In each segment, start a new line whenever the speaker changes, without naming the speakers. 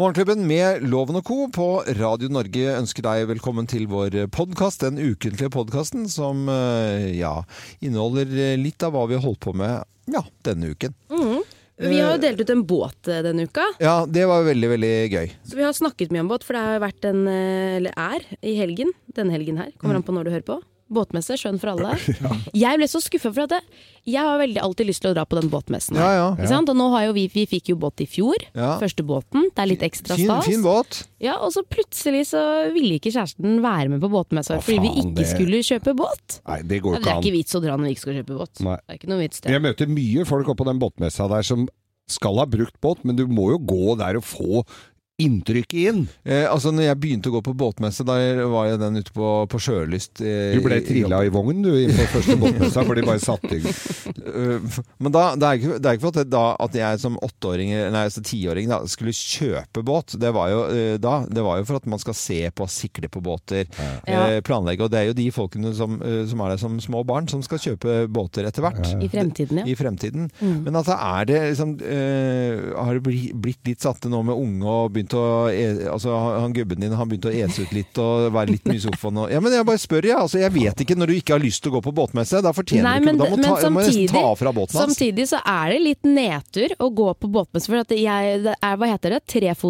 Morgenklubben med Loven og Co. på Radio Norge ønsker deg velkommen til vår podkast, den ukentlige podkasten som eh, ja, inneholder eh, litt av hva vi har holdt på med ja, denne uken.
Mm. Vi har jo delt ut en båt eh, denne uka.
Ja, det var veldig, veldig gøy.
Så vi har snakket mye om båt, for det har jo vært en, eh, eller er, i helgen. Denne helgen her. Kommer an på når du hører på. Båtmesse, sjøen for alle. Jeg ble så skuffa, for at jeg, jeg har veldig alltid lyst til å dra på den båtmessen.
Ja,
her.
ja.
Ikke sant? Og nå har jo vi, vi fikk jo båt i fjor.
Ja.
Første båten. Det er litt ekstra
Fin,
stas.
fin båt.
Ja, Og så plutselig så ville ikke kjæresten være med på båtmessa
Å,
fordi vi
faen,
ikke
det-
skulle kjøpe båt.
Nei, det går
Ja, men det
ikke
er
an.
ikke vits å dra når vi ikke skal kjøpe båt.
Nei.
Det er ikke noe vits det.
Jeg møter mye folk oppå den båtmessa der som skal ha brukt båt, men du må jo gå der og få inntrykket inn.
Eh, altså, når jeg begynte å gå på båtmesse, da var jeg den ute på, på sjølyst. eh,
Du ble
i- i
trilla i vognen du inn på første båtmessa, for de bare satte i gang.
Øh, Men da, det, er ikke, det er ikke for at, jeg da, at jeg som åtteåring, nei, altså tiåring da, skulle kjøpe båt. Det var, jo, øh, da, det var jo for at man skal se på, sikle på båter,
Ja.
øh, planlegge. Og det er jo de folkene som, øh, som er der som små barn, som skal kjøpe båter etter hvert.
I fremtiden, ja. Mm.
I fremtiden. Men altså, er det liksom øh, Har det bli- blitt litt satte nå med unge og begynt å e Altså, han gubben din, han begynte å ese ut litt og være litt mye i sofaen og Ja, men jeg bare spør, jeg. Ja. Altså, jeg vet ikke når du ikke har lyst til å gå på båtmesse. Da fortjener
Nei,
du ikke
men
Da
det-
må,
men
ta, må nesten
samtidig-
ta fra båten hans.
Samtidig så er det litt nedtur å gå på båtmesse, for at jeg, det er, hva heter det,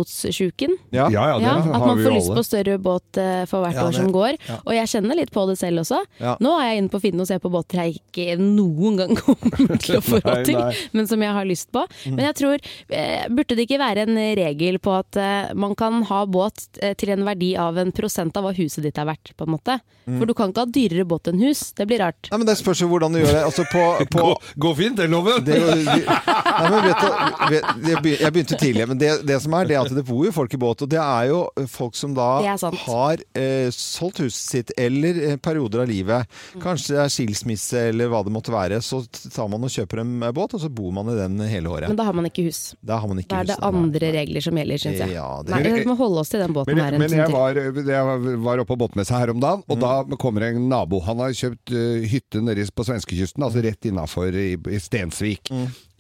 trefotssjuken?
Ja.
Ja, ja, det
Ja, at
har
man
vi
får
jo
lyst på
alle.
større båt eh, for hvert
Ja,
år
det-
som går.
ja.
Og jeg kjenner litt på det selv også.
Ja.
Nå er jeg inne på Finn og ser på båter jeg ikke noen gang kommer til å få
Nei,
råd til,
nei.
men som jeg har lyst på.
Mm.
Men jeg tror, eh, burde det ikke være en regel på at eh, man kan ha båt eh, til en verdi av en prosent av hva huset ditt er verdt, på en måte? For du kan ikke ha dyrere båt enn hus, det blir rart.
Mm. Nei, men Det spørs jo hvordan du gjør det. Altså på, på
Gå, gå fint, det, Loven!
det, er jo- nei, men vet du, vet, jeg begy- jeg begynte tidligere, men det, det som er, det er at det bor jo folk i båt. Og det er jo eh, folk som da
Det er sant.
har eh, solgt huset sitt, eller eh, perioder av livet.
Mm.
Kanskje det er skilsmisse eller hva det måtte være. Så tar man og kjøper en båt, og så bor man i den hele året.
Men da har man ikke hus.
Da har man ikke
Da er det
hus, nei.
andre regler som gjelder, syns jeg.
Ja, det-
Nei, vi må holde oss til den båten
Men,
her. en
men
stund
jeg,
til.
var, eh, jeg var oppe på båtmesse her om dagen, og da kommer en nabo. Han har kjøpt eh, hytte nede på svenskekysten, altså rett innafor i, i Stensvik.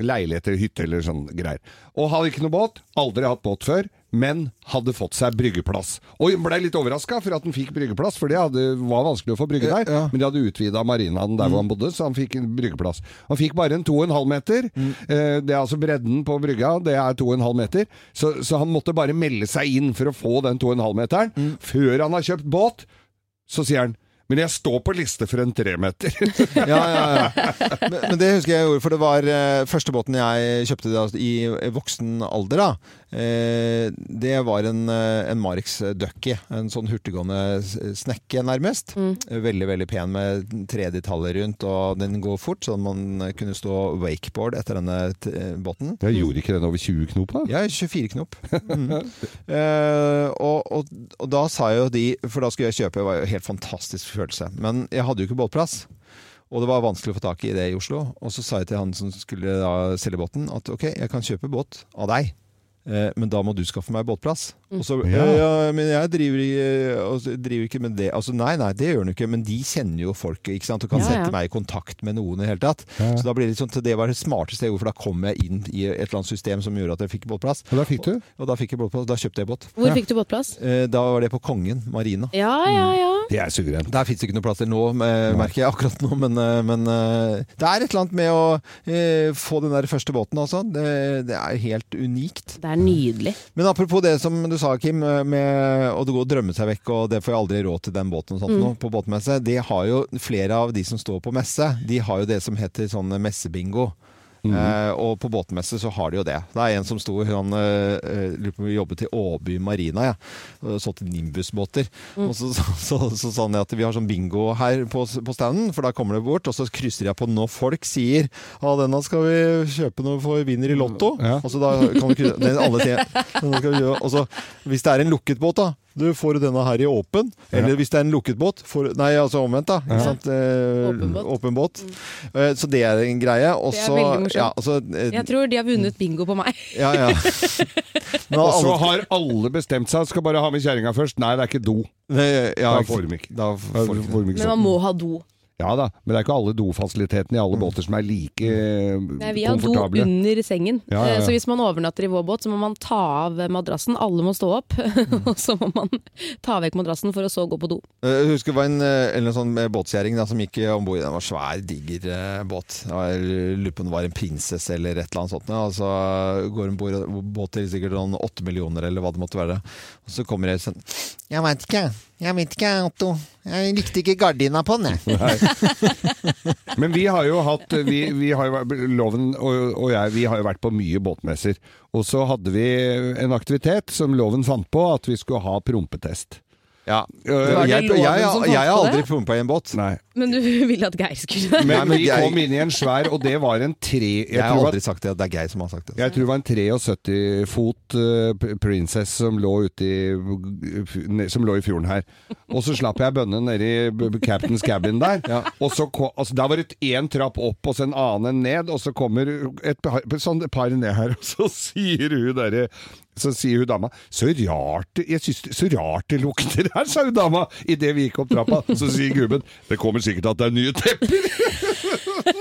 Leiligheter, hytte eller sånn greier. Og hadde ikke noe båt. Aldri hatt båt før. Men hadde fått seg bryggeplass. Og blei litt overraska for at han fikk bryggeplass, for det hadde, var vanskelig å få brygge der.
Ja.
Men de hadde utvida marinaen der hvor han bodde, så han fikk en bryggeplass. Han fikk bare en 2,5 meter. Eh, Det er altså bredden på brygga, det er 2,5 meter. Så, så han måtte bare melde seg inn for å få den 2,5 meteren. Før han har kjøpt båt, så sier han men jeg står på liste for en tremeter.
ja, ja, ja. Men, men det husker jeg gjorde, for det var eh, første båten jeg kjøpte da, altså, i voksen alder. da. Eh, det var en, eh, en Marix Ducky, en sånn hurtiggående s- snekke nærmest. Veldig veldig pen med tredjetallet rundt, og den går fort, sånn man kunne stå wakeboard etter denne t båten.
Jeg gjorde ikke den over 20 knop, da.
Ja, 24 knop. Mm. Eh, og, og, og da sa jo de For da skulle jeg kjøpe, det var jo en helt fantastisk følelse. Men jeg hadde jo ikke båtplass. Og det var vanskelig å få tak i det i Oslo. Og så sa jeg til han som skulle da selge båten, at ok, jeg kan kjøpe båt av deg. eh, Men da må du skaffe meg båtplass. Og så,
Ja.
ja. ja, men jeg driver, i- og så driver ikke med det. Altså, nei, nei, det gjør han ikke, men de kjenner jo folk ikke sant? og kan
Ja, ja.
sette meg i kontakt med noen i det hele tatt.
Ja.
Så da blir det litt sånn, til det var det smarteste jeg gjorde, for da kom jeg inn i et eller annet system som gjorde at jeg fikk båtplass.
Og da fikk du?
Og da fikk jeg båtplass, da kjøpte jeg båt.
Hvor fikk du båtplass?
Eh, Da var det på Kongen marina.
Ja, ja, ja.
Det er suverent.
Der fins det ikke noe plass til nå, eh, merker jeg akkurat nå, men, eh, men eh, det er et eller annet med å eh, få den der første båten, altså. Det, det er helt unikt.
Det er nydelig.
Men apropos det som du sa, Kim, eh, med å gå og drømme seg vekk, og det får jeg aldri råd til den båten og sånt
Mm.
nå, på båtmesse. Det har jo flere av de som står på messe, de har jo det som heter sånn messebingo.
Mhm.
Eh, og på båtmesse så har de jo det. Det er en som sto Han eh, eh, lurer på om vi jobbet i Åby marina, ja. og solgte nimbusbåter.
Mm.
Og så så, så, så sa han at vi har sånn bingo her på, på standen, for da kommer det bort. Og så krysser jeg på når folk sier Ja, denne skal vi kjøpe når vi vinner i Lotto.
Mm,
Ja.
Og så da kan vi krysse det, er alle sier, «Denne skal vi gjøre». Og så, Hvis det er en lukket båt, da. Du får du denne her i åpen. Eller hvis det er en lukket båt får, Nei, altså omvendt, da. Ikke sant? Eh,
Åpen båt. Mm.
åpen båt. Eh, Så det er en greie. Og
Det er
så-
veldig morsomt.
Ja, altså, eh,
Jeg tror de har vunnet bingo på meg.
ja, ja. Men
Og så
alle-
har alle bestemt seg, skal bare ha med kjerringa først. Nei, det er ikke do.
Nei, ja,
Da får de ikke.
Da får de ikke.
Får de ikke
Men man må ha do.
Ja da, men det er ikke alle dofasilitetene i alle båter som er like eh,
Mm. Nei, vi har do
komfortable.
under sengen,
Ja, ja, ja.
Eh, så hvis man overnatter i vår båt, så må man ta av madrassen. Alle må stå opp, og så må man ta vekk madrassen for å så gå på do.
Jeg husker det var en, eh, eller en sånn eh, båtskjæring da, som gikk om bord i den. var svær, diger eh, båt. Det var- Jeg lurer på om det var en prinsesse eller et eller annet sånt. ja. Og så går hun bord, båt til sikkert sånn åtte millioner eller hva det måtte være. Og så kommer det sånn Jeg veit ikke, jeg vet ikke, Otto. Jeg likte ikke gardina på den, jeg.
Men vi har jo hatt eh, vi, vi har jo, vært- Loven og, og jeg vi har jo vært på mye båtmesser. Og så hadde vi en aktivitet som Loven fant på, at vi skulle ha prompetest. Eh,
Ja.
Var
Jeg,
det
jeg, jeg,
loven som fant
har
på
aldri
det?
pumpa i en båt.
Nei.
Men du ville at Geir skulle
Men,
Nei, men
vi
jeg-
kom inn i en svær, og det var en tre... Jeg,
Jeg har
tror,
aldri
det var-
sagt det. Det er Geir som har sagt det.
jeg tror det var en 73 fot eh, pr- princess som lå ute i Som lå i fjorden her. Og så slapp jeg bønnen nedi b- b- Captain's Cabin der. Og så kom, altså, Der var det én trapp opp og så en annen ned, og så kommer et par, sånn et par ned her, og så sier hun derre så sier hun dama Så rart, det- jeg synes, det- så rart det lukter her, sa hun dama idet vi gikk opp trappa. Så sier gubben Det kommer sikkert at det er nye tepper.
Det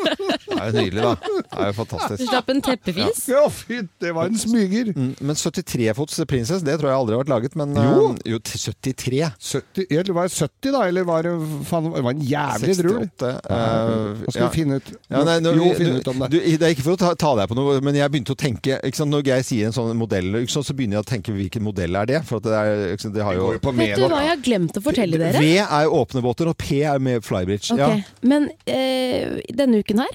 er jo nydelig, da. Det er jo fantastisk.
slapp en teppefis.
Ja, fy, det var en smyger.
Mm, Men 73-fots prinsesse, det tror jeg aldri har vært laget. Men
Jo.
eh, jo t- 73.
70, eller var det 70 da, eller var det, faen, det var en jævlig drul?
68. eh,
Nå skal vi finne ut,
Ja, nei, nå,
jo,
vi-
finne
du,
ut om det.
Du, det er ikke for å ta, ta deg på noe, men jeg begynte å tenke ikke sant, Når jeg sier en sånn modell, ikke sant, så begynner jeg å tenke hvilken modell er det? For at det er, ikke sant, det har
Det
jo
går jo på
Vet du
Menon.
hva jeg har glemt å fortelle dere?
V er jo åpne båter, og P er med flybridge.
Ok,
Ja.
Men eh, denne uken her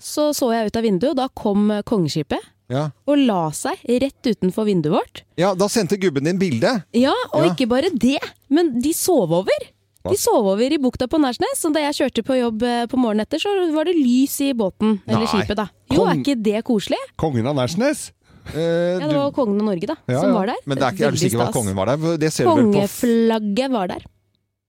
så så jeg ut av vinduet, og da kom eh, kongeskipet
Ja.
og la seg rett utenfor vinduet vårt.
ja, da sendte gubben din bilde.
Ja, og
Ja.
ikke bare det, men de sov over.
Hva?
De sov over i bukta på Nærsnes, og da jeg kjørte på jobb eh, på morgenen etter, så var det lys i båten,
Nei.
eller skipet, da. Jo,
Kong-
er ikke det koselig?
Kongen av Nærsnes?
Eh, du-
Ja, det var kongen av Norge, da,
Ja, ja.
som var der.
men det er, ikke, er du
Veldig
sikker på at
stas.
kongen var der? Det ser du vel på f-
Kongeflagget var der.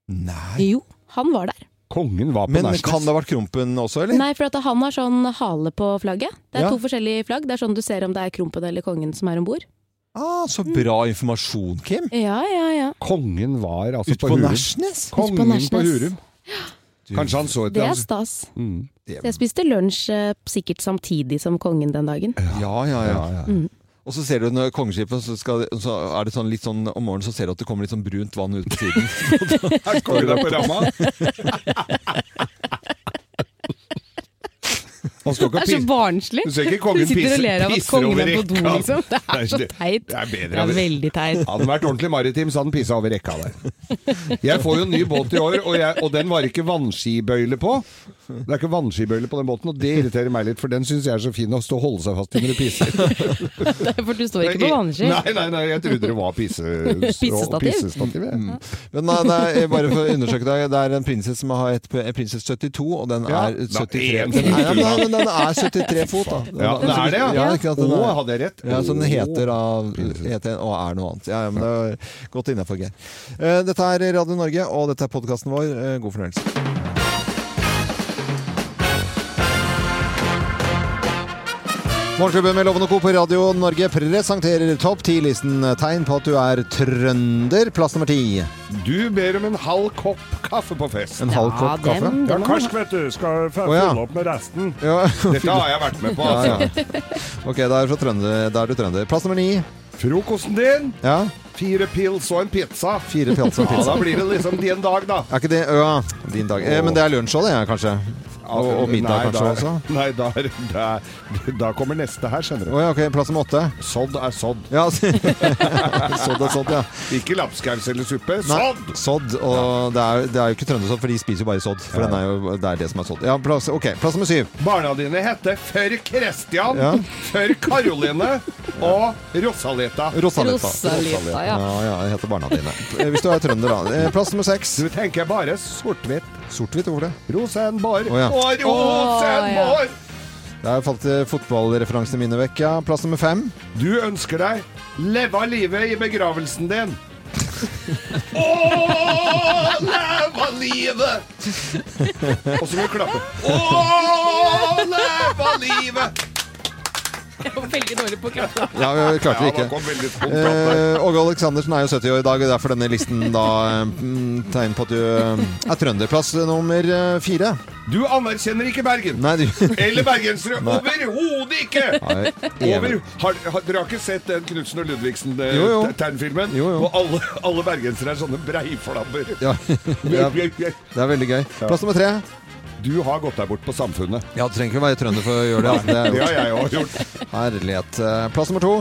Nei.
Jo, han var der.
Kongen var på
Men
Nærsnes.
kan det ha vært Krompen også, eller?
Nei, for at han har sånn hale på flagget. Det er
Ja.
to forskjellige flagg. Det er sånn du ser om det er Krompen eller kongen som er om bord. Mm.
Ah, så bra informasjon, Kim.
Ja, ja, ja.
Kongen var altså
Ute
på,
på
Hurum.
Nærsnes?
Kongen
Ute på
på,
Nærsnes.
Hurum. Kanskje han så
Det
etter
er
hans...
stas.
Mm.
Så jeg spiste lunsj eh, sikkert samtidig som kongen den dagen.
Ja, ja, ja.
Ja, ja.
Og så ser du når kongeskipet så, skal, så er det sånn litt sånn om morgenen så ser du at det kommer litt sånn brunt vann ut på siden.
Her står det på ramma. Han står ikke og
Det er så
pisser.
barnslig!
Du ser ikke kongen
sitter og
pisser-
ler av at
pisser
kongen
over
er på do,
rekka.
altså.
liksom. Det er så teit.
Det er bedre
Det er
over-
veldig teit.
Hadde han vært ordentlig maritim, så hadde han pissa over rekka der. Jeg får jo en ny båt i år, og, jeg, og den var ikke vannskibøyle på. Det er ikke vannskibøyle på den båten, og det irriterer meg litt, for den syns jeg er så fin å stå og holde seg fast i når du pisser.
Det er For du står ikke på vannski.
Nei, nei, nei, jeg trodde det var pisse,
Pissestativ.
pissestativ jeg.
Mm. Men nei, det er, bare for å undersøke deg, det er en prinsesse som har et en prinsesse 72, og den
Ja,
er
da,
73
en
den er, ja,
til.
men den er 73 fot, da.
Ja, det er det, ja.
ja ikke sant, den
Å,
er,
hadde jeg rett?
Ja, så den
Å.
heter av heter, og er noe annet. Ja, ja, men det er godt innafor, Geir. Eh, Dette er Radio Norge, og dette er podkasten vår. Eh, God fornøyelse. Morgenklubben med Loven og Co. på Radio Norge presenterer topp ti-listen tegn på at du er trønder. Plass nummer ti.
Du ber om en halv kopp kaffe på fest.
En halv kopp
Ja,
kaffe.
dem,
Ja,
dem har
karsk, vet du. Skal f-
Å, ja.
fylle opp med resten.
Ja,
Dette har jeg vært med på.
ja,
Altså.
ja. Ok, da er, du fra Trønder, da er du trønder. Plass nummer ni.
Frokosten din,
Ja,
fire pils og en pizza.
fire pjalser og
Ja,
pizza.
da blir det liksom din dag, da.
Er ikke det ja, din dag? Eh, men det er lunsj òg, det, kanskje? Og, og middag
Altså, Nei,
kanskje
da-
også?
Nei, da, er- da, er- da kommer neste her, skjønner du.
Å ja, ok, plass nummer åtte.
Sodd er sodd.
Ja, sådd og sådd, ja.
Ikke lapskaus eller suppe.
Nei,
Sodd!
Sodd. Og det er, det er jo ikke trøndersodd, for de spiser jo bare sodd. For den er jo, det er det som er sodd. Ja, plass, ok, plass nummer syv.
Barna dine heter Før Christian,
Ja.
Før Karoline og Rosaleta.
Rosalita.
Rosalita, ja.
Ja, ja, det heter barna dine. Eh, Hvis du er trønder, da. Eh, Plass nummer seks.
Du tenker bare sort-hvitt.
Sort-hvitt, hvorfor det?
Rosenborg
Å, ja.
og Rosenborg!
Der falt eh, fotballreferansene mine vekk, ja. Plass nummer fem.
Du ønsker deg leve av livet i begravelsen din. Å, leve av livet! Og så må du klappe. Å, leve av livet!
Jeg var veldig dårlig på kroppen.
Ja, vi klarte det ikke. Eh, Åge Aleksandersen er jo 70 år i dag, og derfor denne listen da mm, tegn på at du eh, er trønder. Plass nummer eh, fire.
Du anerkjenner ikke Bergen!
Nei, du
Eller bergensere! Overhodet ikke!
Nei,
Over,
evig.
har, har, dere har ikke sett den Knutsen og
Jo, jo.
Ludvigsen-tegnfilmen?
Jo, jo.
Og alle, alle bergensere er sånne breiflabber.
ja, ja, det er veldig gøy. Plass nummer tre.
Du har gått deg bort på samfunnet.
Ja, du trenger ikke å være trønder for å gjøre det. Altså, det er
Det
jo
har jeg òg gjort.
herlighet. Eh, Plass nummer to.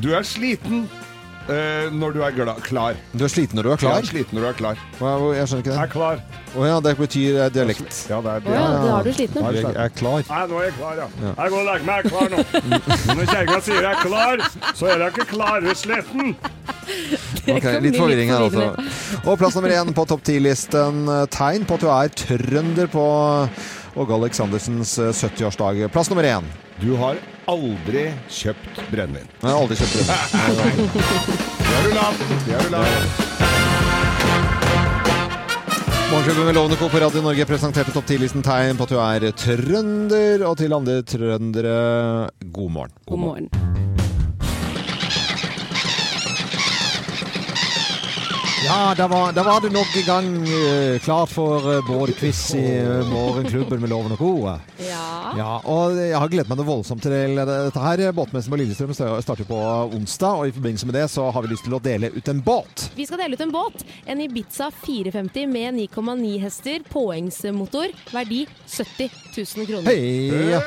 Du er sliten eh, når du er gla klar.
Du er sliten når du er
Du
klar.
er sliten når du er klar.
Hva- hvor- Jeg skjønner ikke det.
klar.
Å ja, det betyr eh, dialekt.
Ja, det er
Å
det.
ja, det har du sliten med.
Jeg er klar.
Nei, nå er jeg klar, ja.
Jeg går og legger meg, jeg er klar nå. Når kjerringa sier jeg er klar, så er jeg ikke klar, sletten.
Ok,
kan
litt
bli
forvirring her,
litt
altså. Og plass nummer én på topp ti-listen. eh, Tegn på at du er trønder på Åge Aleksandersens eh, 70-årsdag. Plass nummer én.
Du har aldri kjøpt brennevin.
Jeg har aldri kjøpt brød.
Det er du lav. Det er du lav.
Morgenklubben med Lovende Co. på Radio Norge presenterte topp 10-listen tegn på at du er trønder. Og til andre trøndere, god morgen.
God morgen.
Ja, da var, da var det nok i gang eh, klart for eh, bårquiz i eh, Morgenklubben med Loven og Co.
Ja.
Ja, og jeg har gledet meg noe voldsomt til dette her. Båtmessen på Lillestrøm starter på onsdag, og i forbindelse med det så har vi lyst til å dele ut en båt.
Vi skal dele ut en båt. En Ibiza 450 med 9,9 hester, påhengsmotor, verdi 70 000 kroner.
Hei!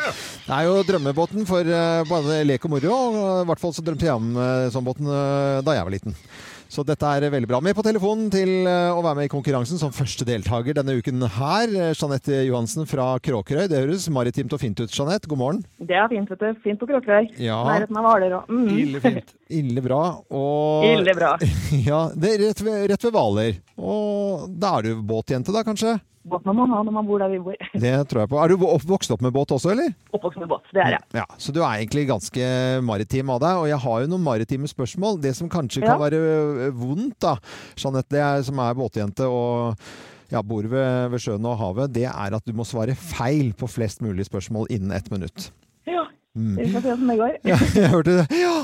Det er jo drømmebåten for eh, både lek og moro. og I hvert fall så drømte jeg om eh, sånn båten eh, da jeg var liten. Så dette er eh, veldig bra. Med på telefonen til eh, å være med i konkurransen som første deltaker denne uken her. eh, Jeanette Johansen fra Kråkerøy. Det høres maritimt og fint ut, Jeanette. God morgen.
Det er fint, vet du. Fint på Kråkerøy.
Ja.
Nærheten av Hvaler og mm.
Ille fint.
Ille bra. Og
Ille bra.
Ja, det er rett ved, rett ved Hvaler. Og da er du båtjente, da kanskje?
Båt man må ha når man bor der vi bor.
Det tror jeg på. Er du opp- vokst opp med båt også, eller?
Oppvokst med båt, det er jeg.
Ja, Så du er egentlig ganske maritim av deg, og jeg har jo noen maritime spørsmål. Det som kanskje
Ja.
kan være ø, vondt, da, Jeanette, det er, som er båtjente og ja, bor ved, ved sjøen og havet, det er at du må svare feil på flest mulig spørmål innen ett minutt.
Ja. Vi skal se hvordan det går.
Mm. Ja, jeg hørte det. Ja!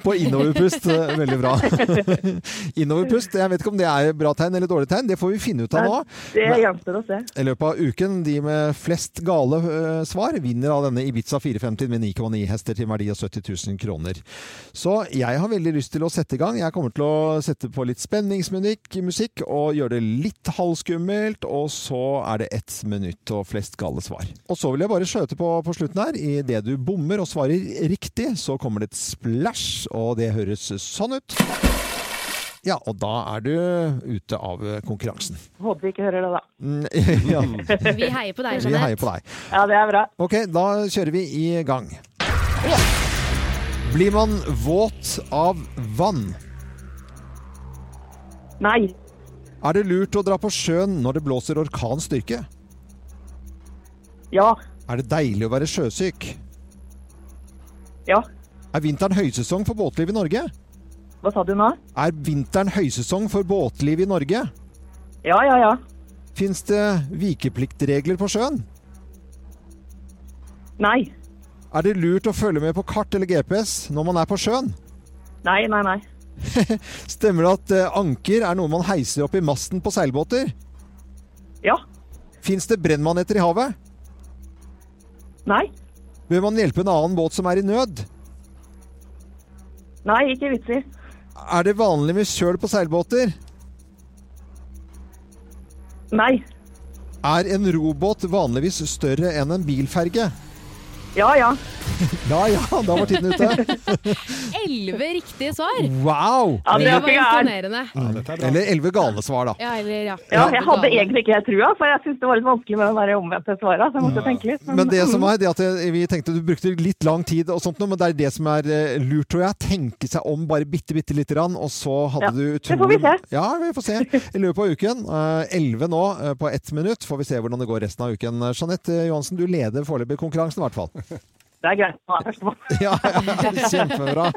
På innoverpust. Veldig bra. Innoverpust, jeg vet ikke om det er bra tegn eller dårlig tegn, det får vi finne ut av nå.
Det
Men-
gjenstår å se.
i løpet av uken. De med flest gale ø, svar vinner av denne Ibiza 450 med 9,9 hester til en verdi av 70 000 kroner. Så jeg har veldig lyst til å sette i gang. Jeg kommer til å sette på litt spenningsmusikk musikk, og gjøre det litt halvskummelt. Og så er det ett minutt og flest gale svar. Og så vil jeg bare skjøte på på slutten her. Idet du bommer og svarer riktig, så kommer det et splæsj, og det høres sånn ut. Ja, og da er du ute av ø, konkurransen.
Håper vi ikke hører det, da.
Mm, ja.
Vi heier på deg,
Vi heier
Jeanette.
på deg.
Ja, det er bra.
Ok, da kjører vi i gang. Blir man våt av vann?
Nei.
Er det lurt å dra på sjøen når det blåser orkan styrke?
Ja.
Er det deilig å være sjøsyk?
Ja.
Er vinteren høysesong for båtliv i Norge?
Hva sa du nå?
Er vinteren høysesong for båtliv i Norge?
Ja, ja, ja.
Fins det vikepliktregler på sjøen?
Nei.
Er det lurt å følge med på kart eller GPS når man er på sjøen?
Nei, nei, nei.
Stemmer det at eh, anker er noe man heiser opp i masten på seilbåter?
Ja.
Fins det brennmaneter i havet?
Nei.
Bør man hjelpe en annen båt som er i nød?
Nei, ikke vits i.
Er det vanlig med kjøl på seilbåter?
Nei.
Er en robåt vanligvis større enn en bilferge?
Ja, ja.
Ja ja, da var tiden ute.
Elleve riktige svar!
Wow! Mm.
Ja, det
Det
er
var
ikke gæren.
imponerende.
Eller elleve gale svar, da.
Ja, eller ja.
Ja, jeg hadde egentlig ikke helt trua, for jeg syntes det var litt vanskelig med den der omvendte svara, så jeg måtte tenke litt.
Men det som er, det at jeg- vi tenkte du brukte litt lang tid og sånt noe, men det er det som er eh, lurt, tror jeg. Tenke seg om bare bitte, bitte lite grann, og så hadde
Ja,
du
det får vi
utrolig- Ja, vi får se. I løpet av uken. Elleve nå eh, på ett minutt. Får vi se hvordan det går resten av uken. Jeanette Johansen, du leder foreløpig konkurransen, i hvert fall.
Det er greit å være førstemann.
Ja, ja, kjempebra.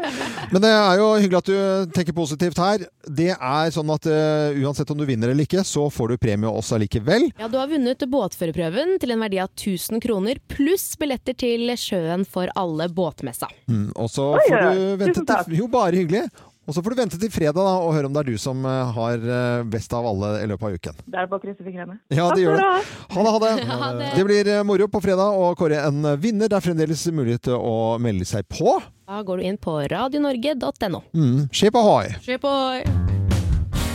Men det er jo hyggelig at du tenker positivt her. Det er sånn at eh, uansett om du vinner eller ikke, så får du premie også allikevel.
Ja, Du har vunnet båtførerprøven til en verdi av 1000 kroner, pluss billetter til sjøen for alle båtmessa.
Mm, Og så
Oi,
får
oi,
du
oi.
vente
Tusen takk.
til Jo, bare hyggelig. Og så får du vente til fredag da, og høre om det er du som eh, har eh, best av alle i løpet av uken.
Det er bare å krysse fingrene.
Ja,
Takk
det gjør
for
det.
ha.
Ha det, ha det.
Ha det.
Det blir eh, moro på fredag å kåre en vinner. Det er fremdeles mulighet til å melde seg på.
Da går du inn på radionorge.no.
Mm. Skip ahoi!
Se på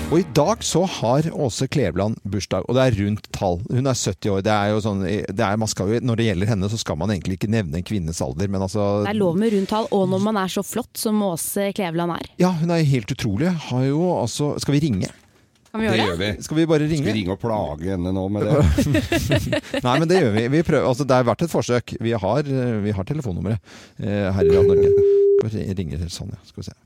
Og i dag så har Åse Kleveland bursdag, og det er rundt tall. Hun er 70 år. Det er jo sånn, det er, man skal jo, når det gjelder henne, så skal man egentlig ikke nevne en kvinnes alder, men altså
Det er lov med rundtall, og når man er så flott som Åse Kleveland er.
Ja, hun er jo helt utrolig. Har jo altså Skal vi ringe?
Kan vi
Det
gjøre det?
gjør vi.
Skal vi bare
Skal vi
ringe?
ringe og plage henne nå med det?
Nei, men det gjør vi. vi prøver, altså, det har vært et forsøk. Vi har, eh, vi har telefonnummeret eh, her i Radio Norge. Skal vi ringe til Sonja? sånn, Skal vi se.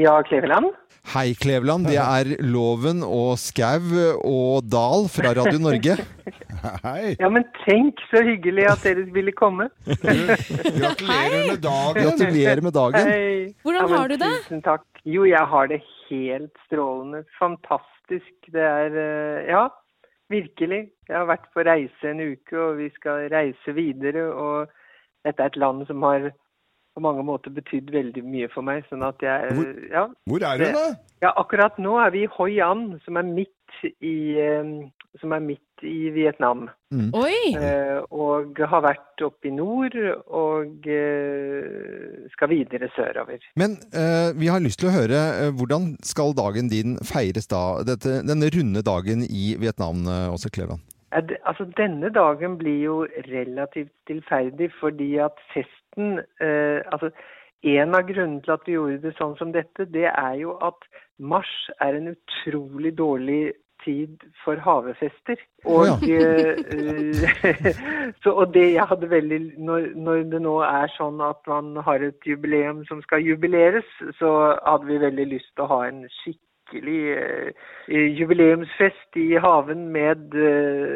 Ja, Kleveland.
Hei, Kleveland. Det er Loven og Skau og Dahl fra Radio Norge.
Hei!
Ja, men tenk så hyggelig at dere ville komme.
Gratulerer med dagen!
Gratulerer med dagen.
Hei.
Hvordan
Ja, men
har du det?
Tusen takk. Jo, jeg har det helt strålende. Fantastisk. Det er eh, Ja, virkelig. Jeg har vært på reise en uke, og vi skal reise videre. Og dette er et land som har på mange måter betydd veldig mye for meg. Sånn at jeg
Hvor-
Ja,
Hvor er hun, da?
ja akkurat nå er vi i Hoi An, som er midt i, eh, som er midt i Vietnam.
Mm.
Oi!
Eh, Og har vært oppe i nord og eh, skal videre sørover.
Men eh, vi har lyst til å høre eh, hvordan skal dagen din feires da? Dette, denne runde dagen i Vietnam, eh, Åse Kleveland.
Ja, det- Altså, denne dagen blir jo relativt stillferdig, fordi at festen eh, altså, En av grunnene til at vi gjorde det sånn som dette, det er jo at mars er en utrolig dårlig tid for havefester. Og,
Å
eh, så, og det jeg hadde veldig når, når det nå er sånn at man har et jubileum som skal jubileres, så hadde vi veldig lyst til å ha en skikkelig eh, eh, jubileumsfest i haven med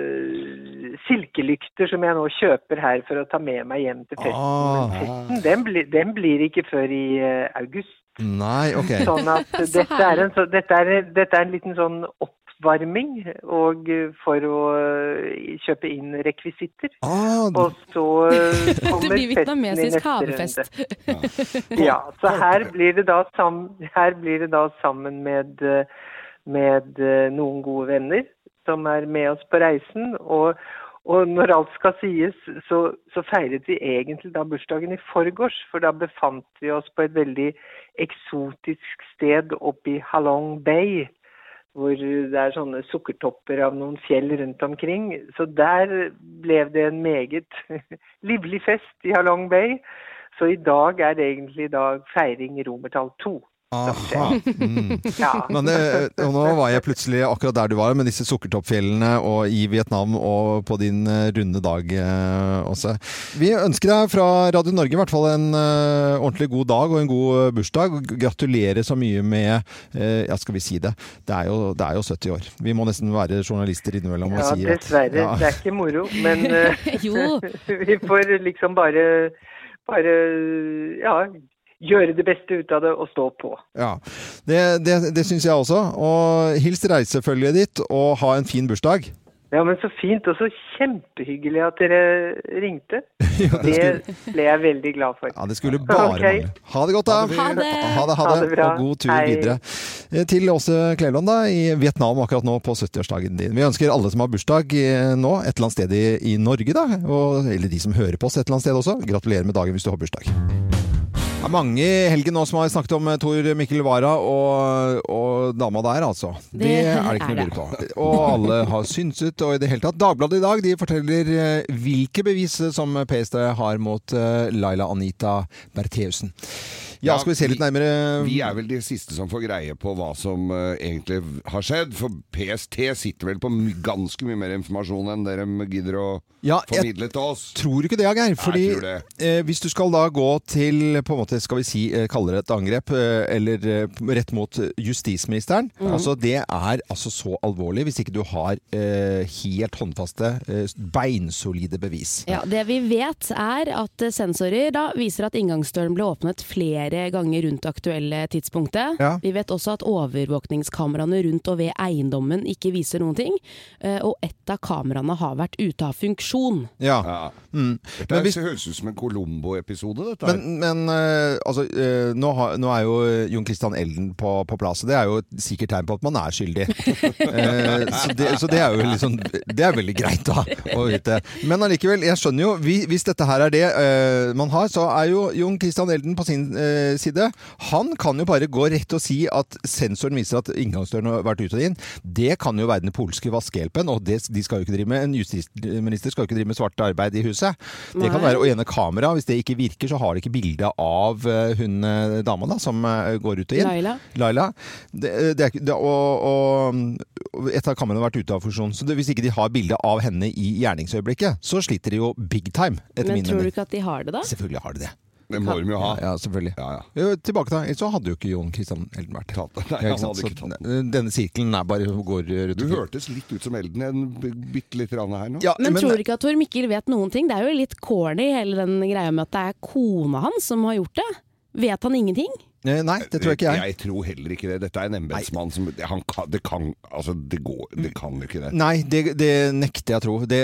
eh, silkelykter som jeg nå kjøper her for å ta med meg hjem til festen.
Ah.
Men festen den, blir- den blir ikke før i eh, august.
Nei, ok.
Sånn at dette er en, så, dette er, dette er en liten sånn oppvarming og eh, for å eh, kjøpe inn rekvisitter.
Ah, d-
Og så eh,
Det
kommer festen i
blir vietnamesisk
neste
havefest.
runde. Ja, så her blir det da sammen, her blir det da sammen med, eh, med eh, noen gode venner som er med oss på reisen. Og, og når alt skal sies, så, så feiret vi egentlig da bursdagen i forgårs. For da befant vi oss på et veldig eksotisk sted oppe i Halong Bay. Hvor det er sånne sukkertopper av noen fjell rundt omkring. Så der ble det en meget livlig fest i Halong Bay. Så i dag er det egentlig da feiring romertall to.
aha. Mm.
Ja.
Men det, og nå var jeg plutselig akkurat der du var, med disse sukkertoppfjellene og i Vietnam og på din eh, runde dag, eh, Åse. Vi ønsker deg fra Radio Norge i hvert fall en eh, ordentlig god dag og en god eh, bursdag. og Gratulerer så mye med eh, Ja, skal vi si det? Det er jo, det er jo 70 år. Vi må nesten være journalister innimellom og
ja,
si at
dessverre.
ja.
Det er ikke moro, men eh,
Jo,
vi får liksom bare, bare ja, gjøre det beste ut av det og stå på.
Ja, Det, det, det syns jeg også. Og hils reisefølget ditt, og ha en fin bursdag.
Ja, men så fint og så kjempehyggelig at dere ringte. det ble jeg veldig glad for.
Ja, Det skulle bare
Ok.
mangle. Ha det godt, da.
Ha det.
Ha det, ha
Ha
det.
det bra.
Og god tur
Hei.
videre. Eh, Til Åse Kleveland da, i Vietnam akkurat nå på 70-årsdagen din. Vi ønsker alle som har bursdag eh, nå, et eller annet sted i, i Norge, da, og, eller de som hører på oss et eller annet sted også, gratulerer med dagen hvis du har bursdag. Det er mange i helgen nå som har snakket om eh, Tor Mikkel Wara og, og dama der, altså. Det, er det ikke noe å lure på. Og alle har synset, og i det hele tatt. Dagbladet i dag de forteller eh, hvilke bevis som PST har mot eh, Laila Anita Bertheussen. Ja, skal vi se litt nærmere
Vi er vel de siste som får greie på hva som eh, egentlig har skjedd. For PST sitter vel på my ganske mye mer informasjon enn dere gidder å
Ja, jeg
formidle til oss.
tror ikke det, Geir. Fordi
tror det.
eh, hvis du skal da gå til, på en måte, skal vi si, eh, kalle det et angrep, eh, eller eh, rett mot justisministeren, altså det er altså så alvorlig hvis ikke du har eh, helt håndfaste, eh, beinsolide bevis.
Ja, Det vi vet er at eh, sensorer da viser at inngangsdøren ble åpnet flere ganger rundt det aktuelle tidspunktet.
Ja.
Vi vet også at overvåkningskameraene rundt og ved eiendommen ikke viser noen ting. eh, Og ett av kameraene har vært ute av funksjon.
Ja. Mm.
Ja.
Men
Dette
hvis-
høres ut som en Colombo-episode, dette her.
Men, men eh, altså, eh, nå, har, nå er jo eh, Jon Christian Elden på, på plass, og det er jo et sikkert tegn på at man er skyldig. Eh, så, det, så det er jo liksom, det er veldig greit da, å vite. Men allikevel, jeg skjønner jo, vi, hvis dette her er det eh, man har, så er jo Jon Christian Elden på sin eh, side. Han kan jo bare gå rett og si at sensoren viser at inngangsdøren har vært ut og inn. Det kan jo være den polske vaskehjelpen, og det, de skal jo ikke drive med, en justisminister skal jo ikke drive med svart arbeid i huset. Det kan
Nei.
være og ene kamera, hvis det ikke virker, så har de ikke bilde av eh, hun eh, dama da, som eh, går ut og inn.
Laila.
Laila. Det, eh, det er, ikke- det, og, og, og et av kameraene har vært ute av funksjon. Så det, hvis ikke de har bilde av henne i gjerningsøyeblikket, så sliter de jo big time, etter
Men
min
tror du
mening.
ikke at de har det, da?
Selvfølgelig har de det.
Det må de jo ha.
Ja, selvfølgelig.
Ja, ja.
Jo, tilbake da, ellers så hadde jo ikke Jon Kristian Elden vært her.
Tatt det. Nei,
Ja,
han
ikke sant?
hadde ikke
Så
tatt
Denne sirkelen er bare går rundt
Du
og-
hørtes litt ut som Elden en b- bitte lite grann her nå.
Ja,
Men, tror du ikke at Tor Mikkel vet noen ting? Det er jo litt corny hele den greia med at det er kona hans som har gjort det. Vet han ingenting?
Eh, Nei, det tror jeg ikke jeg.
Jeg tror heller ikke det. Dette er en embetsmann som han kan, Det kan Altså, det går Det kan jo ikke det.
Mm. Nei, det, det nekter jeg å tro. Det,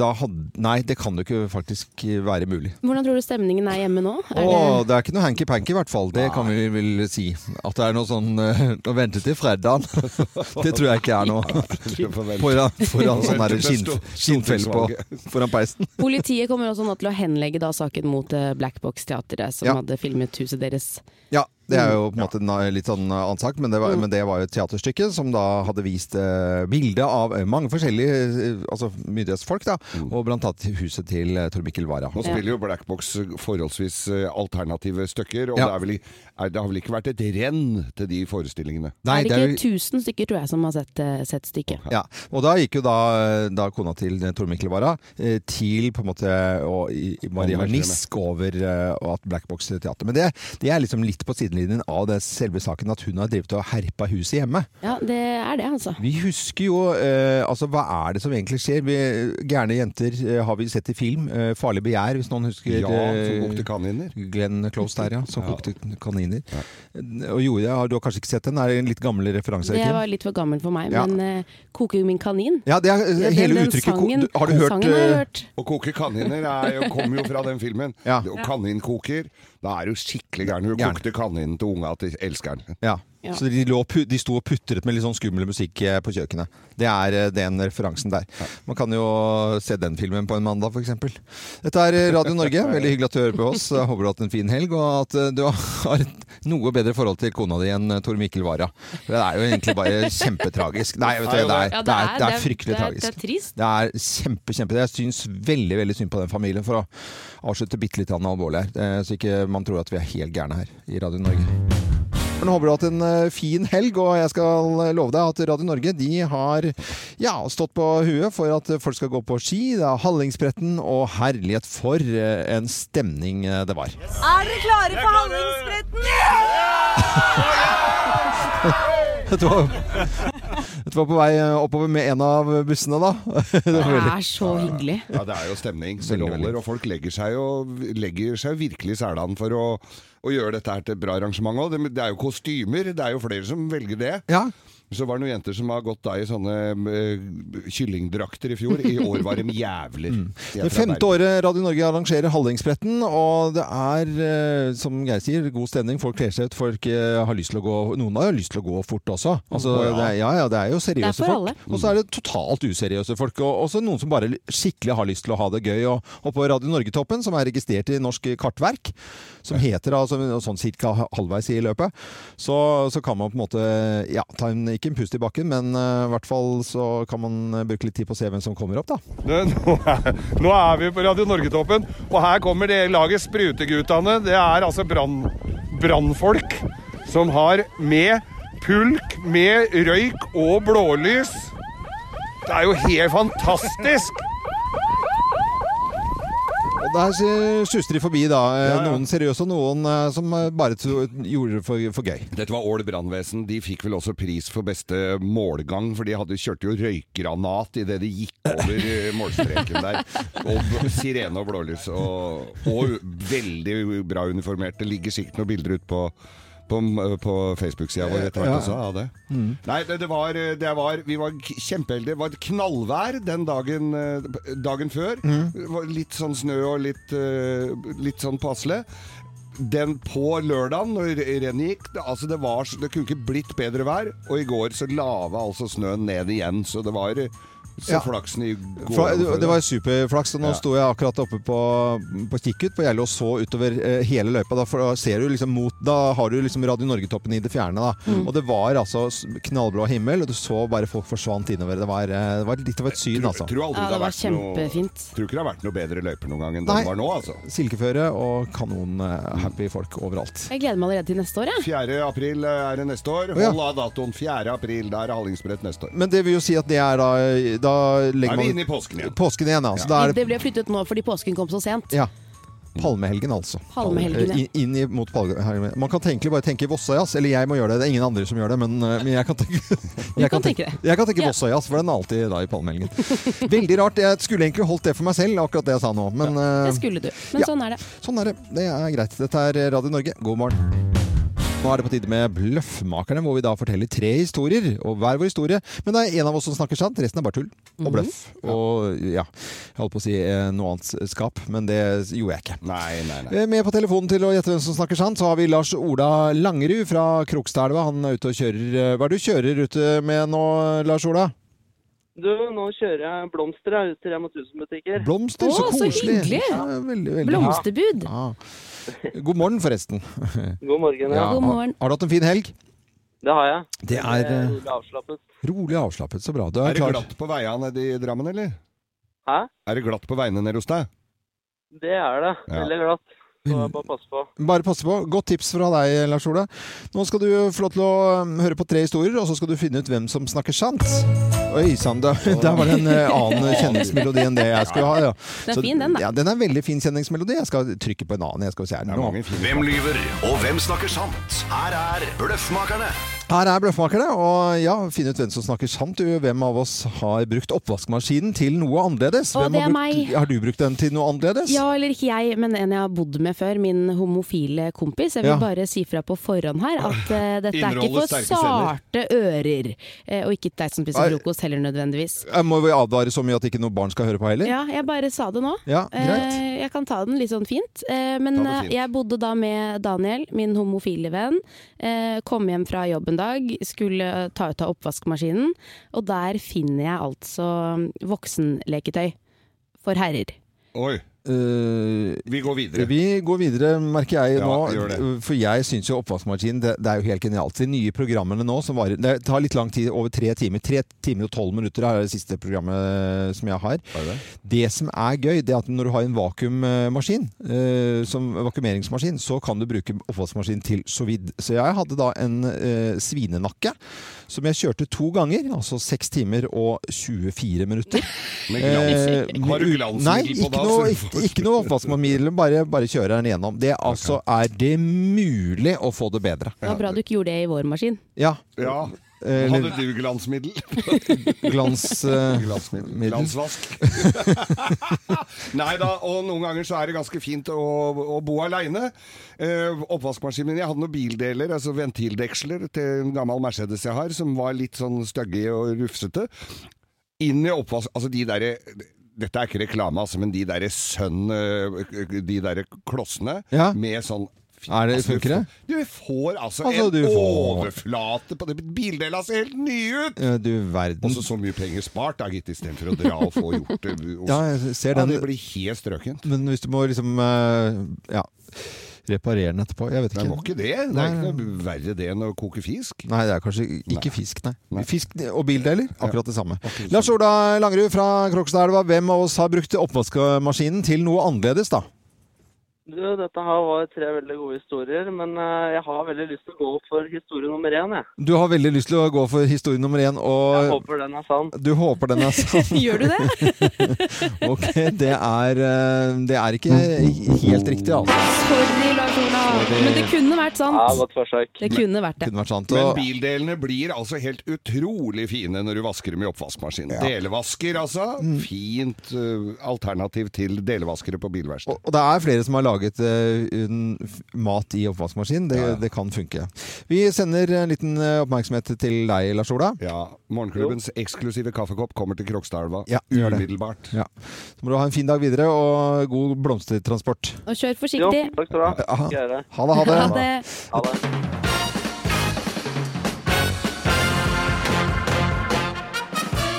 da had- nei, det kan jo ikke faktisk være mulig.
Hvordan tror du stemningen er hjemme nå? Er
Å,
det...
det er ikke noe hanky-panky i hvert fall. Det kan vi vel si. At det er noe sånn eh, å vente til fredagen. Det tror jeg ikke er noe.
Du får vel-
Foran, foran sånn her
Vente til
skinn,
sto-
skinnfell på foran peisen.
Politiet kommer også nå til å henlegge da saken mot eh, Black Box Teatret, som
Ja.
hadde filmet huset deres.
Ja, det er jo på
Mm.
en måte en eh, litt sånn annen sak, men det var, men det var jo et teaterstykke som da hadde vist eh, bilde av eh, mange forskjellige eh, altså myndighetsfolk, da. Og blant annet huset til eh, Tor Mikkel Wara.
Nå Mm. spiller jo Black Box forholdsvis eh, alternative stykker, og
Ja.
det, er vel, i- er, det har vel ikke vært et renn til de forestillingene?
Nei,
er det ikke tusen stykker tror jeg som har sett, eh, sett stykket?
Ja, og da gikk jo da, da kona til Tor Mikkel Wara eh, til på en måte å i- i Maria
Anmeldelsene.
Harnisk over eh, og at Black Box Teater. Men det, det er liksom litt på sidelinjen av det selve saken at hun har drevet og herpa huset hjemme.
Ja, det er det, altså.
Vi husker jo eh, altså hva er det som egentlig skjer? Vi, gærne jenter eh, har vi sett i film. Eh, 'Farlig begjær', hvis noen husker.
Ja, som
eh,
kokte kaniner.
Glenn Close der, ja. Som kokte kaniner. Og Jorunn, ja, du har kanskje ikke sett den? Er det en litt gammel referanse?
Det
Kim?
var litt for gammelt for meg,
Ja.
men eh, 'Koke min kanin'
Ja, det er eh,
Ja, den-
hele
den
uttrykket ko-
sangen-
du- Har du hørt
Sangen har jeg
eh,
hørt.
Å koke kaniner er jo, kommer jo fra den filmen.
Ja.
Og kaninkoker, da er du skikkelig gæren. Hun
Gæren.
kokte kaninen til unga til elskeren.
Ja.
Ja.
Så de, lå, og pu- de sto og putret med litt sånn skummel musikk eh, på kjøkkenet. Det er eh, den referansen der. Man kan jo se den filmen på en mandag, f.eks. Dette er eh, Radio Norge. Veldig hyggelig at du hører på oss. Jeg håper du har hatt en fin helg, og at eh, du har et noe bedre forhold til kona di enn eh, Tor Mikkel Wara. Det er jo egentlig bare kjempetragisk. Nei, vet du, det er,
Ja,
det er, det er fryktelig
det er- Det
tragisk.
er trist.
Det er kjempe, kjempe Jeg syns veldig veldig synd på den familien, for å avslutte bitte litt grann alvorlig her. eh, Så ikke man tror at vi er helt gærne her i Radio Norge. Men håper du har hatt en eh, fin helg, og jeg skal eh, love deg at Radio Norge de har ja, stått på huet for at folk skal gå på ski. Det er Hallingsbretten, og herlighet for eh, en stemning eh, det var.
Er dere klare for Hallingsbretten?
Dette var, dette var på vei eh, oppover med en av bussene, da.
Det er så hyggelig.
Ja, det er jo stemning som
Veldig,
holder,
veldig.
og folk legger seg jo legger seg virkelig i selen for å, å gjøre dette her til et bra arrangement òg. Det, det er jo kostymer, det er jo flere som velger det.
Ja,
Så var det noen jenter som har gått da i sånne eh, kyllingdrakter i fjor. I år var de jævler. De er
Mm. Det
fra
femte
Bergen.
året Radio Norge arrangerer Hallingsbretten, og det er, eh, som Geir sier, god stemning. Folk kler seg ut, folk eh, har lyst til å gå Noen har jo lyst til å gå fort også. Altså, det, er, ja, ja, det er jo seriøse
Det er for alle.
folk. Og så er det totalt useriøse folk. Og også noen som bare skikkelig har lyst til å ha det gøy. Og, og på Radio Norgetoppen, som er registrert i Norsk Kartverk, som heter altså, sånn cirka halvveis i løpet, så, så kan man på en måte ja, ta en, ikke en pust i bakken, men eh, i hvert fall så kan man eh, bruke litt tid på å se hvem som kommer opp, da.
Det, nå, er, nå er vi på Radio Norgetoppen, og her kommer det laget Spruteguttene. Det er altså brann-
brannfolk som har med pulk, med røyk og blålys. Det er jo helt fantastisk!
Og der eh, suster de forbi, da. eh, Noen seriøse og noen eh, som eh, bare tro- gjorde det for, for gøy.
Dette var Ål brannvesen. De fikk vel også pris for beste målgang, for de hadde kjørt jo røykgranat idet de gikk over eh, målstreken der. Og b- sirene og blålys. Og, og veldig bra uniformert. Det ligger sikkert noen bilder ut på på, på Facebook-sida vår etter hvert også av det. Nei, det, det, var, det var Vi var k- kjempeheldige. Det var et knallvær den dagen, eh, dagen før.
Mm.
Det var Litt sånn snø og litt, eh, litt sånn passelig den på lørdagen når rennet gikk det, altså det, var, så- det kunne ikke blitt bedre vær. Og i går så lava altså snøen ned igjen, så det var så
Ja.
flaksen i går.
Fra, det var superflaks. og Nå
Ja.
sto jeg akkurat oppe på, på kikkut på Gjelle og så utover eh, hele løypa. Da, for da, ser du liksom mot, da har du liksom Radio Norge-toppen i det fjerne. Da.
Mm.
Og det var altså s- knallblå himmel, og du så bare folk forsvant innover. Det var, eh, det var litt av et syn, altså.
Tror aldri
Ja, det
har
var
vært noe-
kjempefint.
Tror ikke det har vært noe bedre løyper noen gang enn
Nei.
den var nå, altså.
Silkeføre og kanon eh, happy folk overalt.
Jeg gleder meg allerede til neste år, jeg.
4. april eh, er det neste år.
Å, ja.
Hold av datoen. 4. april, da er det Hallingsbrett neste år.
Men det vil jo si at det er da Da
Da
legger
er vi
man
inne i påsken igjen.
påsken igjen, altså. Da er det
Det ble flyttet nå fordi påsken kom så sent.
ja. Palmehelgen, altså.
Palmehelgen, ja.
Eh, i- Inn i- mot palmehelgen. Man kan egentlig bare tenke Vossajazz, eller jeg må gjøre det. Det er ingen andre som gjør det, men, eh, men jeg kan tenke jeg
kan tenke det.
Jeg kan tenke
Ja.
Vossajazz, for den er alltid da i palmehelgen. Veldig rart. Jeg skulle egentlig holdt det for meg selv, akkurat det jeg sa nå. Men eh,
Det skulle du. Men
Ja.
sånn er det.
sånn er det. Det er greit. Dette er Radio Norge. God morgen. Nå er det på tide med Bløffmakerne, hvor vi da forteller tre historier. Og hver vår historie. Men det er en av oss som snakker sant, resten er bare tull
Mhm.
og bløff. Og ja, jeg holdt på å si eh, noe annet skap, men det gjorde jeg ikke.
Nei, nei, nei.
Eh, Med på telefonen til å gjette hvem som snakker sant, så har vi Lars Ola Langerud fra Krokstadelva. Han er ute og kjører. eh, Hva er det du kjører ute med nå, Lars Ola?
Du, nå kjører jeg blomster her ut til Rema 1000-butikker.
Blomster, så
Å, så
koselig!
hyggelig.
Ja, veldig, veldig.
Blomsterbud.
Ja. God morgen, forresten.
God morgen. Ja.
Ja,
God morgen.
Har, har du hatt en fin helg?
Det har jeg.
Det er
Jeg
eh,
rolig avslappet.
rolig og avslappet. Så bra. Du er,
Er det
klar.
glatt på veiene nede i Drammen, eller?
Hæ?
Er det glatt på veiene nede hos deg?
Det er det.
Ja.
Veldig glatt. Så jeg bare passe på.
Bare passe på. Godt tips fra deg, Lars Ola. Nå skal du få lov til å um, høre på tre historier, og så skal du finne ut hvem som snakker sant. Oi sann, da- der var det en eh, annen kjenningsmelodi enn det jeg skulle ha. Ja.
Den er
Så-
fin, den, da.
Ja, den er en veldig fin kjenningsmelodi. Jeg skal trykke på en annen. Jeg skal se her
Det er
nå.
mange fine
Hvem lyver, og hvem snakker sant? Her er Bløffmakerne.
Her er Bløffmakerne, og ja, finn ut hvem som snakker sant. Du, hvem av oss har brukt oppvaskmaskinen til noe annerledes?
Å,
Hvem
det
har
er
brukt,
meg.
Har du brukt den til noe annerledes?
Ja, eller ikke jeg, men en jeg har bodd med før. Min homofile kompis. Jeg vil
Ja.
bare si fra på forhånd her at eh, dette er ikke
Inneholder
for
sterke
sarte ører. Eh, og ikke deg som
Nei.
spiser frokost heller, nødvendigvis.
Jeg må vi advare så mye at ikke noe barn skal høre på heller?
Ja, jeg bare sa det nå.
Ja, greit.
Eh, jeg kan ta den litt sånn fint. Eh, men
Ta det fint.
eh, jeg bodde da med Daniel, min homofile venn. Eh, kom hjem fra jobb en dag, skulle ta ut av oppvaskmaskinen. Og der finner jeg altså voksenleketøy for herrer.
Oi,
Eh,
vi går videre.
Vi går videre, merker jeg
Ja, gjør det.
nå. For jeg syns jo oppvaskmaskinen det, det er jo helt genialt. De nye programmene nå som varer Det tar litt lang tid, over tre timer. Tre timer og tolv minutter er det siste programmet som jeg har.
Er det?
Det som er gøy, det er at når du har en vakuummaskin, eh, som vakuumeringsmaskin, så kan du bruke oppvaskmaskin til sous vide. Så jeg hadde da en eh, svinenakke som jeg kjørte to ganger, altså seks timer og 24 minutter.
Med glans.
Eh,
Har du
u- Nei,
glansmiddel på
ikke
da?
noe,
så-
ikke, ikke noe oppvaskmiddel. Bare, bare kjøre den gjennom. Det altså er det mulig å få det bedre.
Det var bra du ikke gjorde det i vår maskin.
Ja. Eh,
Ja. Hadde
Eller
du glansmiddel?
glans... eh, middel.
Glansvask. Nei da, og noen ganger så er det ganske fint å, å bo aleine. Eh, oppvaskmaskinen min Jeg hadde noen bildeler, altså ventildeksler, til en gammel Mercedes jeg har, som var litt sånn stygge og rufsete. Inn i oppvask... Altså de derre dette er ikke reklame, altså, men de derre sønn... eh, De derre klossene
Ja.
med sånn
Er det-
Altså, du
funker det?
får- Du får altså,
Altså, du
en
får-
overflate på det. Bildelen ser helt ny ut!
Eh, Du verden.
Også så mye penger spart, da, gitt, istedenfor å dra og få gjort det. Og-
Ja, jeg ser
ja, det
den.
blir helt strøkent.
Men hvis du må liksom eh, Ja. Reparere den etterpå? Jeg vet
Det må
ikke.
ikke det. Det er ikke noe verre det enn å koke fisk.
Nei, det er kanskje ikke fisk, nei. Fisk og bildeler, akkurat det samme.
Akkurat det
Lars Ola Langerud fra Krokstadelva, hvem av oss har brukt oppvaskmaskinen til noe annerledes, da?
Du, dette her var tre veldig gode historier, men eh, jeg har veldig lyst til å gå for historie nummer én, jeg.
Du har veldig lyst til å gå for historie nummer én,
Jeg
og
håper den er sann.
du håper den er sann.
Gjør du det?
Ok, det er, eh, det er ikke
Mm.
helt riktig, altså.
Sorry, Lars Olav.
Sorry.
Men det kunne vært
Ja,
sant.
godt forsøk.
Det kunne vært
Det
det.
kunne vært sant.
Men
Og
bildelene blir altså helt utrolig fine når du vasker dem i oppvaskmaskinen. Delevasker, altså.
Mm.
Fint eh, alternativ til delevaskere på bilverksted.
Og, og det er flere som har laget eh, un- f- mat i oppvaskmaskin. Det, det kan funke. Vi sender en liten eh, oppmerksomhet til deg, Lars Ola.
Ja, Morgenklubbens eksklusive kaffekopp kommer til Krokstadelva
Ja, gjør det.
umiddelbart.
Ja. Så må du ha en fin dag videre, og god blomstertransport. Eh,
Og kjør
Jo,
forsiktig.
takk skal du ha. Skal jeg gjøre.
Ha det, ha det.
Ha det.
Ha det.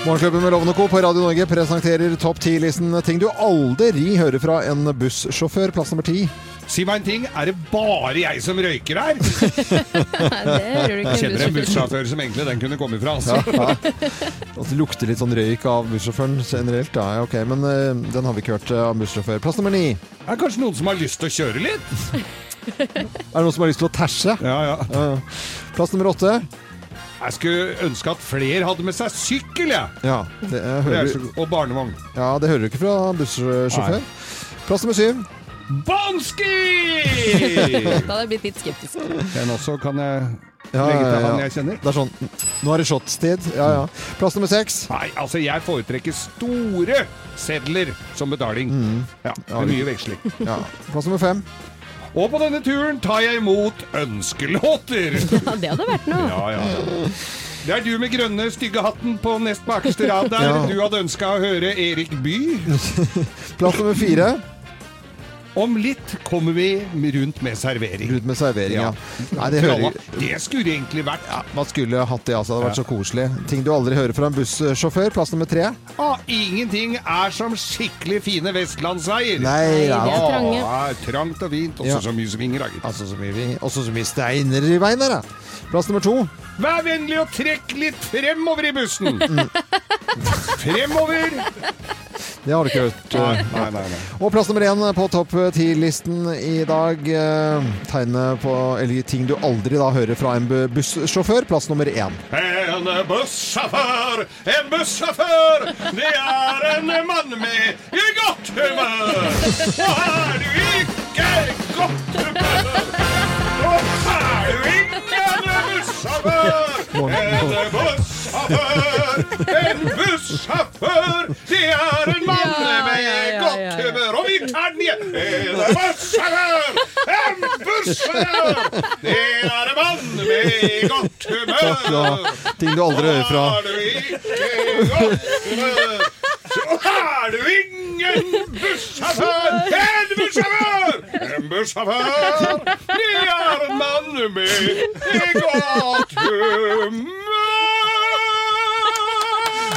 Morgenklubben med Loven og Co. på Radio Norge presenterer Topp 10-listen ting du aldri hører fra en bussjåfør. Plass nummer ti.
Si meg en ting, er det bare jeg som røyker her?
Nei, det hører du
Kjenner en
ikke.
bussjåfør som egentlig den kunne komme fra. Altså.
At det lukter litt sånn røyk av bussjåføren generelt. Ja, ja, ok, men eh, den har vi ikke hørt eh, av en bussjåfør. Plass nummer ni. Er
Er det kanskje noen som har lyst til å kjøre litt?
det noen som har lyst til å tæsje?
Ja, ja.
Ja, ja. Plass nummer åtte.
Jeg skulle ønske at flere hadde med seg sykkel, jeg.
Ja,
Det
det eh,
er
hører,
så... Og barnevogn.
ja, det hører du ikke fra bussjåfør.
Nei.
Plass nummer syv.
Banski!
Da hadde jeg blitt litt skeptisk.
Den også kan jeg
Ja,
legge til
ja, ja.
han jeg kjenner.
Det er sånn Nå er det shotstid. Ja, ja. Plass nummer seks.
Nei, altså jeg foretrekker store sedler som betaling. Ja, det er mye veksling.
Mm. Ja. Plass nummer fem.
Og på denne turen tar jeg imot ønskelåter!
Ja, det hadde vært noe.
Ja, ja, ja. Det er du med grønne, stygge hatten på nest bakerste rad der.
Ja.
Du hadde ønska å høre Erik By.
Plass nummer fire.
Om litt kommer vi rundt med servering.
Rundt med servering, ja.
Ja.
Nei, det hører
Det skulle egentlig vært ja.
Man skulle hatt det, altså. Det hadde vært så koselig. Ting du aldri hører fra en bussjåfør. Plass nummer tre.
ah, Ingenting er som skikkelig fine vestlandsveier.
Nei, ja.
det er trange.
Ah, trangt og fint, også sånn.
Ja.
så mye som Inger Hagen.
Altså, så mye vi- Også så mye steiner i veien der, da. Plass nummer to.
Vær vennlig og trekk litt fremover i bussen!
Mm.
fremover!
Det har du ikke hørt. eh,
nei, nei, nei.
Og plass nummer én på topp ti-listen i dag. Eh, tegne på eller ting du aldri da hører fra en bu- bussjåfør. Plass nummer én.
En bussjåfør, en bussjåfør, det er en mann med i godt humør. Og er du ikke i godt humør, så er du ingen bussjåfør. En bussjåfør, en bussjåfør, det er en mann
Ja,
med
ja, ja,
godt
ja, ja.
humør. Og vi tar den igjen. En bussjåfør, en bussjåfør, det er en mann med godt humør.
Ja, ting du aldri hører fra
Er du ikke godt, så er du ingen bussjåfør! En bussjåfør! En bussjåfør! Det er en mann med godt humør!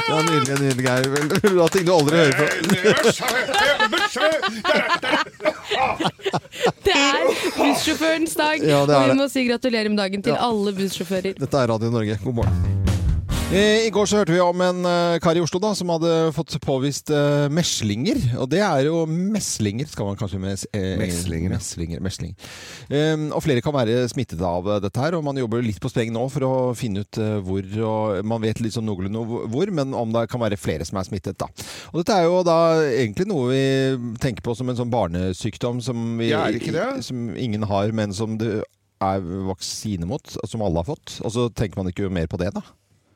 Det er nydelig, nydelig, Geir. Vel, Vil du ha ting du aldri hører fra
En bussjåfør, en bussjåfør.
Det er bussjåførens dag,
Ja, det er
og vi
det.
må si gratulerer med dagen til alle bussjåfører.
Dette er Radio Norge. God morgen. Eh, I går så hørte vi om en eh, kar i Oslo da, som hadde fått påvist eh, meslinger. Og det er jo meslinger, skal man kanskje med eh,
Meslinger, ja.
meslinger, mesling. Ehm, og flere kan være smittet av eh, dette her, og man jobber litt på spreng nå for å finne ut eh, hvor. Og man vet liksom noenlunde hvor, men om det kan være flere som er smittet. da. Og dette er jo da egentlig noe vi tenker på som en sånn barnesykdom som, vi,
Ja, er det ikke det?
som ingen har, men som det er vaksine mot, som alle har fått. Og så tenker man ikke mer på det, da.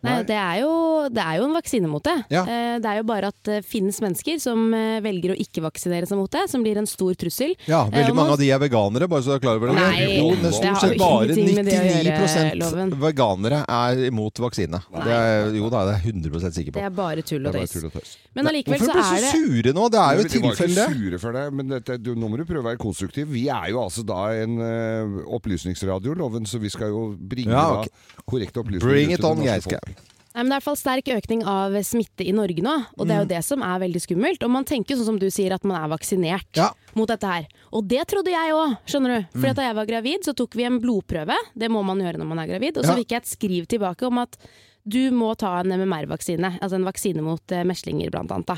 Nei, det er, jo, det er jo en vaksine mot det.
Ja.
Eh, Det er jo bare at det finnes mennesker som eh, velger å ikke vaksinere seg mot det, som blir en stor trussel.
Ja,
Eh,
Veldig
og man-
mange av de er veganere, bare så du er klar over det.
Nei,
jo, det er
det
stort
har
sett
jo
bare
ingenting med det å gjøre,
99
Loven.
veganere er imot vaksine. Det er, jo da, det er jeg 100 sikker
Det
på.
er bare tull og tøys.
tøys.
Men allikevel
Hvorfor
så
ble
er
så
det
sure nå? Det er jo et
De var
tilfelle.
ikke sure for det, men dette, du, nå må du prøve å være konstruktiv. Vi er jo altså da en uh, opplysningsradio, Loven, så vi skal jo bringe
Ja, ok.
da korrekte opplysninger.
Bring
ut
it
til det
on,
norske
Geir
folk.
Skau.
Nei, men det er i hvert fall sterk økning av smitte i Norge nå, og det er jo det som er veldig skummelt. Og man tenker jo sånn som du sier, at man er vaksinert
Ja.
mot dette her. Og det trodde jeg òg, skjønner du. For da jeg var gravid, så tok vi en blodprøve, det må man gjøre når man er gravid, og så
Ja.
fikk jeg et skriv tilbake om at du må ta en MMR-vaksine, altså en vaksine mot eh, meslinger blant annet. Da.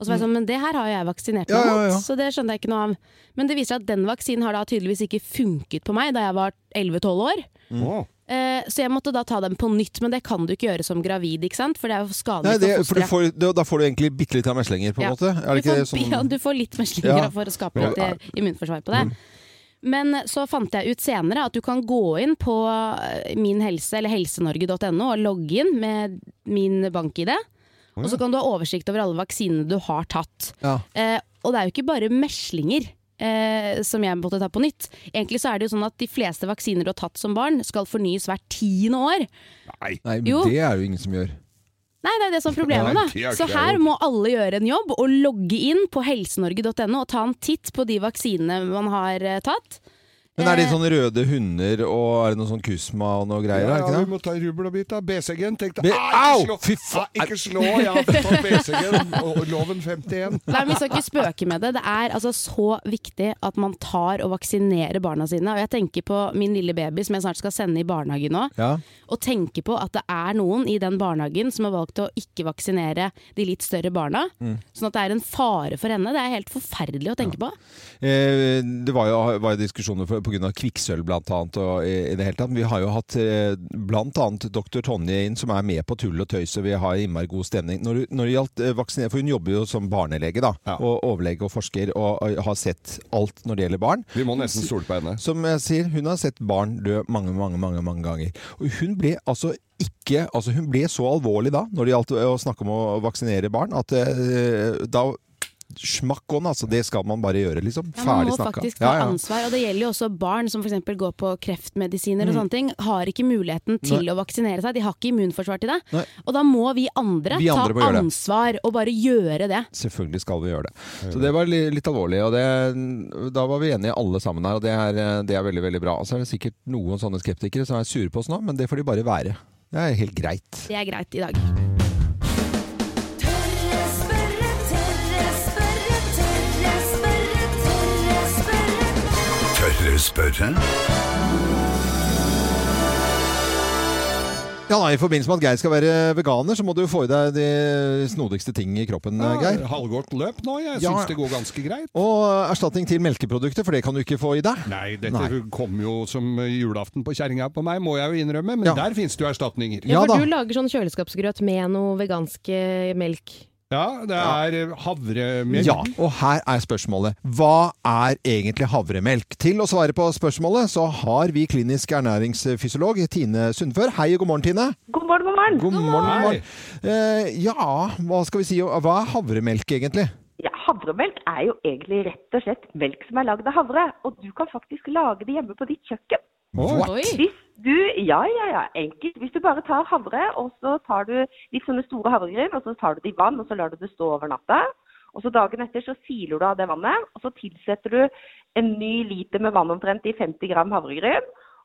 Og så var jeg sånn, men det her har jo jeg vaksinert meg
Ja,
mot,
ja, ja.
så det skjønte jeg ikke noe av. Men det viser seg at den vaksinen har da tydeligvis ikke funket på meg da jeg var 11-12 år.
Å.
Eh, Så jeg måtte da ta den på nytt, men det kan du ikke gjøre som gravid, ikke sant? For det er jo skadelig
Nei, det,
for
for du
fosteret.
får, da- da får du egentlig bitte litt av meslinger, på en
Ja.
måte? Er det ikke det
du, får,
sånn
ja, du får litt meslinger
Ja. Mm.
for å skape litt eh, immunforsvar på det. Men eh, så fant jeg ut senere at du kan gå inn på eh, Min Helse eller helsenorge.no og logge inn med min bank-ID. Og så kan du ha oversikt over alle vaksinene du har tatt.
Ja.
Eh, og det er jo ikke bare meslinger eh, som jeg måtte ta på nytt. Egentlig så er det jo sånn at de fleste vaksiner du har tatt som barn skal fornyes hvert tiende år.
Nei, men
Jo.
det er det jo ingen som gjør.
Nei, det er det som er problemet,
Nei, det er
da.
ikke
Så
det.
her må alle gjøre en jobb og logge inn på helsenorge.no og ta en titt på de vaksinene man har eh, tatt.
Men er det
Eh.
sånn røde hunder og er det noe sånn kusma og noe greier?
Ja,
er det
ja,
ikke
vi
det?
må ta rubbel og bit av BCG-en. Tenk
Be-
deg, ah,
Au!
ikke slå!
Fy faen!
Ah, ikke slå, jeg har tatt BCG-en, og og loven 51.
Nei, men Vi skal ikke spøke med det. Det er altså så viktig at man tar og vaksinerer barna sine. Og jeg tenker på min lille baby som jeg snart skal sende i barnehagen nå.
Ja.
Og tenker på at det er noen i den barnehagen som har valgt å ikke vaksinere de litt større barna.
Mm.
Sånn at det er en fare for henne. Det er helt forferdelig å tenke på.
Eh, Det var jo, var jo diskusjoner for- på grunn av kvikksølv blant annet. Og i i det hele tatt. Vi har jo hatt eh, blant annet doktor Tonje inn, som er med på tull og tøys, og vi har innmari god stemning. Når, du- når det gjaldt eh, vaksinering, for hun jobber jo som barnelege, da, og overlege og forsker, og, og har sett alt når det gjelder barn.
Vi må nesten stole på henne.
Som jeg sier, hun har sett barn dø mange, mange, mange, mange ganger. Og hun ble altså ikke Altså, hun ble så alvorlig da, når det gjaldt å snakke om å vaksinere barn, at eh, da Smakk on, altså. Det skal man bare gjøre, liksom.
Ja, man
Ferdig
må
snakka.
faktisk ta ansvar, og det gjelder jo også barn som f.eks. går på kreftmedisiner og sånne ting. Har ikke muligheten til å vaksinere seg, de har ikke immunforsvar til det.
Nei.
Og da må vi andre,
Vi andre må
ta
gjøre det.
ansvar og bare gjøre det.
Selvfølgelig skal vi gjøre det. Så det var li- litt alvorlig. Og det, da var vi enige alle sammen her, og det er, det er veldig veldig bra. Og så er det sikkert noen sånne skeptikere som er sure på oss nå, men det får de bare være. Det er helt greit.
Det er greit i dag.
Tørre spørre, tørre spørre, tørre spørre, tørre spørre.
Tørre spørre?
Ja, nei, I forbindelse med at Geir skal være veganer, så må du få i deg de snodigste ting i kroppen, Geir.
Halvgått løp nå, jeg
Ja.
syns det går ganske greit.
Og erstatning til melkeprodukter, for det kan du ikke få i deg.
Nei, dette
Nei.
kom jo som julaften på kjerringa på meg, må jeg jo innrømme, men
Ja.
der finnes det jo erstatninger.
Ja,
Ja,
da.
for du lager sånn kjøleskapsgrøt med noe vegansk eh, melk.
Ja, det er eh, havremelk.
Ja, og her er spørsmålet. Hva er egentlig havremelk? Til å svare på spørsmålet så har vi klinisk ernæringsfysiolog Tine Sundfør. Hei og god morgen, Tine.
God morgen, god morgen.
God morgen.
Hei.
god morgen. Eh, ja, hva skal vi si? Hva er havremelk egentlig?
Ja, havremelk er jo egentlig rett og slett melk som er lagd av havre. Og du kan faktisk lage det hjemme på ditt kjøkken.
What?
Oi.
Hvis du, ja, ja, ja, enkelt. Hvis du bare tar havre, og så tar du litt sånne store havregryn, og så tar du det i vann, og så lar du det stå over natta. Og så dagen etter så siler du av det vannet, og så tilsetter du en ny liter med vann omtrent i 50 gram havregryn.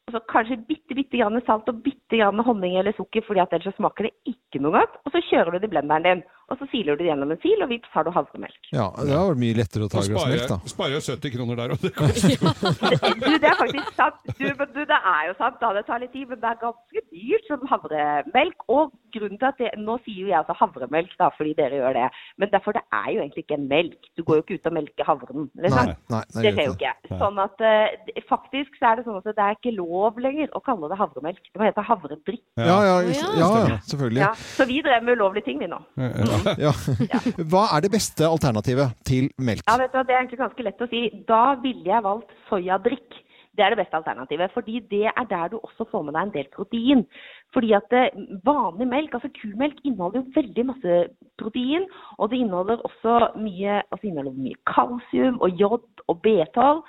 Og så kanskje bitte, bitte grann salt og bitte grann honning eller sukker, fordi at ellers så smaker det ikke noe godt. Og så kjører du det i blenderen din, og så siler du det gjennom en sil, og vips har du havremelk.
Ja, det var vel mye lettere å ta
Da
et glass melk, da.
sparer sparer jeg 70 kroner der, og det koster
Du, det er faktisk sant. Du, men du, det er jo sant, da det tar litt tid, men det er ganske dyrt som havremelk. Og grunnen til at det, Nå sier jo jeg altså havremelk, da, fordi dere gjør det. Men derfor det er jo egentlig ikke en melk. Du går jo ikke ut og melker havren.
Nei,
Liksom.
nei, nei,
Det
jeg
skjer
vet
jo ikke. Sånn at eh, det- faktisk så er det sånn at det er ikke lov Sånn lenger å kalle det havremelk. Det må hete havredrikk.
Ja, ja,
Å,
ja,
ja.
ja, selvfølgelig.
Ja. Så vi drev med ulovlige ting, vi nå.
Ja. Hva er det beste alternativet til melk?
Ja, vet du hva, Det er egentlig ganske lett å si. Da ville jeg valgt soyadrikk. Det er det beste alternativet. fordi det er der du også får med deg en del protein. Fordi at eh, vanlig melk, altså kumelk, inneholder jo veldig masse protein. Og det inneholder også mye, altså inneholder det mye kalsium og jod og B12.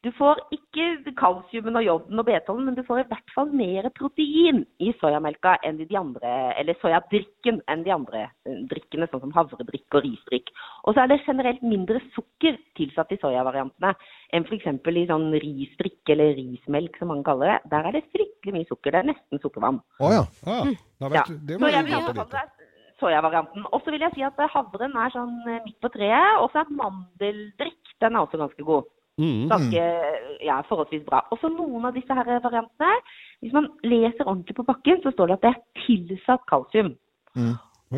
Du får ikke kalsiumen og joden og B12-en, men du får i hvert fall mer protein i soyamelka enn i de andre, eller soyadrikken enn de andre eh, drikkene, sånn som havredrikk og risdrikk. Og så er det generelt mindre sukker tilsatt i soyavariantene enn f.eks. i sånn risdrikk eller rismelk, som mange kaller det. Der er det fryktelig mye sukker. Det er nesten sukkervann. Mm.
Å ja.
Ja, det har
Ja.
vært, det var
Så jeg
jo
vil
godt å vite.
anbefale deg sojavarianten. Og så vil jeg si at havren er sånn eh, midt på treet. Og så er mandeldrikk den er også ganske god.
Mm.
Mm.
Ganske, ja, forholdsvis bra. Også noen av disse her variantene. Hvis man leser ordentlig på pakken, så står det at det er tilsatt kalsium.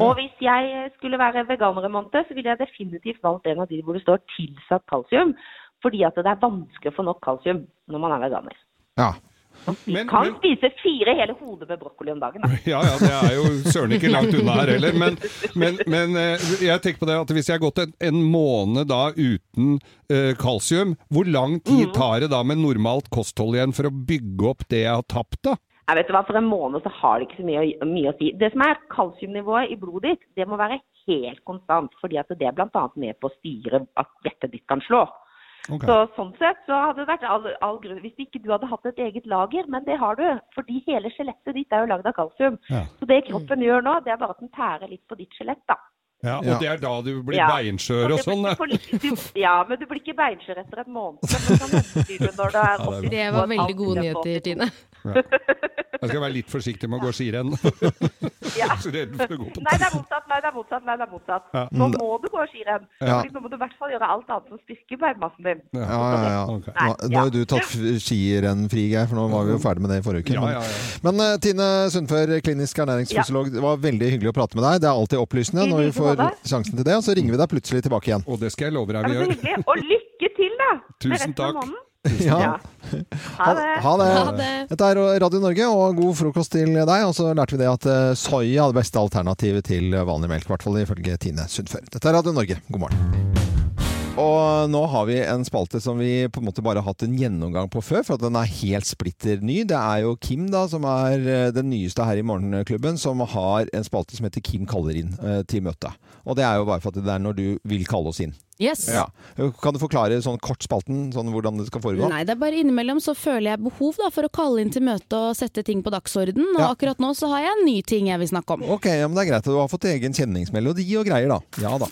Og hvis jeg skulle være veganer en måned, så ville jeg definitivt valgt en av de hvor det står 'tilsatt kalsium', fordi at det er vanskelig å få nok kalsium når man er veganer.
Ja.
Vi
Men-
kan
men-
spise fire hele hoder med brokkoli om dagen. Da.
Ja, ja, det er jo søren ikke langt unna her heller. Men, men, men eh, jeg tenker på det at hvis jeg har gått en, en måned da uten eh, kalsium, hvor lang tid tar det da med normalt kosthold igjen for å bygge opp det jeg har tapt, da?
Jeg vet du hva, For en måned så har det ikke så mye, å- mye å si. Det som er kalsiumnivået i blodet ditt, det må være helt konstant. fordi at det er bl.a. med på å styre at hjertet ditt kan slå.
Ok.
Så sånn sett så hadde det vært all, all grunn Hvis ikke du hadde hatt et eget lager, men det har du. Fordi hele skjelettet ditt er jo lagd av kalsium.
Ja.
Så det kroppen gjør nå, det er bare at den tærer litt på ditt skjelett, da.
Ja, og
Ja.
det er da du blir
Ja.
beinskjør og
det blir
sånn?
ikke
da.
for- du, ja, men du blir ikke beinskjør etter en måned. Men sånn blir du når du er 82
Det var veldig
og
gode
et halvt
nyheter,
til
Tine.
Jeg skal være litt forsiktig med å gå skirenn.
Ja.
Så redd for å gå på
Nei, det er motsatt, nei, det er motsatt. nei, det er motsatt.
Ja.
Nå
Mm.
må du gå skirenn.
Ja.
Fordi Nå må du i hvert fall gjøre alt annet som styrker beinmassen din.
Ja, ja, ja.
Ok.
Nå, nå har jo du tatt f- skirenn fri, Geir, for nå var vi jo ferdig med det i forrige uke.
Ja, ja, ja.
Men, men, eh, Tine Sundfør, klinisk ernæringsfysiolog, det var veldig hyggelig å prate med deg. Det er alltid opplysende
I
når vi
like
får
måte.
sjansen til det, og så ringer vi deg plutselig tilbake igjen.
Og det skal jeg love deg
Ja,
vi
men så
gjør.
hyggelig. Og lykke til, da! med
Tusen
resten av
takk.
måneden.
Ja.
Ha det.
Ha det.
Ha det.
Dette er Radio Norge, og god frokost til deg. Og så lærte vi det at eh, soya er det beste alternativet til vanlig melk, i hvert fall ifølge Tine Sundfør. Dette er Radio Norge, god morgen. Og nå har vi en spalte som vi på en måte bare har hatt en gjennomgang på før, for at den er helt splitter ny. Det er jo Kim, da, som er eh, den nyeste her i Morgenklubben, som har en spalte som heter Kim kaller inn eh, til møte. Og det er jo bare for at det er når du vil kalle oss inn.
Yes.
Ja. Kan du forklare sånn kort spalten, sånn hvordan det skal foregå?
Nei, det er bare innimellom så føler jeg behov da, for å kalle inn til møte og sette ting på dagsorden. Og
Ja.
akkurat nå så har jeg en ny ting jeg vil snakke om.
Ok, ja, men det er greit. Du har fått egen kjenningsmelodi og greier, da. Ja da.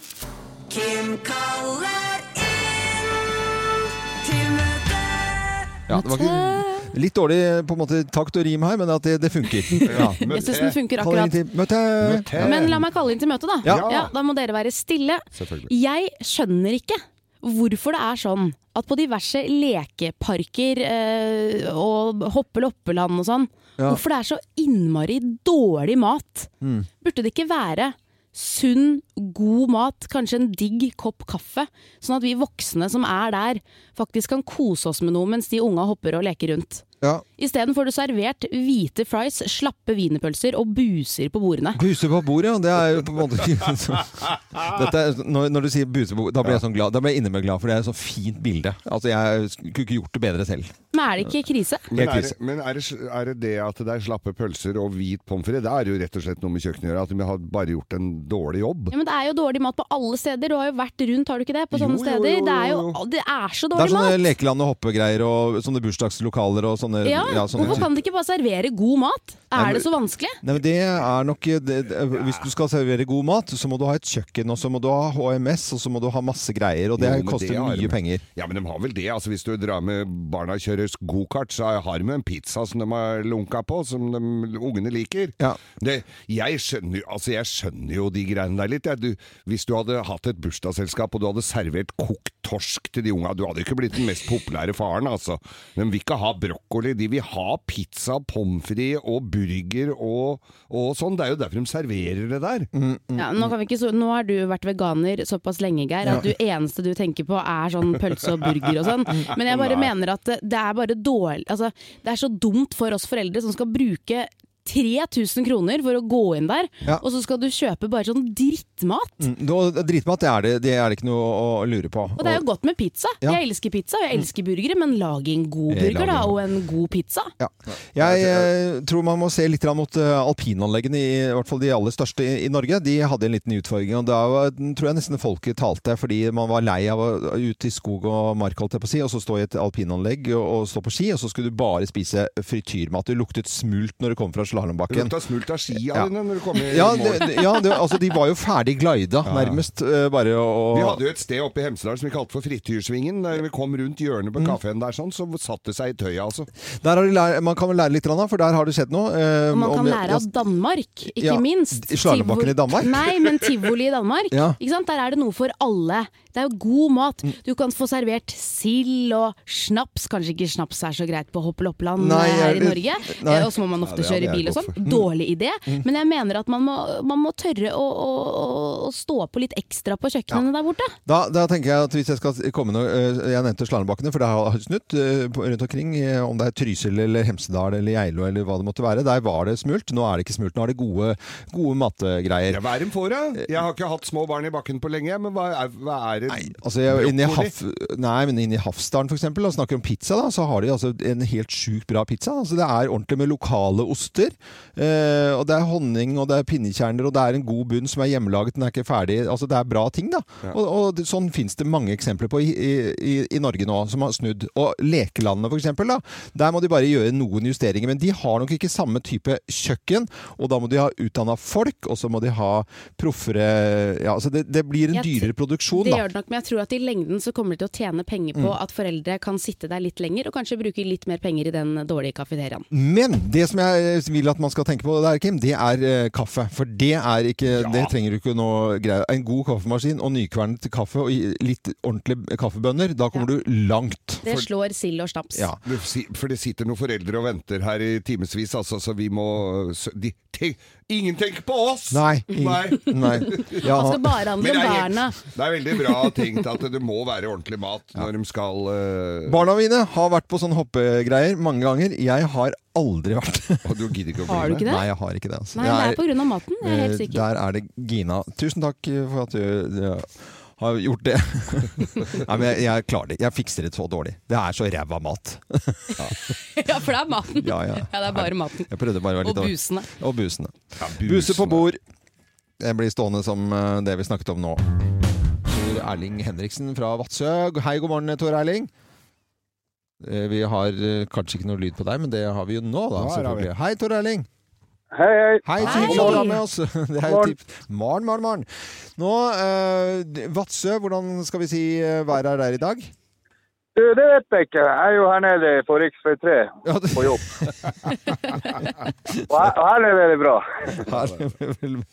Ja, det var ikke litt dårlig på en måte takt og rim her, men at det, det funker. Ja.
Jeg syns den funker
Kaller inn
akkurat.
til møte.
Men la meg kalle inn til møte, da.
Ja.
Da må dere være stille.
Selvfølgelig.
Jeg skjønner ikke hvorfor det er sånn at på diverse lekeparker eh, og hoppeloppeland og sånn,
Ja.
hvorfor det er så innmari dårlig mat.
Mm.
Burde det ikke være sunn, god mat, kanskje en digg kopp kaffe, sånn at vi voksne som er der, faktisk kan kose oss med noe mens de unga hopper og leker rundt.
Ja.
Isteden får du servert hvite fries, slappe wienerpølser og buser på bordene.
Buse på bordet, og det er jo på en måte ikke så- Dette er, når, når du sier buse på bordet, da blir jeg sånn glad. Da blir jeg innimellom glad, for det er et så fint bilde. Altså, jeg skulle ikke gjort det bedre selv.
Men er det ikke krise?
Helt
Men, er,
krise.
det- men er, det, er det det at det er slappe pølser og hvit pommes frites? Det er jo rett og slett noe med kjøkkenet å gjøre, at de har bare gjort en dårlig jobb.
Ja, men Det er jo dårlig mat på alle steder. Du har jo vært rundt, har du ikke det? På
Jo,
sånne
jo,
steder.
jo,
Det, er
jo,
jo, det er så
Det er
dårlig
sånne
mat!
lekeland og hoppegreier og sånne bursdagslokaler og sånne
Ja,
sånne
Hvorfor kan de ikke bare servere god mat?
Nei, men-
Er det så vanskelig?
Nei, men det er nok det, det, Hvis du skal servere god mat, så må du ha et kjøkken, og så må du ha HMS, og så må du ha masse greier, og det
Jo, men
koster
det har de.
mye penger.
Ja, men de har vel det. altså Hvis du drar med barna og kjører gokart, så har de en pizza som de har lunka på, som de, ungene liker.
Ja.
Det, jeg, skjønner, jo- altså, jeg skjønner jo de greiene der litt. jeg. du, hvis du hadde hatt et bursdagsselskap og du hadde servert kokt torsk til de unga, du hadde ikke blitt den mest populære faren, altså. De vil ikke ha brokkoli, de vil ha pizza, pommes frites og burger og, og sånn. Det er jo derfor de serverer det der.
Mm,
Ja, nå, kan vi ikke, så- nå har du vært veganer såpass lenge, Geir, at du eneste du tenker på er sånn pølse og burger og sånn.
Mm.
Men jeg bare mener at det er bare dårlig altså, Det er så dumt for oss foreldre som skal bruke 3000 kroner for å gå inn der,
Ja.
og så skal du kjøpe bare sånn drittmat.
Mm, da- Dritmat, det er det, det er det ikke noe å å lure på.
Og det er jo godt med pizza.
Ja.
Jeg elsker pizza og jeg elsker burgere, men lag en god
Eh, lag
burger da,
en-
og en god pizza.
Ja. Jeg eh, tror man må se litt grann mot eh, alpinanleggene, i, i hvert fall de aller største i, i Norge. De hadde en liten utfordring, og da var, tror jeg nesten folket talte, fordi man var lei av å ut i skog og mark, holdt jeg på å si, og så stå i et alpinanlegg og, og stå på ski, og så skulle du bare spise frityrmat. Det luktet smult når du kom fra
Det
slalåmbakken.
lukta smult av skia
Ja.
dine når du kom i
Ja,
mål.
det, det- ja det, altså, de var jo ferdig glida, nærmest. eh, Bare å
Vi hadde jo et sted oppe i Hemsedal som vi kalte for Frityrsvingen. Der vi kom rundt hjørnet på kafeen der, sånn, så satt det seg i tøyet, altså.
Mm. Der har de lær, Man kan vel lære litt, grann, da, for der har det skjedd noe. eh,
Og man kan
om-
lære av Danmark, ikke
Ja,
minst.
i slalåmbakken i
Tivoli-
Danmark?
Nei, men tivoli i Danmark.
Ja. Mm.
ikke sant? Der er det noe for alle. Det er jo god mat. Du kan få servert sild og snaps. Kanskje ikke snaps er så greit på Hoppeloppland
Nei,
her
jeg-
i Norge.
nei.
Eh, Og så må man ofte
det hadde
kjøre
jeg
bil og
godt
sånn.
for. Mm.
Dårlig idé. Men jeg mener at man må, man må tørre å, å, å- å stå på litt ekstra på kjøkkenene der borte.
Da, da tenker jeg at hvis jeg skal komme noe eh, Jeg nevnte slalåmbakkene, for det har har snudd eh, på- rundt omkring. eh, Om det er Trysil eller Hemsedal eller Geilo eller hva det måtte være. Der var det smult. Nå er det ikke smult. Nå er det gode, gode mattegreier.
Ja, hva er de for, da? Jeg har ikke hatt små barn i bakken på lenge, men hva er, hva er det?
Altså, jeg, inne, i
Brokkoli?
Haf, nei, men inne i Hafsdalen for eksempel, og snakker om pizza, da, så har de altså en helt sjukt bra pizza. Altså, det er ordentlig med lokale oster. Eh, og det er honning, og det er pinnekjerner, og det er en god bunn som er hjemmelaget. Den er ikke ferdig. Altså, det er bra ting, da. Og, og det, sånn fins det mange eksempler på i, i, i Norge nå, som har snudd. Og lekelandene, for eksempel, da. Der må de bare gjøre noen justeringer. Men de har nok ikke samme type kjøkken, og da må de ha utdanna folk, og så må de ha proffere ja, altså det, det blir en
Jeg
dyrere produksjon,
Det
da. Mm.
gjør det nok, men jeg tror at i lengden så kommer de til å tjene penger på at foreldre kan sitte der litt lenger, og kanskje bruke litt mer penger i den dårlige kafeteriaen.
Men det som jeg vil at man skal tenke på der, Kim, det er eh, kaffe. For det er ikke Det trenger du ikke noe greie. En god kaffemaskin og nykvernet kaffe og i- litt ordentlige kaffebønner, da kommer du langt.
Det slår sild og snaps.
Ja.
Du, si- For det sitter noen foreldre og venter her i timevis, altså, så vi må så, de, tenk, Ingen tenker på oss!
Nei.
Nei.
Nei. Ja.
Man skal Altså, bare handle
Men det
om
er,
barna.
helt, det er veldig bra tenkt at det må være ordentlig mat når de skal eh,
Barna mine har vært på sånne hoppegreier mange ganger. Jeg har aldri vært
Og du gidder ikke å
Har du
bli med?
ikke det?
Nei, jeg har ikke det. Altså.
Nei, det er på grunn av maten, jeg er helt
Eh,
sikker.
Der er det Gina. Tusen takk for at du, du har gjort det. Nei, men jeg, jeg klarer det. Jeg fikser det så dårlig. Det er så ræva mat.
Ja, for det er maten.
Ja, ja.
Ja, det er bare maten.
Jeg prøvde bare å være
Og
litt
busene.
Og busene.
Ja,
Buse på bord. Jeg blir stående som eh, det vi snakket om nå. Tor Erling Henriksen fra Vadsø. Hei, god morgen, Tor Erling. Eh, Vi har eh, kanskje ikke noe lyd på deg, men det har vi jo nå,
Nå
da.
er det
selvfølgelig. Hei, Tor Erling.
Hei, hei.
Hei,
Hei.
hyggelig at du er med oss. Det er jo
Morgen.
tips. Morgen, morgen, morgen. Nå, eh, Vadsø, hvordan skal vi si eh, været er der i dag?
Du, det vet jeg ikke. Jeg er jo her nede på rv. 3
Ja, det-
på jobb. Og her, og her nede er det bra.
Her er vi vel-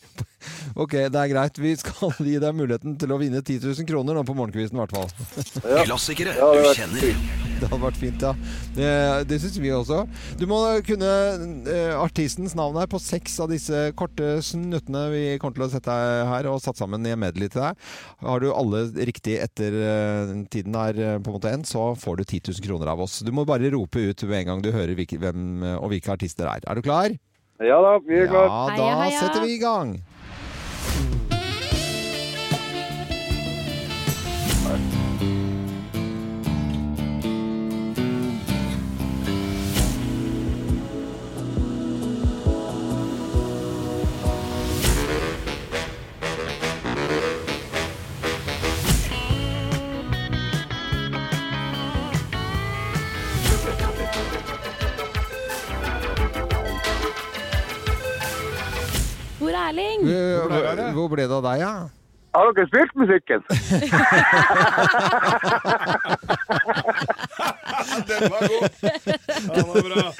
Ok, det er greit. Vi skal gi deg muligheten til å vinne 10 000 kroner nå på morgenkvisten, i hvert fall.
Klassikere
Ja, det
du
var
kjenner.
Det hadde vært fint, ja. Det, det syns vi også. Du må kunne eh, artistens navn her på seks av disse korte snuttene vi kommer til å sette deg her, og satt sammen i en medley til deg. Har du alle riktig etter eh, tiden er eh, på en måte endt, så får du 10 000 kroner av oss. Du må bare rope ut med en gang du hører hvilke, hvem eh, og hvilke artister det er. Er du klar?
Ja da, vi er klare.
Ja,
Heia,
da
heia.
setter vi i gang.
Hvor er Erling?
ble
Eh,
det av deg?
Hvor ble det av deg, ja?
Har dere spilt musikken?
Den var god! Den var bra.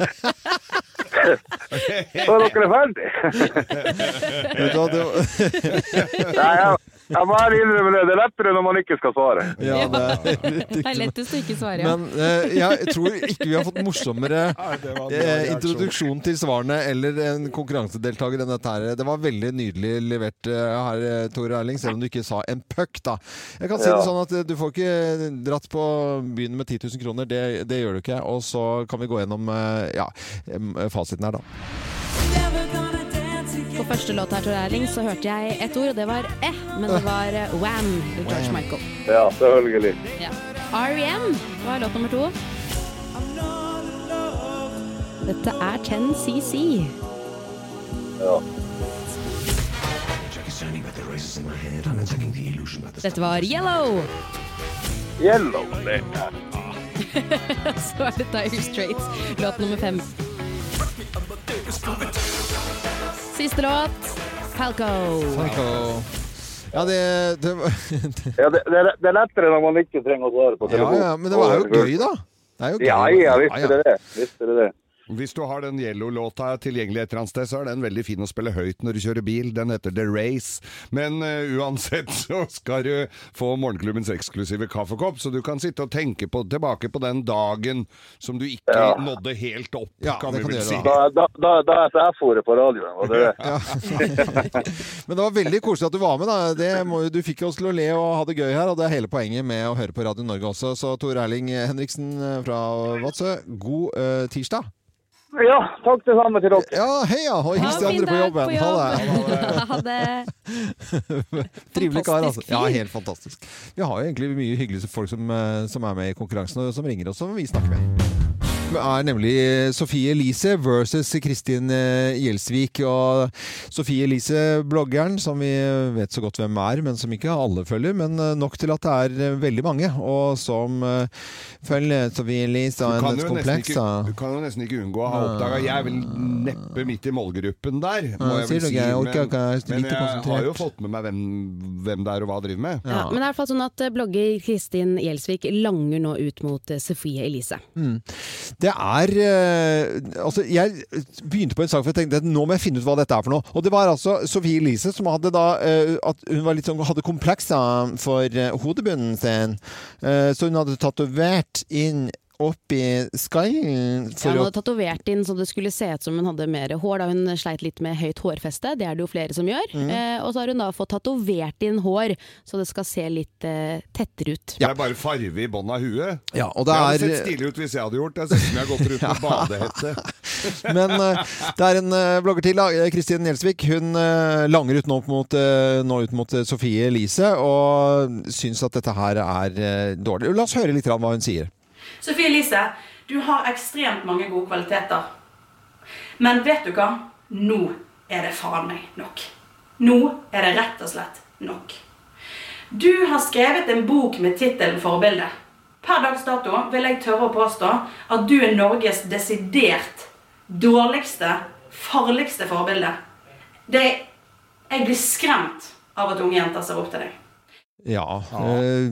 Så er dere ferdig?
Vet du hva, det var-
Nei, jeg, jeg må ærlig innrømme det. Det er lettere når man ikke skal svare.
Ja, det er
Det er lettest å ikke svare, ja.
Men eh, jeg tror ikke vi har fått morsommere
det var- det var
eh,
reaksjon.
introduksjon til svarene eller en konkurransedeltaker enn dette her. Det var veldig nydelig levert eh, her, eh, Tore Erling, selv om du ikke sa en puck, da. Jeg kan si
Ja.
det sånn at eh, du får ikke dratt på byen med 10 000 kroner, det, det gjør du ikke. Og så kan vi gå gjennom eh, ja, em, fasiten her, da.
På første låt her, Tor Erling, så hørte jeg ett ord, og det var eh, men det var eh, Wham! George Michael.
Ja, selvfølgelig.
Ja. R.E.M. var låt nummer to. Dette er 10CC. Dette var Yellow!
Yellow. det.
Så er det Dire Straits, låt nummer fem. Siste låt, Falco.
Ja, det, det var
Ja, det, det, er- det er lettere når man ikke trenger å svare på
ja,
telefonen.
ja, Men det var jo gøy, da. Det er jo gøy.
Ja, ja, visste dere det. Visste dere det.
Hvis du har den Yellow-låta tilgjengelig et eller annet sted, så er den veldig fin å spille høyt når du kjører bil. Den heter The Race. Men eh, uansett så skal du få morgenklubbens eksklusive kaffekopp, så du kan sitte og tenke på, tilbake på den dagen som du ikke
Ja.
nådde helt opp,
Ja,
kan vi
det kan
vel
du
si.
gjøre,
Da, da, da, da er jeg fôret på radioen. Var det det?
Men det var veldig koselig at du var med. Da. Det må, jo- du fikk oss til å le og ha det gøy her, og det er hele poenget med å høre på Radio Norge også. Så Tor Erling Henriksen eh, fra Vadsø, god eh, tirsdag.
Ja, takk det samme til dere.
Ja, heia! Og hils de
Ha en fin
andre på
dag
jobben.
på
Ha
jobb.
det.
Ha det.
Trivelig kar, altså.
Fantastisk
Ja,
fyr.
helt fantastisk. Vi har jo egentlig mye hyggelige folk som, eh, som er med i konkurransen, og som ringer oss, og vi snakker med. Det er nemlig Sofie Elise versus Kristin eh, Gjelsvik. Og Sofie Elise, bloggeren, som vi vet så godt hvem er, men som ikke alle følger, men eh, nok til at det er eh, veldig mange. Og som eh, følger Sofie Elise og
Du kan,
hennes
jo nesten
kompleks.
ikke,
da.
du kan jo nesten ikke unngå å ha oppdaga Jeg er vel neppe midt i målgruppen der. må
Ja,
jeg vel
sier du
si,
ikke? Jeg orker
men-
ikke, jeg er
Men jeg
lite
har jo
konsentrert.
fått med meg hvem, hvem det er og hva han driver med.
Ja, men det er i hvert fall sånn at eh, blogger Kristin Gjelsvik langer nå ut mot eh, Sofie Elise.
Mm. Det er eh, Altså, jeg begynte på en sak for jeg tenkte at nå må jeg finne ut hva dette er for noe. Og det var altså Sofie Elise som hadde da eh, At hun var litt sånn, hadde kompleks da for eh, hodebunnen sin. Eh, så hun hadde tatovert inn oppi skallen
Ja,
for
hun
å
hadde tatovert inn så det skulle se ut som hun hadde mer hår, da hun sleit litt med høyt hårfeste. Det er det jo flere som gjør.
Mm.
Eh, og så har hun da fått tatovert inn hår, så det skal se litt eh, tettere ut.
Det er bare farve i bånn av huet.
Ja, og
Det
det
hadde sett
er
stilig ut hvis jeg hadde gjort det. Jeg ser ut som jeg har gått rundt med badehette.
Men eh, det er en eh, blogger til, da, eh, Kristin Gjelsvik. Hun eh, langer ut nå opp mot, eh, nå ut mot eh, Sofie Elise og syns at dette her er eh, dårlig. La oss høre litt grann hva hun sier.
Sofie Elise, du har ekstremt mange gode kvaliteter. Men vet du hva? Nå er det faen meg nok. Nå er det rett og slett nok. Du har skrevet en bok med tittelen 'Forbilde'. Per dags dato vil jeg tørre å påstå at du er Norges desidert dårligste, farligste forbilde. Det, jeg blir skremt av at unge jenter ser opp til deg.
Ja. eh,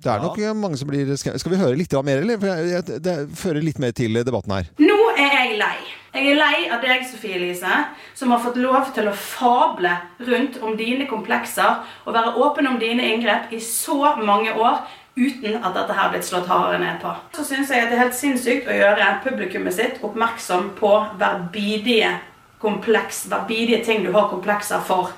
det er nok mange som blir skre- Skal vi høre litt grann mer, eller? For jeg, jeg, det fører litt mer til debatten her.
Nå er jeg lei. Jeg er lei av deg, Sofie Elise, som har fått lov til å fable rundt om dine komplekser og være åpen om dine inngrep i så mange år uten at dette her er blitt slått hardere ned på. Så syns jeg at det er helt sinnssykt å gjøre publikummet sitt oppmerksom på hver bidige kompleks, hver bidige ting du har komplekser for,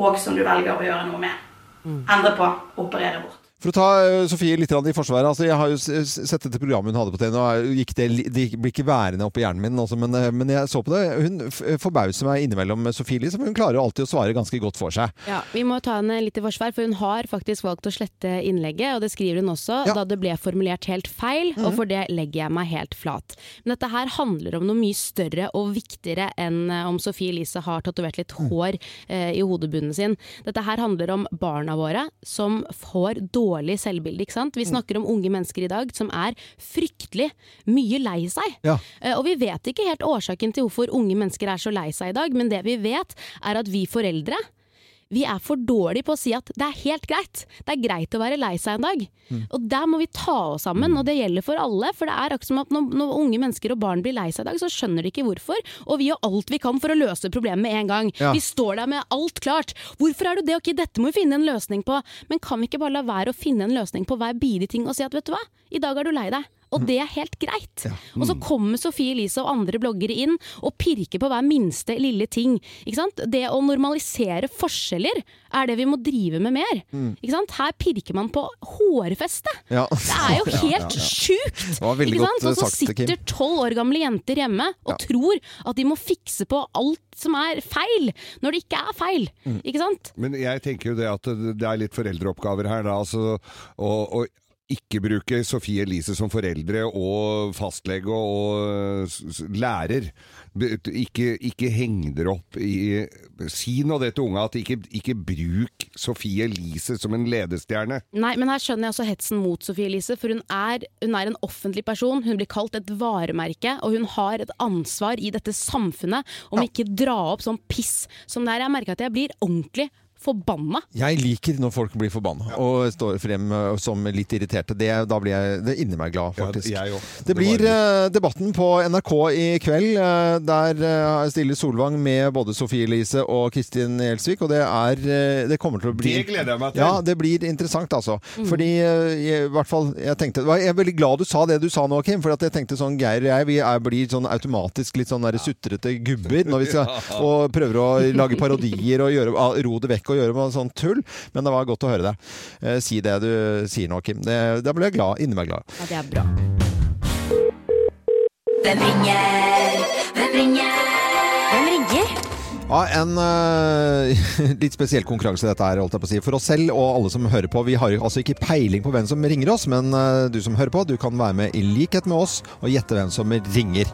og som du velger å gjøre noe med. Endre på. Operere bort.
For å ta eh, Sofie litt grann i forsvaret. Altså, jeg har jo s- s- sett dette programmet hun hadde på TV, og jeg- gikk det, li- det gikk- blir ikke værende oppi hjernen min, altså, men, eh, men jeg så på det. Hun f- forbauser meg innimellom med Sofie Elise, for hun klarer jo alltid å svare ganske godt for seg.
Ja, Vi må ta henne litt i forsvar, for hun har faktisk valgt å slette innlegget. Og det skriver hun også,
Ja.
da det ble formulert helt feil, og for det legger jeg meg helt flat. Men dette her handler om noe mye større og viktigere enn eh, om Sophie Elise har tatovert litt hår eh, i hodebunnen sin. Dette her handler om barna våre som får dårlig selvbilde, ikke sant. Vi snakker om unge mennesker i dag som er fryktelig mye lei seg.
Ja.
Eh, Og vi vet ikke helt årsaken til hvorfor unge mennesker er så lei seg i dag, men det vi vet er at vi foreldre vi er for dårlige på å si at det er helt greit. Det er greit å være lei seg en dag. Og der må vi ta oss sammen, og det gjelder for alle. For det er akkurat som at når, når unge mennesker og barn blir lei seg i dag, så skjønner de ikke hvorfor. Og vi gjør alt vi kan for å løse problemet med en gang.
Ja.
Vi står der med alt klart. Hvorfor er du det? Ok, dette må vi finne en løsning på. Men kan vi ikke bare la være å finne en løsning på hver bidige ting og si at vet du hva, i dag er du lei deg. Og det er helt greit. Og
Mm.
så kommer Sofie Elise og andre bloggere inn og pirker på hver minste lille ting. Ikke sant? Det å normalisere forskjeller er det vi må drive med mer.
Mm.
Ikke sant? Her pirker man på hårfeste!
Ja.
Det er jo helt sjukt!
Det var veldig
Ikke
godt, eh,
sant? Og så
sagt, Kim.
sitter tolv år gamle jenter hjemme og tror at de må fikse på alt som er feil, når det ikke er feil.
Mm.
Ikke sant?
Men jeg tenker jo det at det er litt foreldreoppgaver her, da. Altså, og, og ikke bruke Sofie Elise som foreldre og fastlege og s- s- lærer. B- Ikke, ikke heng dere opp i Si nå det til unga at ikke, ikke bruk Sofie Elise som en ledestjerne.
Nei, men her skjønner jeg også hetsen mot Sofie Elise, for hun er, hun er en offentlig person. Hun blir kalt et varemerke, og hun har et ansvar i dette samfunnet om ikke dra opp sånn piss som det her. Jeg merker at jeg blir ordentlig forbanna.
Jeg liker når folk blir forbanna og står frem eh, som litt irriterte. Det, da blir jeg det er inni meg glad, faktisk.
jeg
det, blir eh, debatten på NRK i kveld. eh, der eh, stiller Solvang med både Sofie Elise og Kristin Gjelsvik, og det er eh, Det kommer til å bli
Det gleder jeg meg til.
Ja, det blir interessant, altså.
Mm.
Fordi eh, jeg, i hvert fall jeg tenkte Jeg er veldig glad du sa det du sa nå, Kim, for at jeg tenkte sånn Geir og jeg, vi er, blir sånn automatisk litt sånn der sutrete gubber når vi skal
Ja.
og prøver å lage parodier og gjøre, ah, ro det vekk og gjøre noe sånn tull. Men det var godt å høre deg eh, si det du sier nå, Kim. Det, da ble jeg glad. Inni meg glad.
Ja, det er bra.
Hvem ringer? Hvem ringer? Hvem ringer?
Ja, en eh, litt spesiell konkurranse dette er, holdt jeg på å si. For oss selv og alle som hører på. Vi har jo altså ikke peiling på hvem som ringer oss, men eh, du som hører på, du kan være med i likhet med oss og gjette hvem som ringer.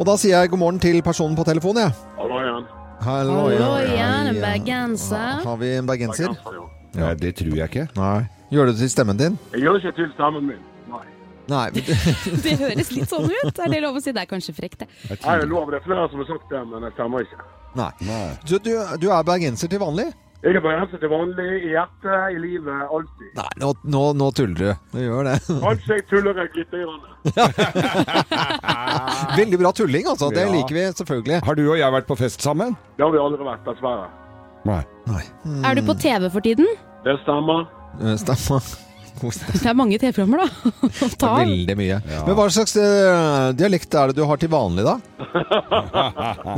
Og da sier jeg god morgen til personen på telefonen, jeg.
Hallo igjen.
Hallo,
en bergenser.
Har vi en bergenser?
Nei, det tror jeg ikke.
Nei. Gjør du det til stemmen din?
Jeg gjør ikke til stemmen min. Nei.
Nei.
Det høres litt sånn ut. Er det lov å si? Det er kanskje frekt, det.
Nei, Jeg lover, det er flere som har sagt det, men jeg stemmer ikke.
Nei. Så du, du er bergenser til vanlig?
Jeg er bergenser til vanlig, i hjertet, i livet, alltid.
Nei, nå, nå, nå tuller du. Du gjør det.
Kanskje jeg tuller jeg litt. Grann.
Veldig bra tulling, altså. Det
Ja.
liker vi selvfølgelig.
Har du og jeg vært på fest sammen?
Det har vi aldri vært, dessverre.
Nei.
Er du på TV for tiden?
Det stemmer.
Stemmer. Eh, Kos deg.
Det er mange TV-programmer, da. å Ta av.
Veldig mye. Men hva slags eh, dialekt er det du har til vanlig, da?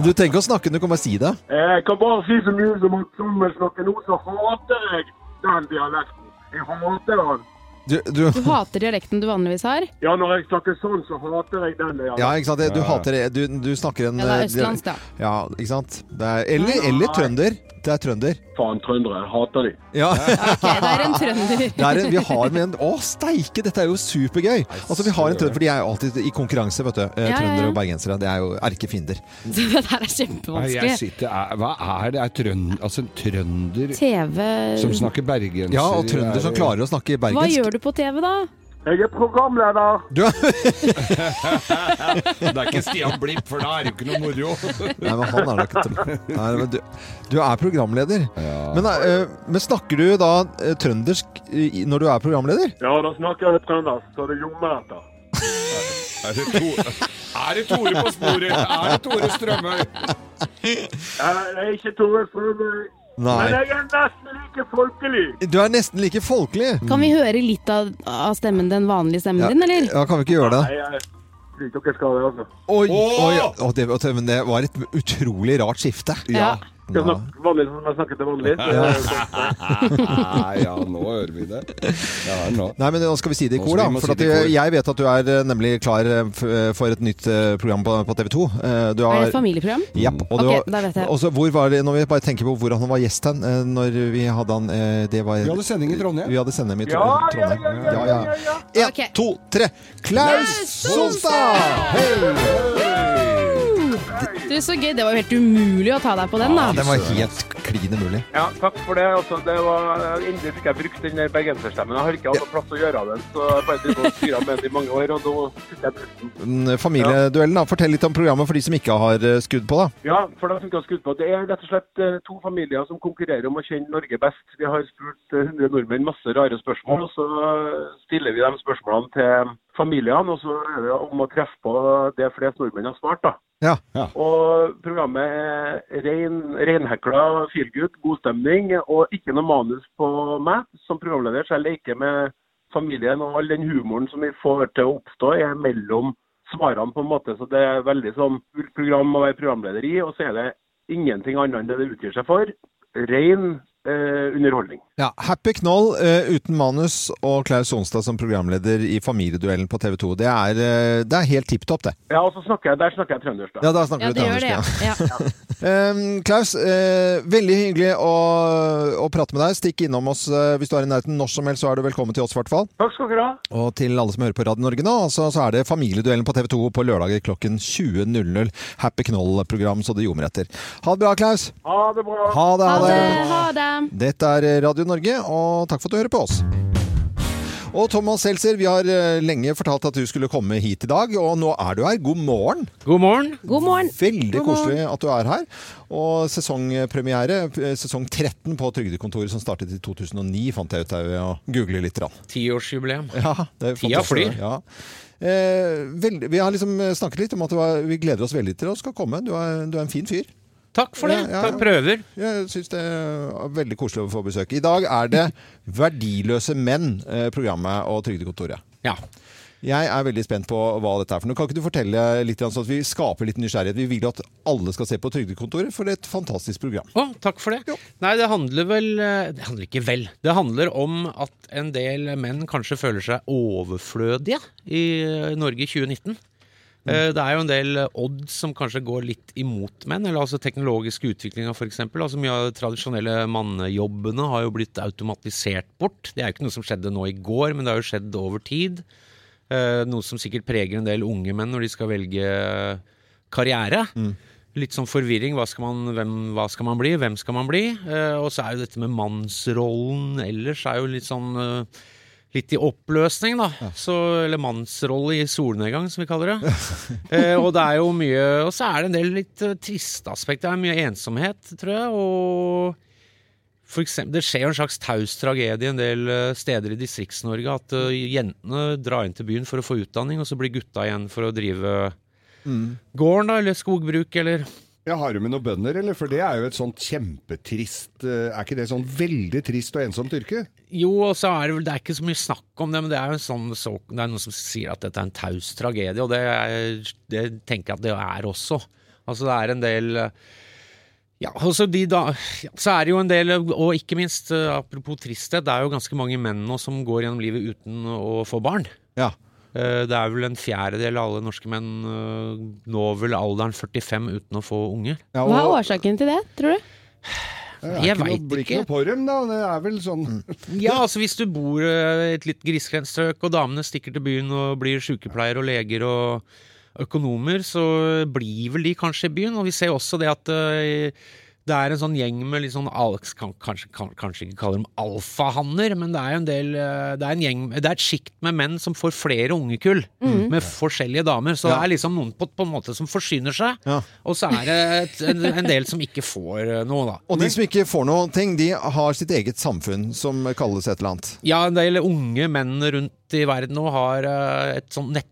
Du trenger ikke å snakke, du kan bare si det.
Jeg Eh, kan bare si så mye som at som jeg snakker nå, så hater jeg den dialekten. Jeg hater den.
Du, du,
Du hater dialekten du vanligvis har?
Ja, når jeg snakker sånn, så hater jeg den dialekten.
ja, ikke sant? Du hater det. Du, du snakker en
Ja, det er
eh,
østlandsk, da.
Ja, ikke sant? Det er, eller, eller trønder. Det er trønder.
Faen, trøndere. Jeg hater de.
Ja.
Det er en trønder.
Det er en, vi har med en Å, steike! Dette er jo supergøy! Altså, vi har en trønder, for de er jo alltid i konkurranse, vet du. Eh,
Ja, ja, ja.
Trøndere og bergensere. Det er jo erkefiender.
Så det der er
Nei, jeg
kjempevanskelig.
sitter, er, hva er det? Er trønd, altså en trønder
TV
som snakker bergenser?
Ja, og trønder som klarer å snakke
Hva gjør du på TV, da?
Jeg er programleder.
det er ikke Stian Blipp, for da er det jo ikke noe moro.
Nei, men han er da ikke trønder. Nei, men du, du er programleder. Men, eh, men snakker du da eh, trøndersk eh, i- når du er programleder?
Ja, da snakker jeg trønder, så det lommer etter.
Er det, to, er det Tore på sporet? Er det Tore Strømøy?
Jeg Eh, er ikke Tore Strømøy,
Nei.
men jeg er nesten like folkelig.
Du er nesten like folkelig.
Kan vi høre litt av, av stemmen, den vanlige stemmen
Ja.
din, eller?
Ja, kan vi ikke gjøre det?
Nei, jeg sliter dere skal det, altså.
Oi, oi, å, det, å, men det var et utrolig rart skifte.
Ja. Jeg snakker vanlig som jeg snakker til vanlig. så-
Ja.
sånn.
Nei, ja, nå hører vi det. Ja, nå.
Nei, men nå skal vi si det i
Nå skal
kor, da.
vi må si
For at
det i
jeg,
kor.
jeg vet at du er eh, nemlig klar eh, f- eh, for et nytt eh, program på, på TV 2. Du
Er
har-
det et familieprogram?
Japp, og
Ok,
det
da vet jeg.
var, også, hvor var det, når vi bare tenker på hvor han var gjest hen, eh, når vi hadde han eh, det var,
Vi hadde sending i Trondheim.
Vi hadde sending i Tro-
Ja, ja,
Trondheim. Ja, ja, En, to, tre. Klaus Sonstad!
Du, så gøy. Det var jo helt umulig å ta deg på den, sånn da.
Ja, den var helt klin umulig.
Ja, takk for det. Altså, det var Endelig fikk jeg brukt den der bergenserstemmen. Jeg har ikke hatt noe plass å gjøre av den, så jeg bare driver og styrer med den i mange år, og nå fikk jeg brukt den.
Mm, Familieduellen, da. Fortell litt om programmet for de som ikke har eh, skudd på, da.
Ja, for dem som ikke har skutt på. Det er rett og slett eh, to familier som konkurrerer om å kjenne Norge best. Vi har spurt eh, 100 nordmenn masse rare spørsmål, og så eh, stiller vi de spørsmålene til familiene, og så er det om å treffe på det flest nordmenn har svart, da.
Ja.
Og programmet er rein, reinhekla feelgood, god stemning og ikke noe manus på meg. Som programleder så jeg leker med familien, og all den humoren som vi får til å oppstå, er mellom svarene, på en måte. Så det er veldig sånn kult program å være programleder i, og så er det ingenting annet enn det det utgir seg for. Rein eh, underholdning.
Ja, Happy Knoll eh, uten manus og Klaus Sonstad som programleder i Familieduellen på TV 2. Det er, eh, det er helt tipp topp, det.
Ja, og så snakker jeg, der snakker jeg trøndersk, da.
Ja, da snakker du trøndersk. ja. Ehm, Klaus, eh, veldig hyggelig å, å prate med deg. Stikk innom oss eh, hvis du er i nærheten når som helst, så er du velkommen til oss i hvert fall.
Takk skal dere ha.
Og til alle som hører på Radio Norge nå, altså, så er det Familieduellen på TV 2 på lørdager klokken 20.00. Happy Knoll-program så det ljomer etter. Ha det bra, Klaus.
Ha det bra.
Ha det. Ha det.
Ha det.
eh, Dette er Radio Norge, og takk for at du hører på oss. Og Thomas Seltzer, vi har eh, lenge fortalt at du skulle komme hit i dag, og nå er du her. God morgen!
God morgen!
God morgen!
Veldig
God morgen.
koselig at du er her. Og sesongpremiere, eh, sesong 13 på Trygdekontoret som startet i 2009, fant jeg ut av å google litt. Rann.
Tiårsjubileum.
Ja, det er
Tida
fantastisk.
flyr.
Ja. Eh, veldig- vi har liksom eh, snakket litt om at det var, vi gleder oss veldig til at du skal komme. Du er, du er en fin fyr.
Takk for det. Takk, prøver.
Jeg syns det er veldig koselig å få besøk. I dag er det Verdiløse menn, eh, programmet og Trygdekontoret.
Ja.
Jeg er veldig spent på hva dette er for noe. Kan ikke du fortelle litt grann sånn at vi skaper litt nysgjerrighet? Vi vil jo at alle skal se på Trygdekontoret, for det er et fantastisk program.
Å, takk for det. Nei, det handler vel eh, Det handler ikke vel. Det handler om at en del menn kanskje føler seg overflødige i eh, Norge i 2019.
Mm.
Eh, Det er jo en del eh, odds som kanskje går litt imot menn, eller altså teknologisk utvikling for eksempel. Altså mye av de tradisjonelle mannejobbene har jo blitt automatisert bort. Det er jo ikke noe som skjedde nå i går, men det har jo skjedd over tid. Eh, Noe som sikkert preger en del unge menn når de skal velge karriere. Litt sånn forvirring. Hva skal, man, hvem, hva skal man bli? Hvem skal man bli? Eh, og så er jo dette med mannsrollen ellers er jo litt sånn eh, Litt i oppløsning, da. Så, eller mannsrolle i solnedgang, som vi kaller det. eh, og det er jo mye Og så er det en del litt eh, triste aspekter. Det er mye ensomhet, tror jeg. Og for eksempel, det skjer jo en slags taus tragedie en del eh, steder i Distrikts-Norge. At eh, jentene drar inn til byen for å få utdanning, og så blir gutta igjen for å drive
Mm.
gården, da, eller skogbruk, eller
Ja, Har du med noen bønder, eller? For det er jo et sånt kjempetrist eh, Er ikke det sånn veldig trist og ensomt yrke?
Jo, og så er det vel Det er ikke så mye snakk om det, men det er jo en sånn så, Det er noen som sier at dette er en taus tragedie, og det, er, det tenker jeg at det er også. Altså, det er en del ja, og så, de da, ja, så er det jo en del, og ikke minst, eh, apropos tristhet, det er jo ganske mange menn nå som går gjennom livet uten å få barn. Eh, Det er vel en fjerdedel av alle norske menn eh, når vel alderen 45 uten å få unge.
Hva er årsaken til det, tror du?
Det
Jeg
noe-
vet
blir ikke noe på dem, da. Det er vel sånn
Mm.
Ja, altså hvis du bor eh, i et litt grisgrendt strøk, og damene stikker til byen og blir sykepleiere og leger og økonomer, så blir vel de kanskje i byen. Og vi ser også det at eh, det er en sånn gjeng med litt sånn al- kan, kanskje, kan, kanskje ikke kaller dem alfahanner, men det er jo en del eh, Det er, en gjeng, det er et sjikt med menn som får flere ungekull
Mhm.
med forskjellige damer. Så
Ja.
det er liksom noen på, på en måte som forsyner seg, og så er det et, en, en del som ikke får eh, noe, da.
Og de som ikke får noen ting, de har sitt eget samfunn som kalles et eller annet.
Ja, en del unge menn rundt i verden nå har eh, et sånt nettunivers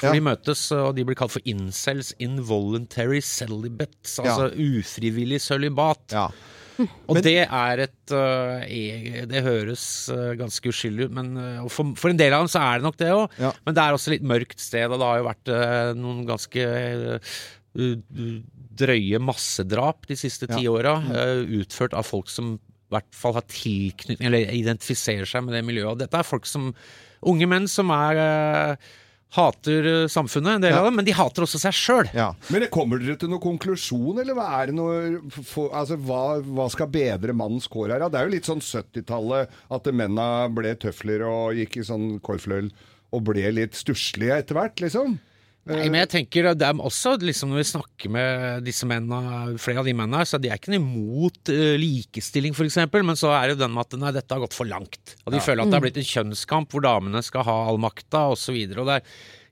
hvor
Ja.
de møtes, og de blir kalt for incels, involuntary celibates, altså ufrivillig sølibat. Og det er et eh, e- Det høres eh, ganske uskyldig ut, men eh, og for, for en del av dem så er det nok det òg. Men det er også litt mørkt sted, og det har jo vært eh, noen ganske eh, u- u- drøye massedrap de siste ti åra, eh, utført av folk som i hvert fall har tilknytning, eller identifiserer seg med det miljøet. Og dette er folk som Unge menn som er eh, Hater eh, samfunnet, en del av dem, men de hater også seg sjøl.
Men det kommer dere til noen konklusjon, eller hva er det noe for, Altså, hva, hva skal bedre mannens kår her? da? Det er jo litt sånn 70-tallet at menna ble tøfler og gikk i sånn korfløyel og ble litt stusslige etter hvert, liksom.
Nei, men jeg tenker at det er også, liksom Når vi snakker med disse mennene, flere av de mennene her, så de er ikke noe imot eh, likestilling, f.eks., men så er det jo den med at nei, dette har gått for langt. Og de
Ja.
føler at det er blitt en kjønnskamp hvor damene skal ha all makta, osv.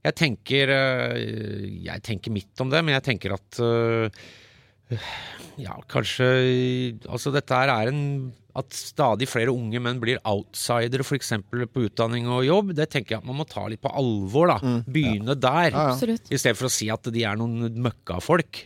Jeg tenker eh, Jeg tenker mitt om det, men jeg tenker at eh, ja, kanskje Altså, dette her er en At stadig flere unge menn blir outsidere, f.eks. på utdanning og jobb, det tenker jeg at man må ta litt på alvor, da. Begynne der.
Mm. Ja, ja. Absolutt.
I stedet for å si at de er noen møkkafolk.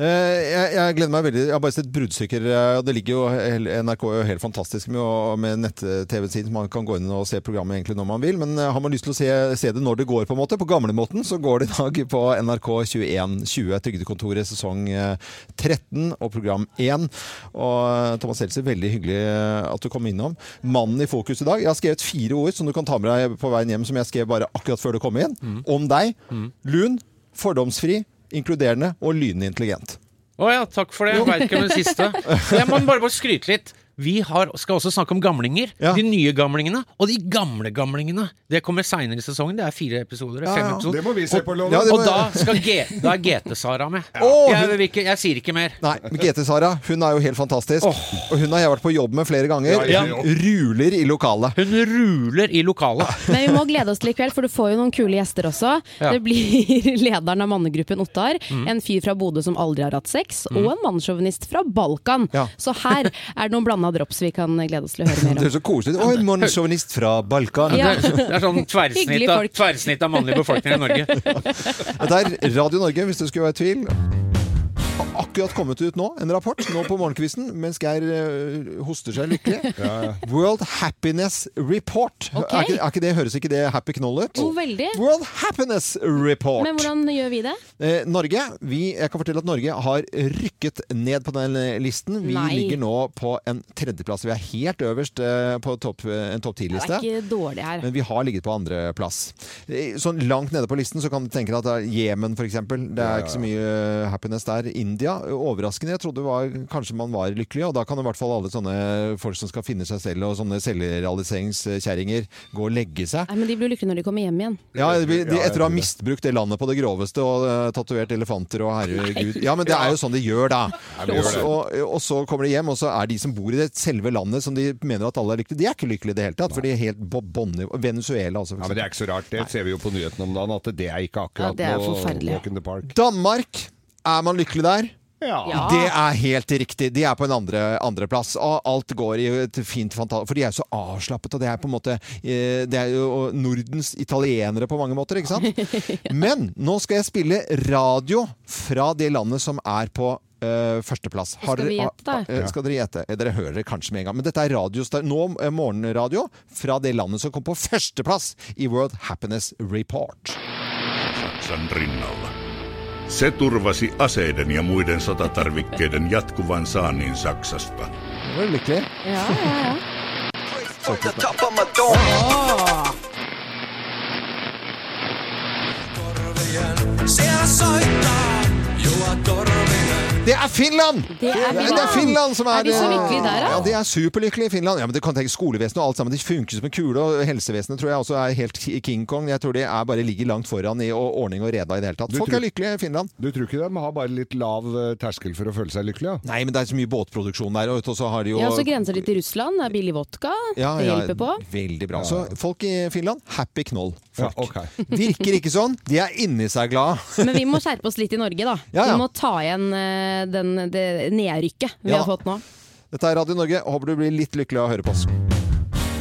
Eh, Jeg, jeg gleder meg veldig. Jeg har bare sett bruddstykker. eh, Og det ligger jo, hel- NRK er jo helt fantastisk med, å- med nett-TV-siden, så man kan gå inn og se programmet egentlig når man vil. Men eh, har man lyst til å se, se det når det går, på en måte, på gamlemåten, så går det i dag på NRK2120, Trygdekontoret, sesong eh, 13 og program 1. Og eh, Thomas Seltzer, veldig hyggelig eh, at du kom innom. Mannen i fokus i dag. Jeg har skrevet fire ord som du kan ta med deg på veien hjem, som jeg skrev bare akkurat før du kom inn. Om deg.
Mm.
Lun, fordomsfri, inkluderende og lynende intelligent.
Å ja, takk for det. Jeg veit ikke om det siste. Jeg må bare, bare skryte litt. Vi har, skal også snakke om gamlinger. De nye gamlingene og de gamle gamlingene. Det kommer seinere i sesongen. Det er fire episoder.
Ja,
fem
ja.
episoder.
Det må vi se
Og-
på, Loven. Ja, det må-
og da, skal G, da er GT-Sara med.
Åh,
jeg,
hun-
vil ikke, jeg sier ikke mer.
Nei, men GT Sara hun er jo helt fantastisk. Og hun har jeg vært på jobb med flere ganger.
Ja, ja.
Hun ruler i lokalet.
Hun ruler i lokalet.
Men vi må glede oss til i kveld, for du får jo noen kule gjester også.
Ja.
Det blir lederen av mannegruppen Ottar,
Mm.
en fyr fra Bodø som aldri har hatt sex,
Mm.
og en mannssjåvinist fra Balkan. Så her er det noen blanda drops vi kan glede oss til å høre
Det
mer om.
er så koselig. Og en mannssjåvinist fra Balkan.
Ja.
Det, er, det er sånn tverrsnitt
Hyggelige
av,
folk.
tverrsnitt av mannlig befolkning i Norge.
Dette er Radio Norge, hvis du skulle være i tvil. Har akkurat kommet ut nå, en rapport nå på morgenkvisten, mens Geir øh, hoster seg lykkelig. World Happiness Report.
Ok.
Er, ikke, er ikke det, Høres ikke det happy knoll ut?
Jo, veldig.
World Happiness Report.
Men hvordan gjør vi det?
Eh, Norge, vi, jeg kan fortelle at Norge har rykket ned på den eh, listen. Vi
Nei.
ligger nå på en tredjeplass. Vi er helt øverst eh, på topp, eh, en topp
Det er
ti-liste.
ikke dårlig her.
Men vi har ligget på andreplass. Sånn langt nede på listen så kan du tenke deg at det er Jemen f.eks. Det er
Ja, ja, ja.
ikke så mye eh, happiness der. India, overraskende. Jeg trodde var, kanskje man var lykkelig, og da kan i hvert fall alle sånne folk som skal finne seg selv og sånne selvrealiseringskjerringer gå og legge seg.
Nei, men de blir lykkelige når de kommer hjem igjen.
Ja, det blir- de,
Ja, jeg
Etter å ha
tror det.
misbrukt det landet på det groveste og uh, tatovert elefanter og herregud Ja, men det er jo sånn de gjør, da.
Ja, de
Og
gjør det.
så, og så kommer de hjem, og så er de som bor i det selve landet som de mener at alle er lykkelige, de er ikke lykkelige i det hele tatt. For de er helt på bånnivå. Venezuela, altså. for
Ja, men Det er ikke så rart. Det ser vi jo på nyhetene om dagen, at det er ikke
Ja,
akkurat
det er
noe
forferdelig.
walk in the park.
Danmark, er man lykkelig der?
Ja.
Det er helt riktig. De er på en andre- andreplass. og alt går i et fint fantastisk For de er jo så avslappet, og det er på en måte eh, Det er jo Nordens italienere på mange måter, ikke sant? Men nå skal jeg spille radio fra det landet som er på eh, førsteplass. Har
Skal vi
dere-
gjette, da?
ah, eh, skal dere gjette? Eh, Dere hører det kanskje med en gang. Men dette er radiostar nå eh, morgenradio fra det landet som kom på førsteplass i World Happiness Report.
Saksan rinnalla. Se turvasi aseiden ja muiden sotatarvikkeiden jatkuvan saannin Saksasta.
Det var lykkelig.
Ja, ja, ja.
Det er Finland!
Det er
Nei,
Finland.
det er Finland som er, eh,
Er de så lykkelige der, da?
Ja, de er superlykkelige i Finland. Ja, men du kan tenke Skolevesenet og alt sammen, de funker som en kule. Og helsevesenet tror jeg også er helt ki- King Kong. Jeg tror de er bare ligger langt foran i å- ordning og reda i det hele tatt.
Du
Folk
tror-
er lykkelige i Finland.
Du tror ikke de har bare litt lav eh, terskel for å føle seg lykkelig? Ja?
Nei, men det er så mye båtproduksjon der, og så har de jo
Ja, så grenser de til Russland. Det er billig vodka.
Ja,
det
ja,
hjelper på.
Veldig bra. Så folk i Finland, happy knoll. Folk.
Ja, ok.
Virker ikke sånn. De er inni seg glad.
Men vi må skjerpe oss litt i Norge, da.
Ja, ja.
Vi må ta igjen eh, den, det nedrykket vi
Ja.
har fått nå.
Dette er Radio Norge. Håper du blir litt lykkelig av å høre på oss.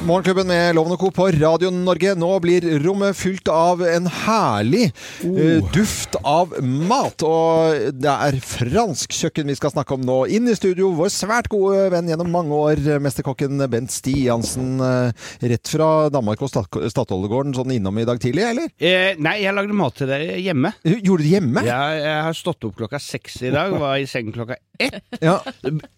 Morgenklubben med Loven og Co. på Radio Norge. Nå blir rommet fylt av en herlig eh, duft av mat. Og det er fransk kjøkken vi skal snakke om nå. Inn i studio, vår svært gode venn gjennom mange år, eh, mesterkokken Bent Stiansen. eh, rett fra Danmark og Stat- Statoilegården, sånn innom i dag tidlig, eller?
Eh, nei, jeg lagde mat til dere hjemme.
Gjorde du det hjemme?
Ja, jeg har stått opp klokka seks i dag, var i seng klokka ett.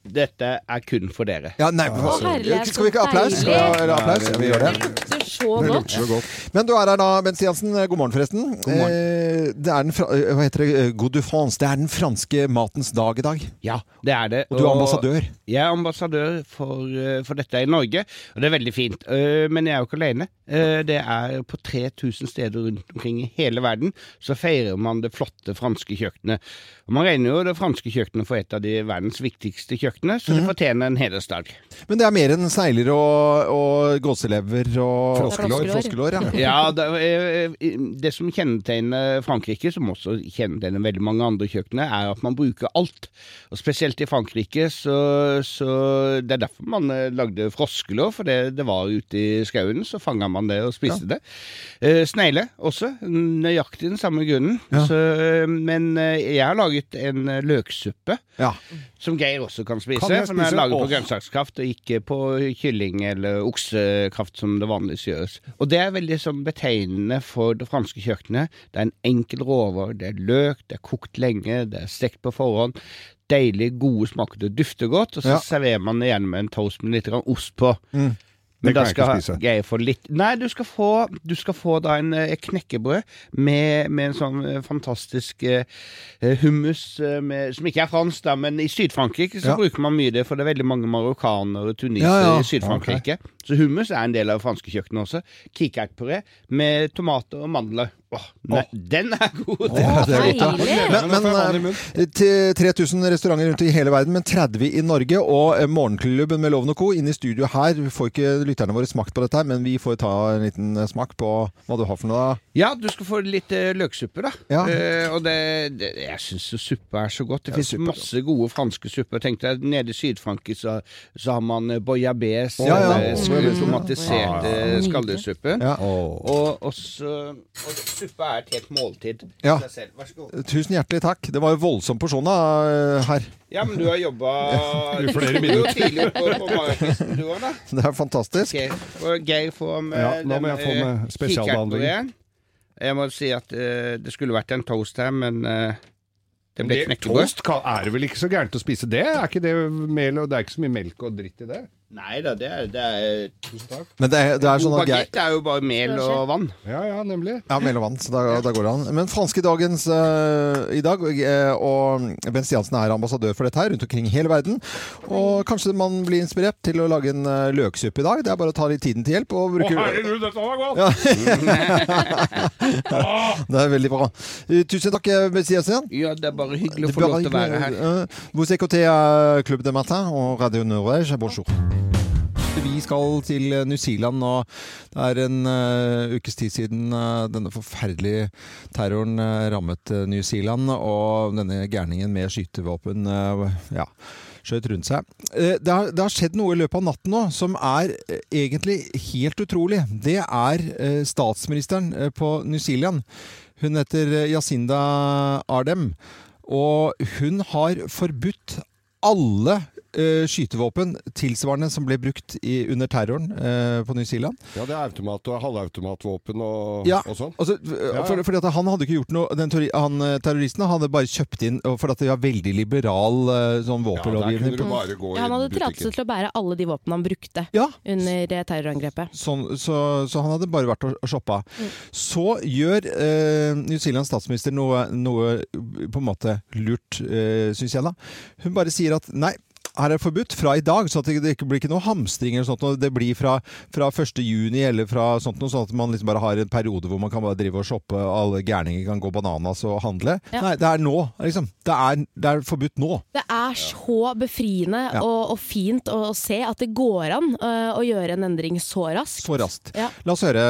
Dette er kun for dere.
Ja, nei,
Å, herlighet,
skal vi ikke ha applaus?
så deilig.
Ja, eller applaus? Ja, vi gjør det.
Det er så
Det
godt.
lukter så godt. Men du er her da, Bent Stiansen. Eh, God morgen, forresten.
God morgen.
Eh, Det er den, fra- eh, hva heter det? Eh, God du France. Det er den franske matens dag i dag.
Ja, det er det.
Og du er ambassadør.
Jeg er ambassadør for, eh, for dette i Norge, og det er veldig fint. Eh, Men jeg er jo ikke alene. Eh, Det er på 3000 steder rundt omkring i hele verden så feirer man det flotte franske kjøkkenet. Og man regner jo det franske kjøkkenet for et av de verdens viktigste kjøkkenene, så
Mhm.
det fortjener en hedersdag.
Men det er mer enn snegler og, og gåselever og
Froskelår. Froskelår,
ja.
Ja, det, eh, det som kjennetegner Frankrike, som også kjennetegner veldig mange andre kjøkkener, er at man bruker alt. Og Spesielt i Frankrike, så, så det er derfor man eh, lagde froskelår, for det, det var ute i skauen, så fanga man det og spiste det. Eh, Snegle også, nøyaktig den samme grunnen. Så, eh, men eh, jeg har laget en eh, løksuppe. Som Geir også kan spise,
Kan jeg
for den er
spise?
laget på
Åh.
grønnsakskraft og ikke på kylling- eller oksekraft som det vanligvis gjøres. Og det er veldig sånn betegnende for det franske kjøkkenet. Det er en enkel råvare, det er løk, det er kokt lenge, det er stekt på forhånd. Deilig, gode smaker, det dufter godt, og så
Ja.
serverer man det gjerne med en toast med litt grann ost på. Men
Mm. Det
da
kan jeg ikke
skal
spise.
altså.
jeg få litt Nei, du skal få, du skal få da en eh, knekkebrød med, med en sånn eh, fantastisk eh, hummus eh, med, som ikke er fransk, da, men i Syd-Frankrike så
Ja.
bruker man mye det, for det er veldig mange marokkanere og tunisere
Ja, ja.
i Syd-Frankrike. Så hummus er en del av det franske kjøkkenet også. Kikertpuré med tomater og mandler. Åh, nei, den er god!
Ja, det er godt, ja. Men, men eh, til 3000 restauranter rundt i hele verden, men 30 i Norge. Og eh, Morgenklubben med Loven og Co. inn i studio her. Vi får ikke lytterne våre smakt på dette, her, men vi får ta en liten eh, smak på hva du har for noe. da.
Ja, du skal få litt eh, løksuppe, da. Eh, og det, det, jeg syns suppe er så godt. Det
Ja,
finnes
suppe er
masse gode franske supper. Tenk deg, Nede i Syd-Frankrike så, så har man eh, bouillabaisse,
Ja, ja.
den, eh, sk-
Bouillabaisse, ja.
tomatisert
Ja, ja,
eh,
ja.
skalldyrssuppe.
Ja.
Og, og, så- og suppe er et helt måltid i
Ja.
seg selv. Vær så god.
Tusen hjertelig takk. Det var jo voldsom porsjon da, eh, her.
Ja, men du har jobba
Ja, i flere
Du er jo
minutter.
tidlig oppe på morgenkvisten, du òg, da.
Det er fantastisk.
Ok, og Geir får med
Ja, da må jeg få med
eh,
spesialbehandling.
kikkertpureen. Jeg må si at eh, det skulle vært en toast her, men eh, det ble
Det-
knekkebrød.
Toast kan- er det vel ikke så gærent å spise det? Er ikke det mel og Det er ikke så mye melk og dritt i det?
Nei da, det er, det er
Men det er, det er sånn at Geir
Baguette er jo bare mel og vann.
Ja, ja, nemlig.
Ja, mellom vann, så da, da går det an. Men franske dagens eh, i dag, eh, og Ben Stiansen er ambassadør for dette her rundt omkring i hele verden. Og kanskje man blir inspirert til å lage en eh, løksuppe i dag. Det er bare å ta litt tiden til hjelp. Og
Å,
bruke
herregud, dette var godt!
Ja. det er veldig bra. Eh, Tusen takk, eh, Ben Stiansen.
Ja, det er bare hyggelig å få lov til å være her.
hein. Vous écoutez euh, Club de Matin og Radio Norvège. Bonjour. Vi skal til eh, New Zealand, og det er en eh, ukes tid siden eh, denne forferdelige terroren eh, rammet eh, New Zealand, og denne gærningen med skytevåpen eh, ja, skjøt rundt seg. Eh, det, har, det har skjedd noe i løpet av natten nå som er eh, egentlig helt utrolig. Det er eh, statsministeren eh, på New Zealand. Hun heter eh, Jacinda Ardem, og hun har forbudt alle eh, skytevåpen tilsvarende som ble brukt i, under terroren eh, på New Zealand.
Ja, det er automat og halvautomatvåpen og,
Ja,
og sånn.
altså,
ja.
For, fordi at han hadde ikke gjort noe Den teori, han, eh, terroristen han hadde bare kjøpt inn og For at de har veldig liberal eh, sånn våpenlovgivning på-
Mm. Ja, han hadde tillatelse til å bære alle de våpnene han brukte under eh, terrorangrepet.
Sånn, så, så han hadde bare vært og og shoppa. Så gjør eh, New Zealands statsminister noe, noe på en måte lurt, eh, syns jeg da. Hun bare sier at nei, her er det forbudt fra i dag, så at det- det ikke blir ikke noe hamstring eller sånt. og Det blir fra, fra 1. juni eller fra sånt noe, sånn at man liksom bare har en periode hvor man kan bare drive og shoppe, alle gærninger kan gå bananas og handle.
Ja.
Nei, det er nå, liksom. Det er, det er forbudt nå.
Det er så befriende
Ja.
og, og fint å, å se at det går an eh, å gjøre en endring så raskt.
Så raskt.
Ja.
La oss høre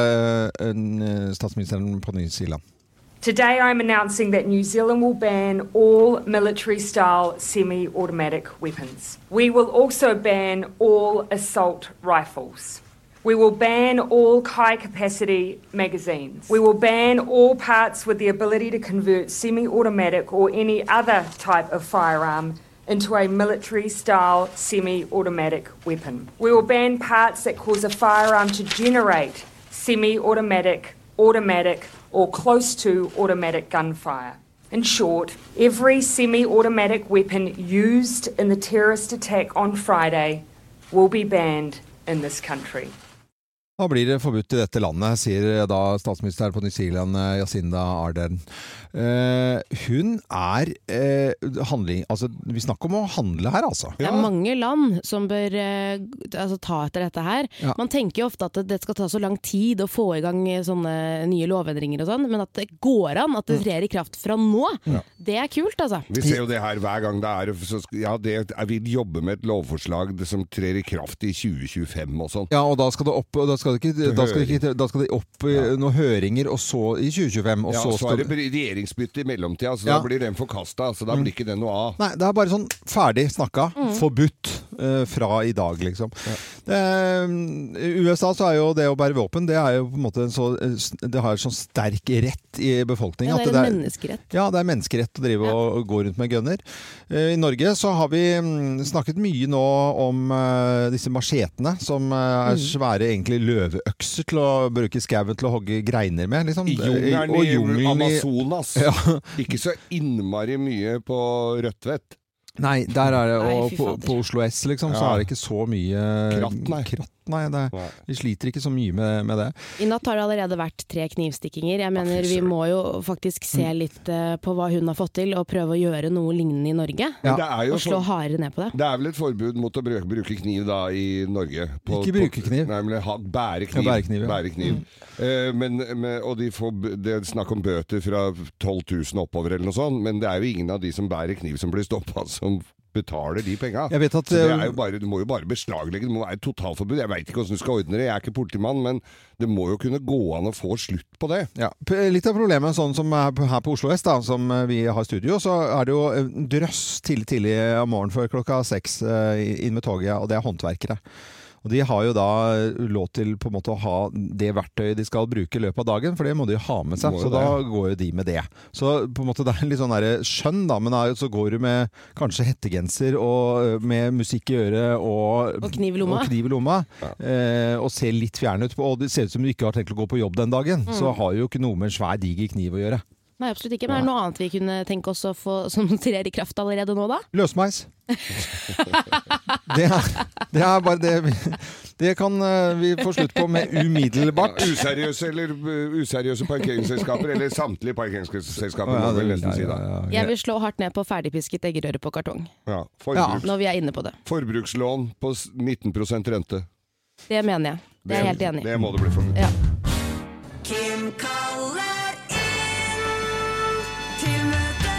eh, statsministeren på New Zealand.
Today, I'm announcing that New Zealand will ban all military style semi automatic weapons. We will also ban all assault rifles. We will ban all high capacity magazines. We will ban all parts with the ability to convert semi automatic or any other type of firearm into a military style semi automatic weapon. We will ban parts that cause a firearm to generate semi automatic, automatic, or close to automatic gunfire. In short, every semi automatic weapon used in the terrorist attack on Friday will be banned in this country.
Da blir det forbudt i dette landet, sier eh, da statsminister her på New Zealand, eh, Jacinda Ardern. Eh, hun er eh, handling... Altså, vi snakker om å handle her, altså.
Det er mange land som bør eh, altså, ta etter dette her.
Ja.
Man tenker jo ofte at det- det skal ta så lang tid å få i gang eh, sånne nye lovendringer og sånn, men at det går an, at det
Mm.
trer i kraft fra nå,
Ja.
det er kult, altså.
Vi ser jo det her hver gang det er så, sk- Ja, det er, vi jobber med et lovforslag det som trer i kraft i 2025 og sånn.
Ja, og da skal det opp og da skal det ikke,
Til
da skal det ikke, da skal det opp i noen høringer, og så i 2025, og
ja,
så
så
skal
er det br- regjeringsbytte i mellomtida, så
Ja.
da blir den forkasta. Så da
Mm.
blir ikke det noe av.
Nei, det er bare sånn ferdig snakka,
Mm.
forbudt eh, fra i dag, liksom. Eh, I USA så er jo det å bære våpen, det er jo på en måte en så, eh, s- det har en sånn sterk rett i befolkningen.
Ja, det
at
er en menneskerett.
Ja, det er menneskerett å drive og, og gå rundt med gunner. Eh, I Norge så har vi mm, snakket mye nå om eh, disse machetene, som eh, er
Mm.
svære egentlig løveøkser til å bruke skauen til å hogge greiner med, liksom.
I
Eh,
jungelen
og
i
jungelen
Amazonas.
Ja.
Ikke så innmari mye på Rødtvet.
Nei, der er det
Nei,
og
fy
på,
fader.
på Oslo S, liksom, så
Ja.
er det ikke så mye
Kratt, nei.
kratt Nei, det, vi sliter ikke så mye med, med det.
I natt har det allerede vært tre knivstikkinger. Jeg mener Vi må jo faktisk se
Mm.
litt eh, på hva hun har fått til, og prøve å gjøre noe lignende i Norge.
Men det er jo
og
sånn-
slå hardere ned på det.
Det er vel et forbud mot å bruke, bruke kniv da i Norge? På-
Ikke bruke
på- Nei, men ha, bære kniv.
Ja, bære kniv, ja.
Bære kniv.
Mm.
Eh, men, men, og de får, b- det er snakk om bøter fra 12 000 oppover eller noe sånt, men det er jo ingen av de som bærer kniv som blir stoppa, som betaler de penga.
Jeg vet at,
Så det
eh,
er jo bare, du må jo bare beslaglegge, det må være et totalforbud. Jeg veit ikke hvordan du skal ordne det, jeg er ikke politimann, men det må jo kunne gå an å få slutt på det.
Ja. p- Litt av problemet sånn som er på- her på Oslo S, da, som eh, vi har studio, så er det jo eh, drøss tidlig tidlig om morgenen før klokka seks eh, inn med toget, og det er håndverkere. Og De har jo da eh, lov til på en måte å ha det verktøyet de skal bruke i løpet av dagen, for det må de jo ha med seg.
Må jo det.
Så da går jo de med det. Så på en måte det er litt sånn der skjønn, da, men det er jo- så går du med kanskje hettegenser og eh, med musikk i øret og
Og kniv i lomma.
og kniv i lomma, eh, og ser litt fjern ut. på- Og det ser ut som du ikke har tenkt å gå på jobb den dagen.
Mm.
Så har jo ikke noe med en svær, diger kniv å gjøre.
Nei, absolutt ikke. Men er det noe annet vi kunne tenke oss å få som trer i kraft allerede nå, da?
Løsmeis. Det er, det er bare det vi- Det kan eh, vi få slutt på med umiddelbart.
Useriøse, eller, uh, useriøse parkeringsselskaper, eller samtlige parkeringsselskaper,
Å,
må vi
ja, det-
vel nesten si da.
Jeg vil slå hardt ned på ferdigpisket eggerøre på kartong.
Ja, forbruks,
Når vi er inne på det.
Forbrukslån på s- 19 rente.
Det mener jeg. Det er jeg helt enig i.
Det må det bli forbudt.
Ja.
Kim kaller inn til møte.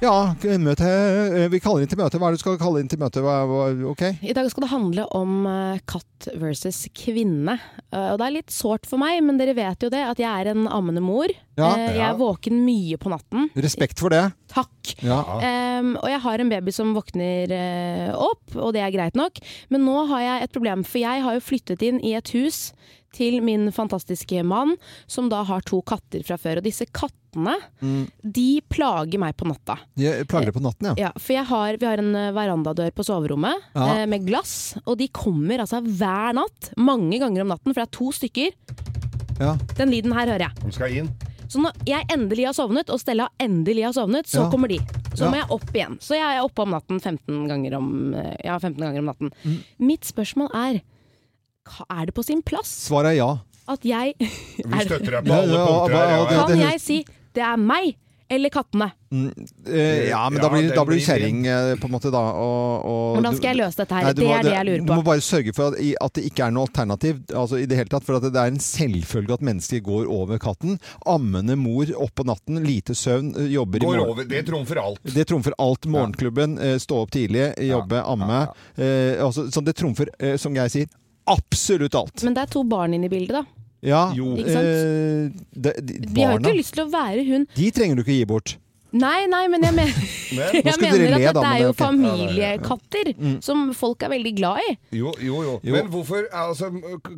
Ja, møte, eh, vi kaller inn til møte. Hva er det du skal kalle inn til møte? Hva, hva, ok?
I dag skal det handle om eh, katt versus kvinne. Eh, Og det er litt sårt for meg, men dere vet jo det, at jeg er en ammende mor.
Ja.
Eh, Jeg
Ja.
er våken mye på natten.
Respekt for det.
Takk.
Ja.
Em, og jeg har en baby som våkner eh, opp, og det er greit nok. Men nå har jeg et problem, for jeg har jo flyttet inn i et hus til min fantastiske mann, som da har to katter fra før. Og disse kattene,
Mm.
de plager meg på natta.
Jeg plager det på natten, ja.
Ja, for jeg har, Vi har en eh, verandadør på soverommet
Ja.
eh, med glass, og de kommer altså hver natt. Mange ganger om natten, for det er to stykker.
ja.
Den lyden her hører jeg.
De skal inn.
Så når jeg endelig har sovnet, og Stella endelig har sovnet, så
Ja.
kommer de. Så
Ja.
må jeg opp igjen. Så jeg er oppe om natten 15 ganger om, eh, ja, 15 ganger om natten.
Mm.
Mitt spørsmål er hva Er det på sin plass
Svaret er ja.
at jeg
Vi støtter deg på
Ja,
alle
ja,
punkter.
ja,
her,
ja,
ja,
Kan jeg si 'det er meg' eller 'kattene'?
Mm, eh, ja, men
Ja,
da blir,
den
da blir
blir
du kjerring, eh, på en måte, da. Og, og,
Hvordan
du-
skal jeg løse dette her?
Nei, du
det
må-
er det jeg lurer
Du
på.
må bare sørge for at, i- at det ikke er noe alternativ. Altså i det hele tatt, For at det er en selvfølge at mennesker går over katten. Ammende mor opp på natten, lite søvn, eh, jobber i
Går
morgen.
over. Det trumfer alt.
Det trumfer alt. Morgenklubben, eh, stå opp tidlig, jobbe, amme. Eh, altså, så det trumfer, eh, som Geir sier, absolutt alt.
Men det er to barn inne i bildet, da.
Ja,
Ikke sant?
eh, det, de,
De har jo
barna,
ikke lyst til å være hun.
de trenger du ikke gi bort.
Nei, nei, men jeg, men,
Nå
jeg
skulle
mener
dere le,
at
da,
dette
men
er jo
det er ok.
familiekatter
Mm.
som folk er veldig glad i.
Jo, jo, jo.
Jo.
Men hvorfor altså,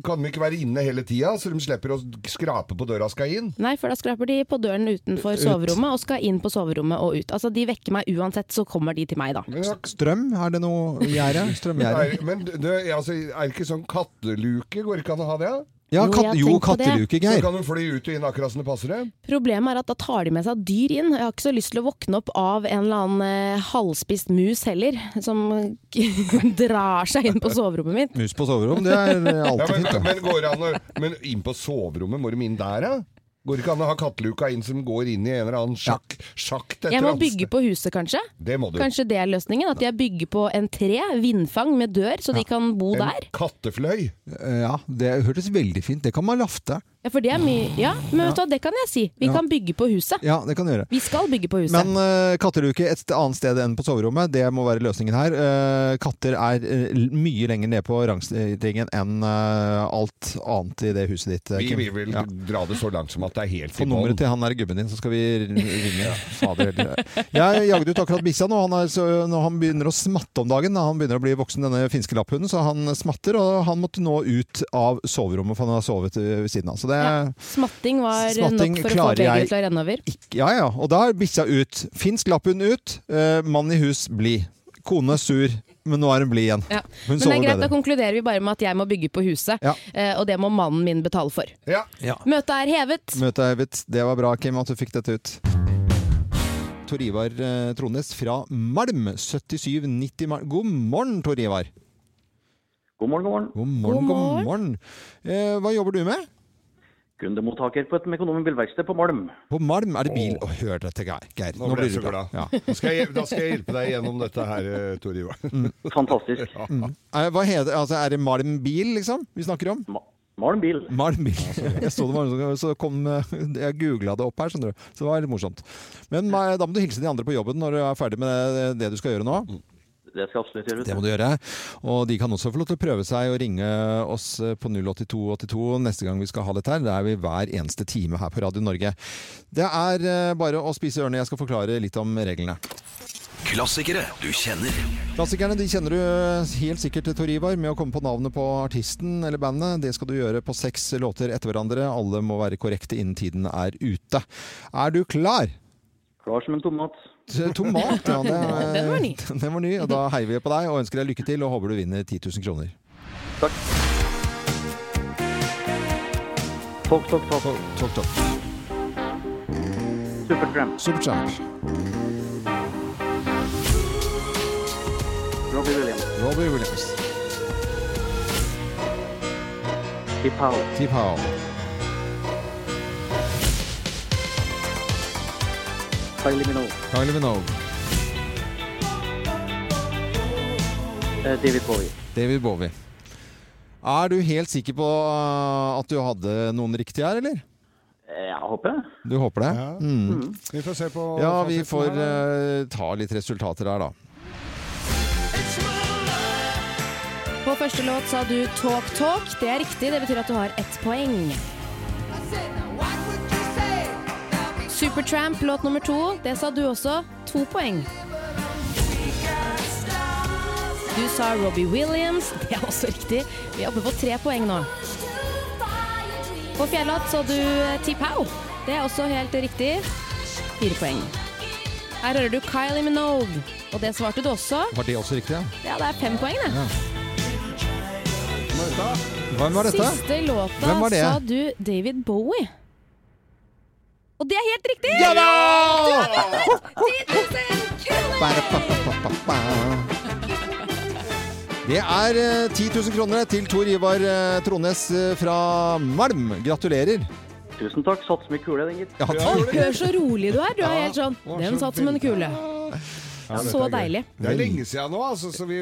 kan de ikke være inne hele tida, så de slipper å skrape på døra skal inn?
Nei, for da skraper de på døren utenfor soverommet og skal inn på soverommet og ut. Altså, De vekker meg uansett, så kommer de til meg, da.
Strøm, er det noe gjerde? Strømgjerde?
Er, men det, altså, er det ikke sånn katteluke? Går det ikke an å ha det?
Ja, Jo, jeg katt- har jo, tenkt på det. katteluke, Geir.
Så kan de fly ut og inn akkurat som det passer dem?
Problemet er at da tar de med seg dyr inn. Jeg har ikke så lyst til å våkne opp av en eller annen eh, halvspist mus heller, som drar seg inn på soverommet mitt.
Mus på soverom, det er eh,
ja,
alltid
men,
fint. da.
Men, går det an å, men inn på soverommet, må de inn der, ja? Går det ikke an å ha katteluka inn som går inn i en eller annen sjakk, sjakt etter
Jeg må
hans-
bygge på huset, kanskje.
Det må du.
Kanskje det er løsningen? At jeg bygger på en tre, vindfang med dør, så de kan bo
En
der?
kattefløy?
Eh, Ja, det hørtes veldig fint. Det kan man lafte.
Ja, for det er mye Ja, men vet du hva, det kan jeg si. Vi
Ja.
kan bygge på huset.
Ja, det kan du gjøre.
Vi skal bygge på huset.
Men eh, katteluke et annet sted enn på soverommet, det må være løsningen her. Eh, katter er eh, l- mye lenger ned på rangstigen enn eh, alt annet i det huset ditt. eh,
Vi,
Kim.
vi vil
Ja.
dra det så langt som at det er helt
Få
i
nummeret
bånn.
til han der gubben din, så skal vi r- ringe. Fader heller. Jeg jagde ut akkurat bikkja nå. Han, er, så, når han begynner å smatte om dagen. Han begynner å bli voksen, denne finske lapphunden, så han smatter. Og han måtte nå ut av soverommet, for han har sovet eh, ved siden av. Så det
Smatting var eh,
Smatting
nok for å få
klarer
begge
jeg
til å renne over.
Ja, ja. Og da er bikkja ut. Finsk lapphund ut. eh, mann i hus, blid. Kone sur, men nå er hun blid igjen.
Ja.
Hun
Men det
sover
er greit, da
bedre.
konkluderer vi bare med at jeg må bygge på huset, eh, og det må mannen min betale for.
Ja.
Møtet er hevet.
Møtet er hevet. Det var bra, Kim, at du fikk dette ut. Tor Ivar eh, Trones fra Malm, 7790 Malm. God morgen, Tor Ivar.
God morgen, god morgen.
God morgen, god morgen. Eh, hva jobber du med?
Kundemottaker på et Mekonomen bilverksted på
Mm.
Malm.
På Malm er det bil. Å, hør dette, Geir. Geir.
Nå
Nå,
ble
blir
jeg
du
så
glad.
glad.
Ja.
Da skal, jeg, da skal jeg hjelpe deg gjennom dette her, eh, Tor Ivar.
Fantastisk.
Mm. Eh, Hva heter, altså, er det Malm bil, liksom, vi snakker om?
Malm bil.
Malm bil. Jeg så det var noen som- så kom eh, Jeg googla det opp her, skjønner du. Så det var litt morsomt. Men ma- da må du hilse de andre på jobben når du er ferdig med eh, det, det du skal gjøre nå.
Det skal jeg absolutt gjøre.
Det må du gjøre. Og de kan også få lov til å prøve seg og ringe oss eh, på 08282 neste gang vi skal ha dette her. Det er vi hver eneste time her på Radio Norge. Det er eh, bare å spise ørene. Jeg skal forklare litt om reglene.
Klassikere du kjenner.
Klassikerne de kjenner du eh, helt sikkert Tor Ivar med å komme på navnet på artisten eller bandet. Det skal du gjøre på seks låter etter hverandre. Alle må være korrekte innen tiden er ute. Er du klar?
Klar som en tomat.
T- Tomat, ja. Det, er-
Den var ny.
Den var ny. Og da heier vi på deg og ønsker deg lykke til og håper du vinner 10 000 kroner.
Talk, talk, talk.
Talk, talk.
Supertramp.
Supertramp.
Robbie Williams.
Robbie Williams.
Tip Howell.
Tip Howell.
Kylie Minogue.
Kylie Minogue.
Eh, David Bowie.
David Bowie. Er du helt sikker på uh, at du hadde noen riktige her, eller?
Eh, Jeg håper det.
Du håper det? Mm.
Vi får se på
Ja, vi
fasiten
får
her, da.
uh, ta litt resultater her, da.
På første låt sa du Talk Talk. Det er riktig, det betyr at du har ett poeng. Supertramp, låt nummer to. Det sa du også. To poeng. Du sa Robbie Williams. Det er også riktig. Vi er oppe på tre poeng nå. På fjerde låt så du Tip How. Det er også helt riktig. Fire poeng. Her hører du Kylie Minogue, og det svarte du også.
Var det også riktig, ja?
Ja, det er fem poeng, det.
ja. Hvem var dette?
Siste
Hvem
låta
var det?
sa du David Bowie. Og det er helt riktig!
Ja da!
Du har vunnet 10 000 kroner!
Ba-da-ba-ba-ba-ba. Det er eh, 10 000 kroner til Tor Ivar eh, Trones eh, fra Malm. Gratulerer.
Tusen takk. Sats med kule, den gitt.
Ja,
Å, Hør så rolig du er. Du er helt sånn Den satt som en kule.
Ja, dette
Så
er gøy.
deilig.
Det er lenge siden nå, altså, så vi,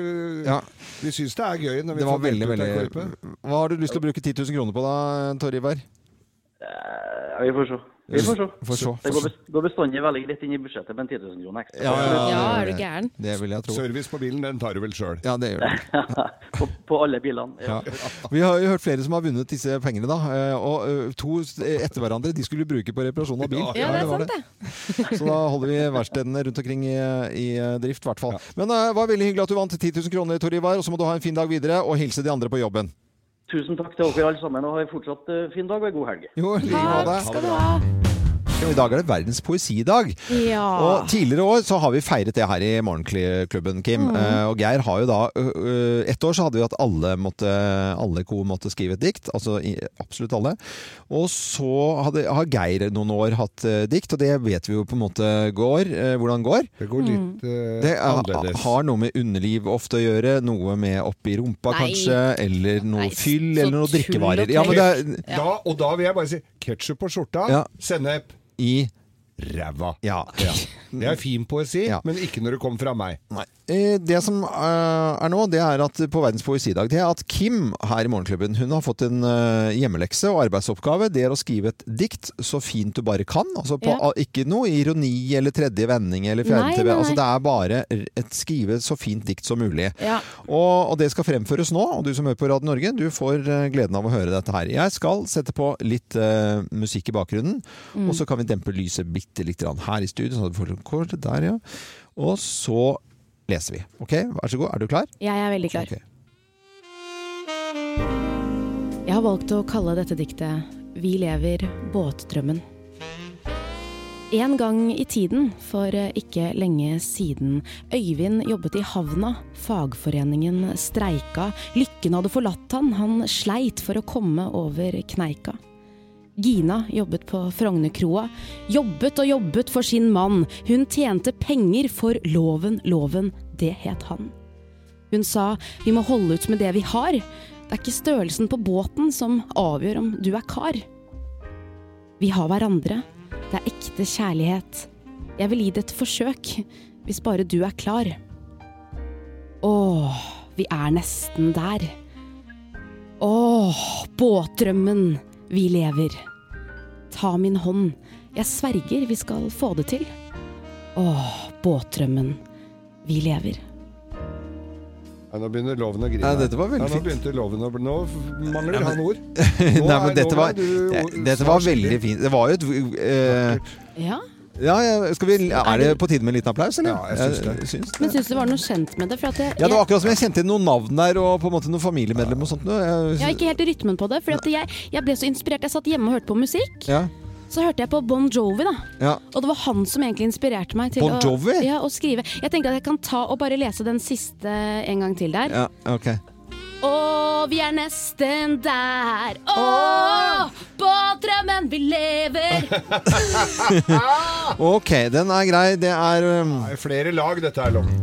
vi syns det er gøy. Når vi
Det var
får
veldig,
delt ut
veldig
en korpe.
Hva har du lyst til å bruke 10 000 kroner på da, Tor Ivar? Eh.
Ja, vi får se. Vi får se.
Får se,
Det
får
går
se.
bes- går bestandig veldig greit inn i budsjettet med en 10 000 kroner ekstra.
Det vil jeg tro.
Service på bilen, den tar du vel sjøl?
Ja, det gjør du.
på, på alle bilene. Ja.
Vi har jo hørt flere som har vunnet disse pengene, da. eh, Og eh, to etter hverandre. De skulle bruke på reparasjon av bil.
Ja, det er
var
sant, det.
Så da holder vi verkstedene rundt omkring i, i eh, drift, i hvert fall. Men eh, det var veldig hyggelig at du vant 10 000 kroner, Tor Ivar. Og så må du ha en fin dag videre, og hilse de andre på jobben.
Tusen takk til dere alle sammen, og ha en fortsatt eh, fin dag og en god helg.
Jo, i like måte. Takk skal du ha. Ja, I dag er det verdens poesidag.
Ja.
Og tidligere år så har vi feiret det her i Morgenklubben, Kim.
Mm.
Eh, og Geir har jo da ø, ø, Et år så hadde vi at alle, måtte, alle ko måtte skrive et dikt. Altså i, absolutt alle. Og så hadde, har Geir noen år hatt eh, dikt, og det vet vi jo på en måte går. eh, hvordan går.
Det går
Mm.
litt eh,
Det er,
annerledes.
har noe med underliv ofte å gjøre, noe med oppi rumpa
Nei.
kanskje, eller noe fyll, eller noe drikkevarer.
Ja, men
det er-
det er- da, og da vil jeg bare si ketsjup på skjorta,
Ja.
sennep
i
ræva.
Ja.
Det er fin poesi, men ikke når det kommer fra meg.
Eh, Det som eh, er nå, det er at på verdens poesidag Det er at Kim her i Morgenklubben Hun har fått en eh, hjemmelekse og arbeidsoppgave. Det er å skrive et dikt så fint du bare kan. Altså på,
Ja.
Ikke noe ironi eller tredje vending eller
Nei,
fjerde
nei,
TV. Altså
nei.
det er bare et skrive så fint dikt som mulig.
Ja.
Og, og det skal fremføres nå. Og du som hører på Radio Norge, du får eh, gleden av å høre dette her. Jeg skal sette på litt eh, musikk i bakgrunnen,
Mm.
og så kan vi dempe lyset bitte litt grann her i studio. Sånn at du får litt kort der, ja. Og så leser vi. Ok, vær så god. Er du klar?
Jeg er veldig klar.
Ok.
Jeg har valgt å kalle dette diktet Vi lever båtdrømmen. En gang i tiden, for ikke lenge siden, Øyvind jobbet i havna. Fagforeningen streika. Lykken hadde forlatt han, han sleit for å komme over kneika. Gina jobbet på Frognerkroa. Jobbet og jobbet for sin mann. Hun tjente penger for loven, loven, det het han. Hun sa vi må holde ut med det vi har. Det er ikke størrelsen på båten som avgjør om du er kar. Vi har hverandre. Det er ekte kjærlighet. Jeg vil gi det et forsøk, hvis bare du er klar. Åh, vi er nesten der. Åh, båtdrømmen. Vi lever. Ta min hånd. Jeg sverger vi skal få det til. Åh, båtdrømmen. Vi lever.
Ja, nå begynner loven å grine.
Nei, dette var veldig
nå
fint.
begynte loven å bli Nå f- mangler
Ja, men-
han ord. Nå
Nei,
er-
men dette
nå
var,
er du-
det- dette var veldig fint. Det var jo et eh,
Ja,
ja, ja, skal vi, Er det på tide med en liten applaus, eller?
Ja, jeg syns det.
Men syns du det var noe kjent med det? For at jeg,
Ja, det var akkurat som jeg kjente noen navn der, og på en måte noen familiemedlemmer og sånt. noe. Jeg-
jeg har ikke helt rytmen på det, for at jeg, jeg ble så inspirert. Jeg satt hjemme og hørte på musikk.
Ja.
Så hørte jeg på Bon Jovi, da.
ja.
Og det var han som egentlig inspirerte meg til
Bon Jovi?
Å, ja, å skrive. Jeg tenkte at jeg kan ta og bare lese den siste en gang til der.
ja ok.
Å, vi er nesten der. Å, båtdrømmen vi lever.
Ok, den er grei. Det er um,
Flere lag, dette er loven.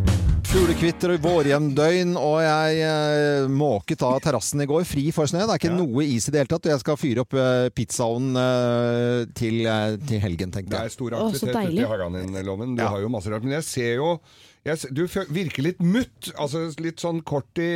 Fuglekvitter og vårjevndøgn, og jeg eh, måket av terrassen i går, fri for snø. Det er ikke noe is i det hele tatt, og jeg skal fyre opp eh, pizzaovnen eh, til, eh, til helgen, tenkte
Det er
jeg.
stor
Å, så
aktivitet
deilig.
ute i hagen din, Loven. Du har jo masse rart. Men jeg ser jo jeg, s- Du fø- virker litt mutt. Altså litt sånn kort i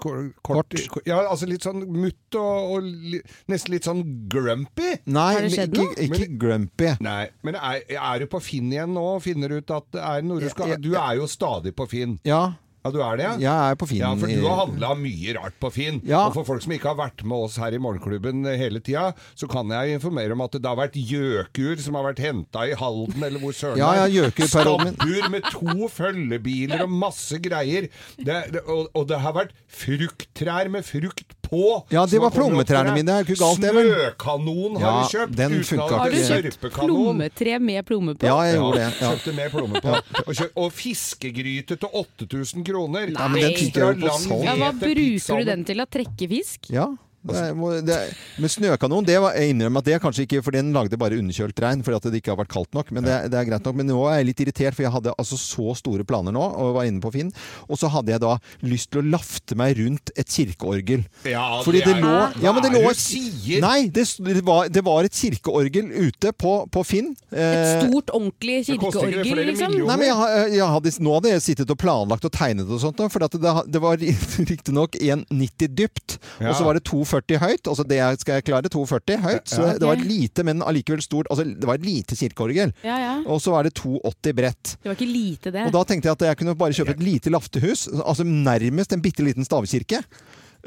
Kort? kort. i- ja, altså litt sånn mutt og, og li, nesten litt sånn grumpy.
Nei, Har det skjedd ikke- noe? ikke grumpy.
Nei, men er, er du på Finn igjen nå og finner ut at det er noe du skal Du er jo stadig på Finn.
Ja.
Ja, du er det? ja?
Jeg er på Finn
Ja, for du
i-
har handla mye rart på Finn. Og for folk som ikke har vært med oss her i Morgenklubben hele tida, så kan jeg informere om at det har vært gjøkur som har vært henta i Halden, eller hvor søren
Ja,
er.
ja, gjøkurparolen min.
Stabbur med to følgebiler og masse greier. Det, det, og, og det har vært frukttrær med frukt på.
Ja, det
som
var
har kommet opp
plommetrærne
der.
mine, det er jo ikke galt, det, vel?
Snøkanon har
Ja,
du kjøpt.
den
uten
funka
at
Har du
det er
kjøpt
sørpekanon.
plommetre med plomme på?
Ja, jeg gjorde det. Ja.
Kjøpte mer plomme på. Og, kjø og fiskegryte til 8000 kroner.
Ja, men den fikk jeg jo på salg.
Ja, hva bruker du den til? Å trekke fisk?
Ja. Det er, må- det er, men snøkanon, det var, jeg innrømmer at det er kanskje ikke For den lagde bare underkjølt regn fordi at det ikke har vært kaldt nok. Men det, er- det er greit nok. Men nå er jeg litt irritert, for jeg hadde altså så store planer nå og var inne på Finn. Og så hadde jeg da lyst til å lafte meg rundt et kirkeorgel.
Ja,
Fordi
det
det
er-
lå, ja, men det
Hva er det
lå
du sier?
Nei, det, s- det, var, det var et kirkeorgel ute på, på Finn. Eh,
Et stort, ordentlig
koster ikke det
kirkeorgel,
flere
liksom?
Nei, men jeg, har- eh, jeg hadde, nå hadde jeg sittet og planlagt og tegnet og sånt, da, for at det, det var riktignok 1,90 dypt,
Ja.
og så var det 2,40 høyt. Altså det jeg skal jeg klare, 2,40 høyt. Så
Ja.
det var et lite, men allikevel stort altså Det var et lite kirkeorgel.
Ja, ja.
Og så var det 2,80 bredt.
Det var ikke lite, det.
Og da tenkte jeg at jeg kunne bare kjøpe et lite laftehus, altså nærmest en bitte liten stavkirke.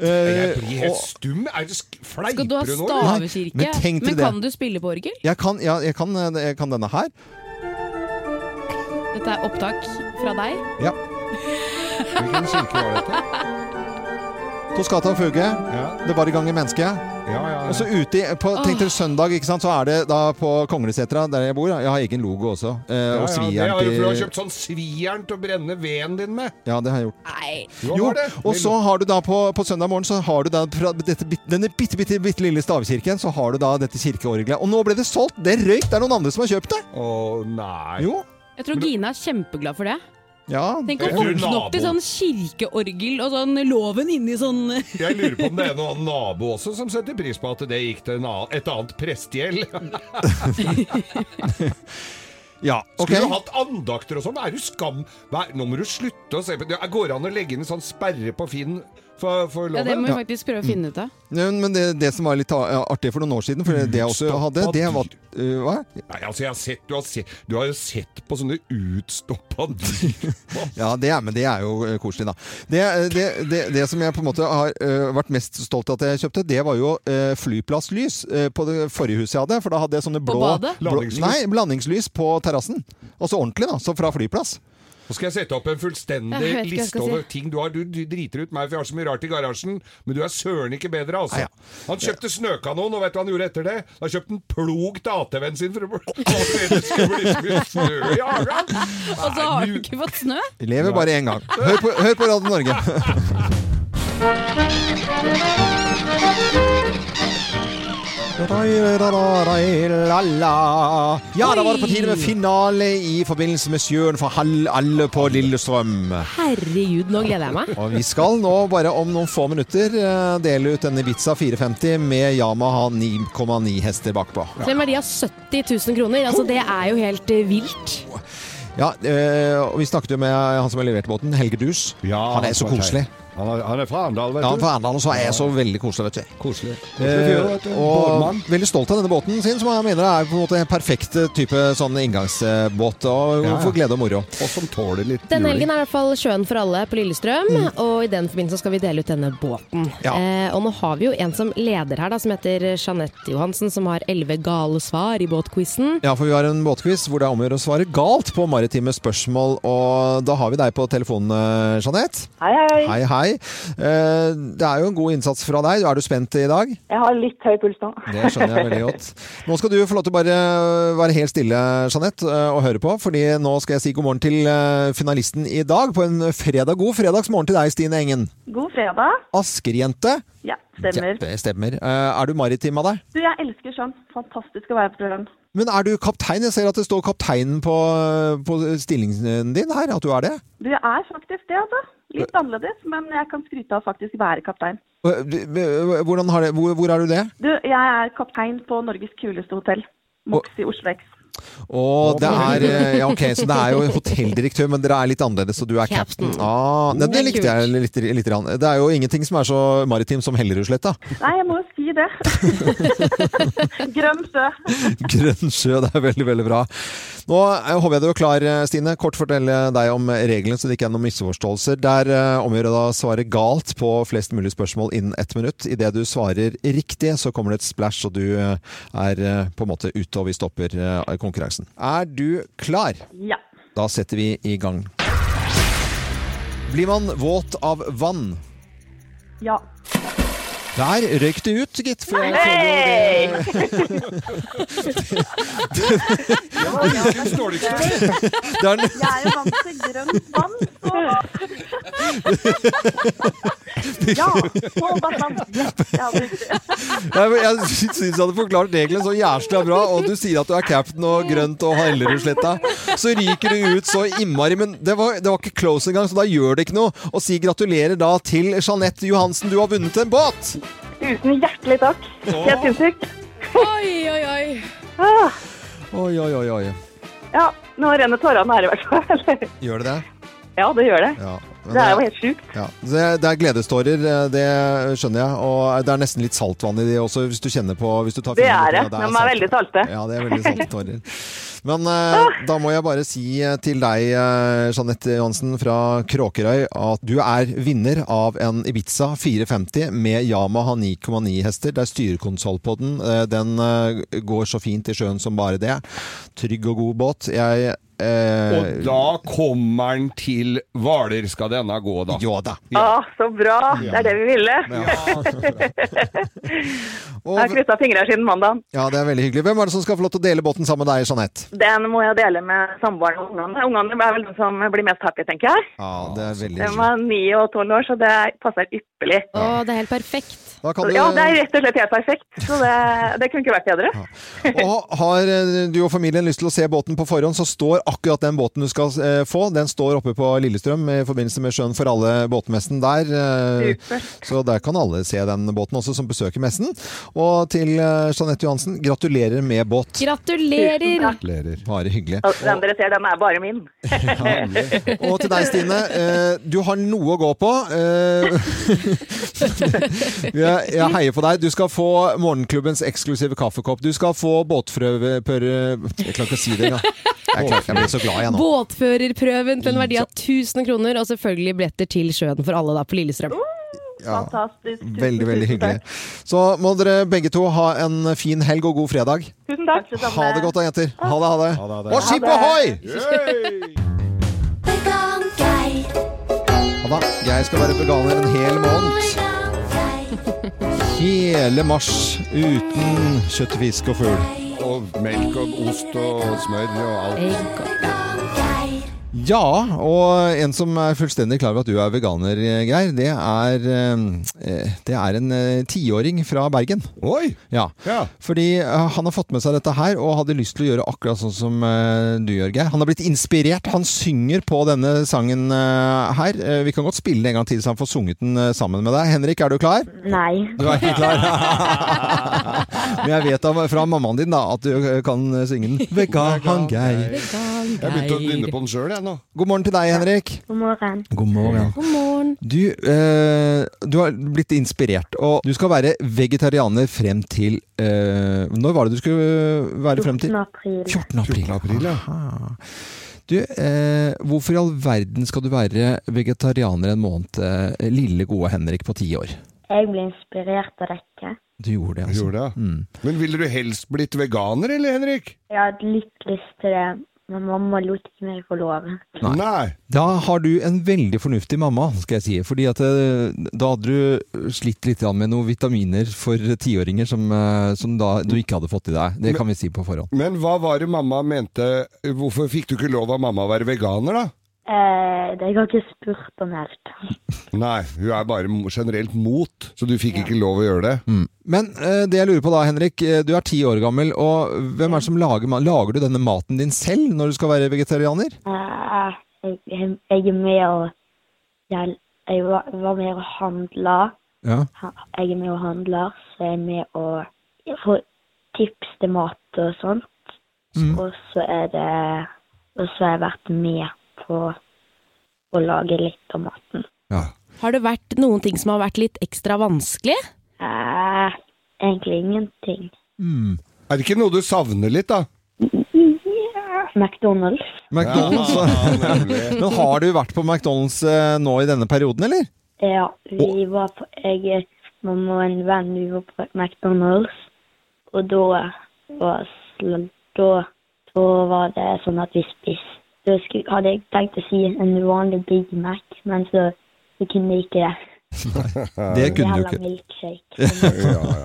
Jeg
Eh,
blir helt
og-
stum. Er det sk- fleiper du
Skal du ha
nå? eller?
stavekirke?
Nei, men tenk deg det.
kan du spille på orgel?
jeg kan, ja, jeg, kan, eh, jeg kan denne her.
Dette er opptak fra deg.
Ja.
Hvilken kirke var dette?
Toskata og Fuge. Det var i gang i mennesket. Og så ute i- på, Tenk dere søndag, ikke sant? så er det da på Konglesetra, der jeg bor. da. Jeg har egen logo også. Eh,
Ja, ja, det
og
har
svijern
du, for du har
til
kjøpt sånn svijern til å brenne veden din med.
Ja, det har jeg gjort.
Jo,
Jo,
har det.
og så har du da på, på søndag morgen så har du da fra dette, bit- denne bitte, bitte, bitte lille stavkirken, så har du da dette kirkeorgelet. Og nå ble det solgt! Det røyk! Det er noen andre som har kjøpt det!
Å nei.
Jo.
Jeg tror Gina er kjempeglad for det.
Ja.
Tenk å
Jeg tror
våkne opp til
nabo-
sånn kirkeorgel og sånn loven inni sånn
Jeg lurer på om det er en annen nabo også som setter pris på at det gikk til en annen, et annet prestegjeld.
Ja, ok.
Skulle du hatt andakter og sånn? Er du skam? Hva er- nå må du slutte å se på det. Går det an å legge inn en sånn sperre på Finn for, for
Ja,
loven?
det må vi faktisk prøve å finne ut av.
Ja, Men det, det som var litt a- artig for noen år siden, for det jeg også hadde, det var eh, Hva?
Nei, altså, jeg har sett, du, har sett, du har jo sett på sånne utstoppa dyr.
Ja, det er, men det er jo eh, koselig, da. Det, det, det, det som jeg på en måte har eh, vært mest stolt av at jeg kjøpte, det var jo eh, flyplasslys eh, på det forrige huset jeg hadde. For da hadde jeg sånne blå
badet?
Blå,
Blandingslys?
nei, blandingslys på terrassen. Altså ordentlig, da. Så fra flyplass.
Nå skal jeg sette opp en fullstendig
Jeg vet ikke hva jeg
liste
skal si.
over ting du har. Du, du driter ut meg, for jeg har så mye rart i garasjen. Men du er søren ikke bedre, altså. Han kjøpte snøkanon, og vet du hva han gjorde etter det? Da kjøpte han plog til ATV-en sin for å det skulle bli skulle bli snø i hagen.
Og så har du ikke fått snø!
Vi lever bare én gang. Hør på, hør på Radio Norge. Rai-ra-ra-rai-la-la. Ja, da var det på tide med finale i forbindelse med Sjøen for halv alle på Lillestrøm.
Herregud, nå gleder jeg meg.
Mm.
Og vi skal nå bare om noen få minutter eh, dele ut denne Ibiza 450 med Yamaha 9,9 hester bakpå.
Til en verdi av 70 000 kroner. Altså, det er jo helt eh, vilt.
Ja, eh, og vi snakket jo med han som har levert båten, Helge Dus. han er så
han er
koselig.
Han er, fra Arendal, vet
Ja,
du.
for Arendal så er jeg så veldig koselig, vet du.
Koselig. fyr, vet
Eh,
du.
og
Båtmann.
veldig stolt av denne båten sin, som jeg mener er på en måte en perfekt type sånn inngangsbåt. Og
Ja, ja.
for glede og moro.
Og som tåler litt
Denne helgen er i hvert fall Sjøen for alle på Lillestrøm,
Mm.
og i den forbindelse skal vi dele ut denne båten. Eh, og nå har vi jo en som leder her, da, som heter Jeanette Johansen, som har elleve gale svar i båtquizen.
Ja, for vi har en båtquiz hvor det er om å gjøre å svare galt på maritime spørsmål. Og da har vi deg på telefonen, eh, Jeanette.
Hei, hei.
Hei, hei. Eh, Det er jo en god innsats fra deg. Er du spent i dag?
Jeg har litt høy puls nå.
Det skjønner jeg veldig godt. Nå skal du få lov til å bare være helt stille, Jeanette, eh, og høre på. fordi nå skal jeg si god morgen til eh, finalisten i dag på en fredag. God fredagsmorgen til deg, Stine Engen.
God fredag.
Askerjente.
Ja, stemmer.
Det stemmer. Eh, Er du maritim av deg?
Du, jeg elsker sånn fantastisk å være på program.
Men er du kaptein? Jeg ser at det står kapteinen på, eh, på stillingen din her, at du er det.
Du, jeg er faktisk det, altså. Litt annerledes, men jeg kan skryte av faktisk å være kaptein.
Hvordan har det, hvor, hvor er du det?
Du, jeg er kaptein på Norges kuleste hotell, Mox i Oslo X.
Og det er eh, Ja, ok, så det er jo hotelldirektør, men dere er litt annerledes, så du er captain. Ah, nei, det likte jeg litt, litt. grann. Det er jo ingenting som er så maritim som Hellerudsletta.
Nei, jeg må jo si det. Grønn sjø.
Grønn sjø, det er veldig, veldig bra. Nå eh, håper jeg du er klar, eh, Stine. Kort fortelle deg om eh, reglene, så det ikke er noen misforståelser. Der eh, omgjør det da å svare galt på flest mulig spørsmål innen ett minutt. Idet du svarer riktig, så kommer det et splash, og du eh, er eh, på en måte ute, og vi stopper eh, konkurransen. Er du klar?
Ja.
Da setter vi i gang. Blir man våt av vann?
Ja.
Der røyk det ut, gitt. For jeg
Hei!
det står det ikke. Det er
Jeg er jo vant til grønt vann, så Ja! Småbadvann. Yes, ja, riktig.
Nei, men Jeg syns jeg hadde forklart reglene så jævlig bra, og du sier at du er cap'n og grønt og har Ellerudsletta. Så ryker du ut så innmari, men det var, det var ikke close engang, så da gjør det ikke noe. Og si gratulerer da til Jeanette Johansen, du har vunnet en båt!
Tusen hjertelig takk. Helt sinnssykt.
Oi, oi, oi.
Ah,
Oi, oi, oi, oi.
Ja, nå renner tårene her i hvert fall.
Gjør det det?
Ja, det gjør det.
Ja. men
Det er jo helt sjukt.
Ja, det, det er gledestårer, eh, det skjønner jeg. Og eh, det er nesten litt saltvann i de også, hvis du kjenner på hvis du tar
Det er det.
fingeren borti,
De
ja,
er veldig Ah! salte.
altså. Ja, det er veldig salte tårer. Men eh, da må jeg bare si eh, til deg, eh, Jeanette Johansen fra Kråkerøy, at du er vinner av en Ibiza 450 med Yamaha 9,9 hester. Det er styrekonsoll på den. Eh, Den eh, går så fint i sjøen som bare det. Trygg og god båt. Jeg eh,
Og da kommer han til Hvaler, skal denne gå, da.
Ja da.
Å, så bra! Det er det vi ville. jeg har kryssa fingra siden mandagen.
Ja, det er veldig hyggelig. Hvem er det som skal få lov til å dele båten sammen med deg, Jeanette?
Den må jeg dele med samboeren og ungene. Ungene er vel de som blir mest happy, tenker jeg.
Ja, det er veldig
De
hyggelig.
er ni og tolv år, så det passer ypperlig.
Å, det er helt perfekt.
Da kan du-
Ja, det er rett og slett helt perfekt. Så det, det kunne ikke vært bedre.
Og har eh, du og familien lyst til å se båten på forhånd, så står akkurat den båten du skal eh, få, den står oppe på Lillestrøm i forbindelse med Sjøen for alle båtmessen der. eh, Så der kan alle se den båten også, som besøker messen. Og til eh, Jeanette Johansen, gratulerer med båt.
Tusen
Gratulerer!
takk.
Bare hyggelig.
Og Den dere ser, den er bare min.
Og til deg, Stine. eh, Du har noe å gå på. Eh, Jeg jeg heier på deg. Du skal få morgenklubbens eksklusive kaffekopp. Du skal få båtprøve... pør- Jeg klarer ikke å si det engang. Jeg, klarer- jeg blir så glad jeg nå.
Båtførerprøven til en verdi av 1000 kroner, og selvfølgelig billetter til Sjøen for alle da på Lillestrøm.
Ja,
Fantastisk. Tusen,
veldig, veldig
tusen
hyggelig. Så må dere begge to ha en fin helg og god fredag.
Tusen takk.
Ha det godt da, jenter. Ha det, ha det. Og skip ohoi! Ja da, jeg skal være veganer en hel måned. Hele mars uten kjøtt, fisk og fugl.
Og melk og ost og smør og alt.
Egg og
Ja, og en som er fullstendig klar over at du er veganer, Geir, det er, eh, det er en eh, tiåring fra Bergen.
Oi!
Ja. Fordi eh, han har fått med seg dette her, og hadde lyst til å gjøre akkurat sånn som eh, du gjør, Geir. Han har blitt inspirert. Han synger på denne sangen eh, her. Eh, Vi kan godt spille den en gang til, så han får sunget den eh, sammen med deg. Henrik, er du klar?
Nei.
Du er ikke klar? Men jeg vet av, fra mammaen din da, at du eh, kan synge den. Vegan Geir.
Jeg begynte å nynne på den sjøl, jeg nå.
God morgen til deg, Henrik.
God morgen.
God morgen.
God morgen.
Du, eh, du har blitt inspirert, og du skal være vegetarianer frem til eh, Når var det du skulle være frem til?
14. april.
14. april. Aha. Du, eh, hvorfor i all verden skal du være vegetarianer en måned, eh, lille gode Henrik på ti år?
Jeg ble inspirert av dere.
Du gjorde det, altså.
Men ville du helst blitt veganer, eller, Henrik?
Jeg hadde litt lyst til det, men mamma lot ikke meg få lov.
Nei. Da har du en veldig fornuftig mamma, skal jeg si. Fordi at eh, da hadde du slitt litt grann med noen vitaminer for tiåringer som, eh, som da du ikke hadde fått i deg. Det kan vi si på forhånd.
Men hva var det mamma mente Hvorfor fikk du ikke lov av mamma å være veganer, da?
Eh, det- jeg har ikke spurt om helt.
Nei, hun er bare mo- generelt mot, så du fikk ikke lov å gjøre det.
Men eh, det jeg lurer på da, Henrik. eh, Du er ti år gammel, og hvem er det som lager ma- Lager du denne maten din selv når du skal være vegetarianer?
Eh, jeg, jeg, jeg er med og jeg, jeg var, var med og handla.
Ja.
Jeg er med og handler, så jeg er med og får tips til mat og sånt.
Mm.
Og så er det Og så har jeg vært med på å lage litt av maten.
Har det vært noen ting som har vært litt ekstra vanskelig?
Eh, egentlig ingenting.
Er det ikke noe du savner litt, da?
McDonald's.
McDonald's.
Ja, nemlig.
Men har du vært på McDonald's eh, nå i denne perioden, eller?
Ja, vi var på Jeg, mamma og en venn, vi var på McDonald's. Og da var sl- Da, da var det sånn at vi spiste. Da skulle, hadde jeg tenkt å si en vanlig Big Mac, men så vi kunne ikke det.
Det kunne du
Jævla
ikke.
milkshake.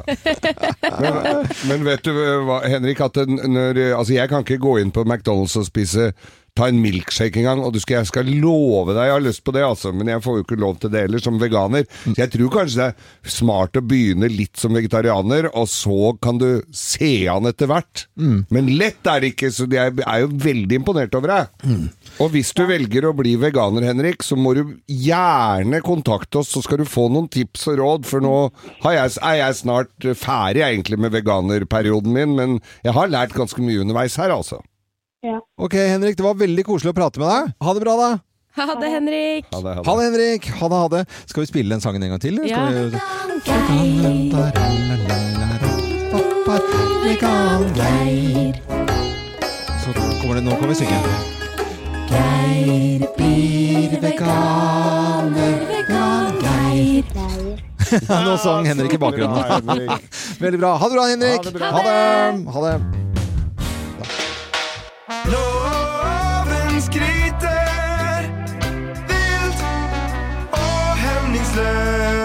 eh,
Men, men vet du hva, Henrik, at den- når, altså jeg kan ikke gå inn på McDonald's og spise Ta en milkshake en gang, og du skal, jeg skal love deg jeg har lyst på det, altså, men jeg får jo ikke lov til det heller, som veganer. Så jeg tror kanskje det er smart å begynne litt som vegetarianer, og så kan du se an etter hvert. Men lett er det ikke, så jeg er jo veldig imponert over deg. Og hvis du velger å bli veganer, Henrik, så må du gjerne kontakte oss, så skal du få noen tips og råd, for nå har jeg, er jeg snart ferdig jeg, egentlig med veganerperioden min, men jeg har lært ganske mye underveis her, altså.
Ok, Henrik, det var veldig koselig å prate med deg. Ha det bra, da.
Ha det, Henrik!
Ha det,
Ha det, Henrik. Ha det, ha det. Skal vi spille den sangen en gang til? eller
Ja.
Skal vi... Så kommer det, nå kan vi synge.
Geir blir veganer, vegan Geir.
Nå sang Henrik i bakgrunnen. Veldig bra. Ha det bra, Henrik.
Ha det bra.
Ha det. Ha det.
Loven skryter vilt og hemningsløst.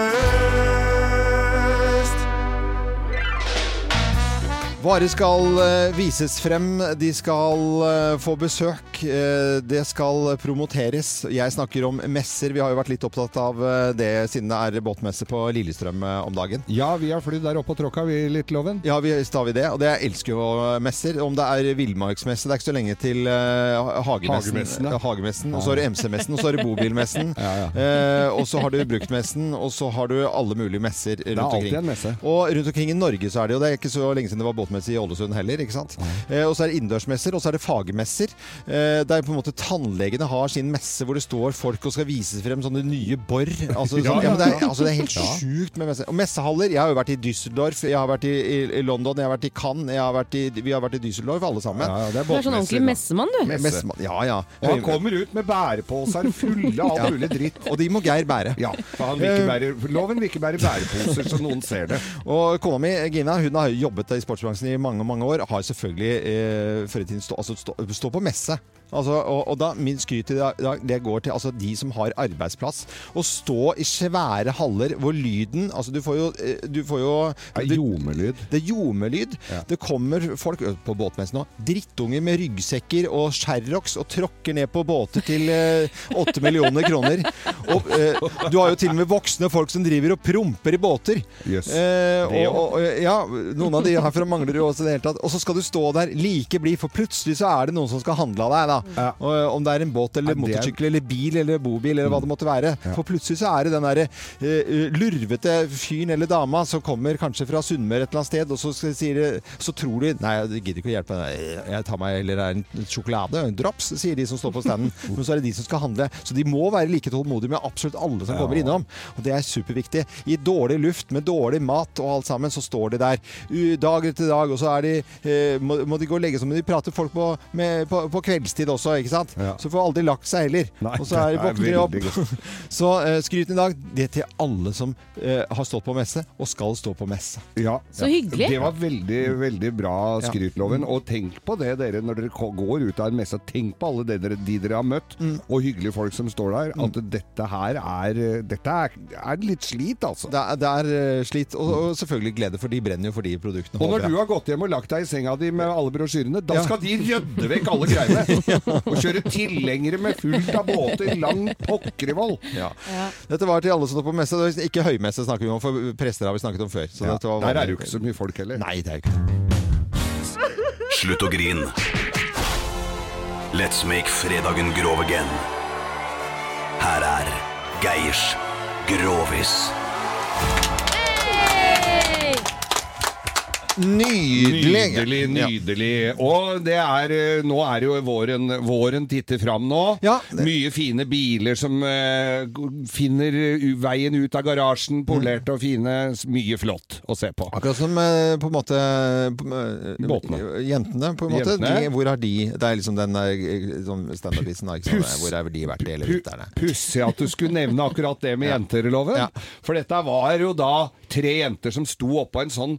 Varer skal eh, vises frem, de skal eh, få besøk, eh, det skal promoteres. Jeg snakker om messer, vi har jo vært litt opptatt av eh, det siden det er båtmesse på Lillestrøm eh, om dagen.
Ja, vi har flydd der oppe og tråkka, vi, litt loven.
Ja, vi visst har vi det, og det jeg elsker jo eh, messer. Om det er villmarksmesse, det er ikke så lenge til eh, ha- hagemessen.
Hagemessen,
ja. hagemessen og så har du MC-messen, og så har du bobilmessen.
Ja,
eh, og så har du bruktmessen, og så har du alle mulige messer rundt omkring.
er alltid en messe.
Og rundt omkring i Norge så er det jo det. er ikke så lenge siden det var båtmesse i Ålesund heller. ikke sant? Eh, og så er det innendørsmesser, og så er det fagmesser. Eh, der på en måte tannlegene har sin messe hvor det står folk og skal vise frem sånne nye bor. Altså,
Ja,
sånn, ja, men det, er,
ja.
altså, det er helt
Ja.
sjukt med messer. Og messehaller. Jeg har jo vært i Düsseldorf, jeg har vært i, i, i London, jeg har vært i Cannes, jeg har vært i, vi har vært i Düsseldorf alle sammen.
Du er sånn ordentlig messemann, du.
Messemann, Ja, ja.
Og han kommer ut med bæreposer fulle av
Ja.
all mulig dritt.
Og de må Geir bære.
Ja, for han vil ikke bære, loven vil ikke bære bæreposer, så noen ser det.
Og kona mi, Gina, hun har jobbet i sportsbransjen Wilhelmsen i mange mange år, har selvfølgelig eh, før i tiden stå, altså, stå, stå på messe. Altså, og, og da, Min skryt i dag det går til altså, de som har arbeidsplass. Å stå i svære haller hvor lyden altså Du får jo, eh, du får jo det,
Lyd.
Det er ljomelyd. Det kommer folk ø, på båtmessen nå. Drittunger med ryggsekker og Sherrox og tråkker ned på båter til eh, åtte millioner kroner. Og ø, du har jo til og med voksne folk som driver og promper i båter.
Jøss.
Eh,
Det
og, og, ja, noen av de herfra mangler jo også i det hele tatt. Og så skal du stå der like blid, for plutselig så er det noen som skal handle av deg, da. Og, ø, om det er en båt
Ja,
eller
det er- Mm.
motorsykkel eller bil eller bobil eller hva det måtte være. For plutselig så er det den derre eh, lurvete fyren eller dama som kommer kanskje fra Sunnmøre et eller annet sted, og så skal- sier de Så tror de Nei, jeg gidder ikke å hjelpe deg. Jeg tar meg heller en sjokolade, en drops, sier de som står på standen. Men så er det de som skal handle. Så de må være like tålmodige med absolutt alle som kommer
Ja.
innom. Og det er superviktig. I dårlig luft, med dårlig mat og alt sammen, så står de der u- dag etter dag, og så er de eh, må, må de gå og legge seg, men de prater folk på, med, på, på kveldstid også, ikke sant? Så får aldri lagt seg heller. og så er de
det er
våkner de
veldig
opp. Så eh, skryten i dag, det er til alle som eh, har stått på messe, og skal stå på messe.
Ja.
Så hyggelig.
Det var veldig, veldig bra
Ja.
skrytloven. Og tenk på det dere når dere ko- går ut av en messe. Tenk på alle de dere, de dere har møtt, og hyggelige folk som står der. At dette her er eh, Dette er, er litt slit, altså.
Det er, det er eh, slit, og, og selvfølgelig glede, for de brenner jo for de produktene.
Og
håper
når
jeg.
du har gått hjem og lagt deg i senga di med alle brosjyrene, da skal de rydde vekk alle greiene! Og kjøre tilhengere med fullt av båter langt pokker i voll!
Ja. Dette var til alle som står på messe. Det var Ikke høymesse snakker vi om, for prester har vi snakket om før. Så
Ja,
dette var
der er
vanlig.
det jo ikke så mye folk heller.
Nei, det er jo ikke
Slutt å grin. Let's make fredagen grov again. Her er Geirs Grovis.
Nydelig!
Nydelig, nydelig. Og det er, eh, nå er jo våren, våren titter fram nå. Mye fine biler som eh, g- finner u- veien ut av garasjen, polerte og fine. S- Mye flott å se på.
Akkurat som eh, på en måte på- eh,
Båtene.
Jentene, på en måte.
Jentene.
De, hvor har de Det er liksom den der, eh, sånn standardvisen, da, ikke sant?
Puss.
Hvor har de vært i hele
Pu-
vinteren?
Pussig at du skulle nevne akkurat det med jenter, Loven. For dette var jo da tre jenter som sto oppå en sånn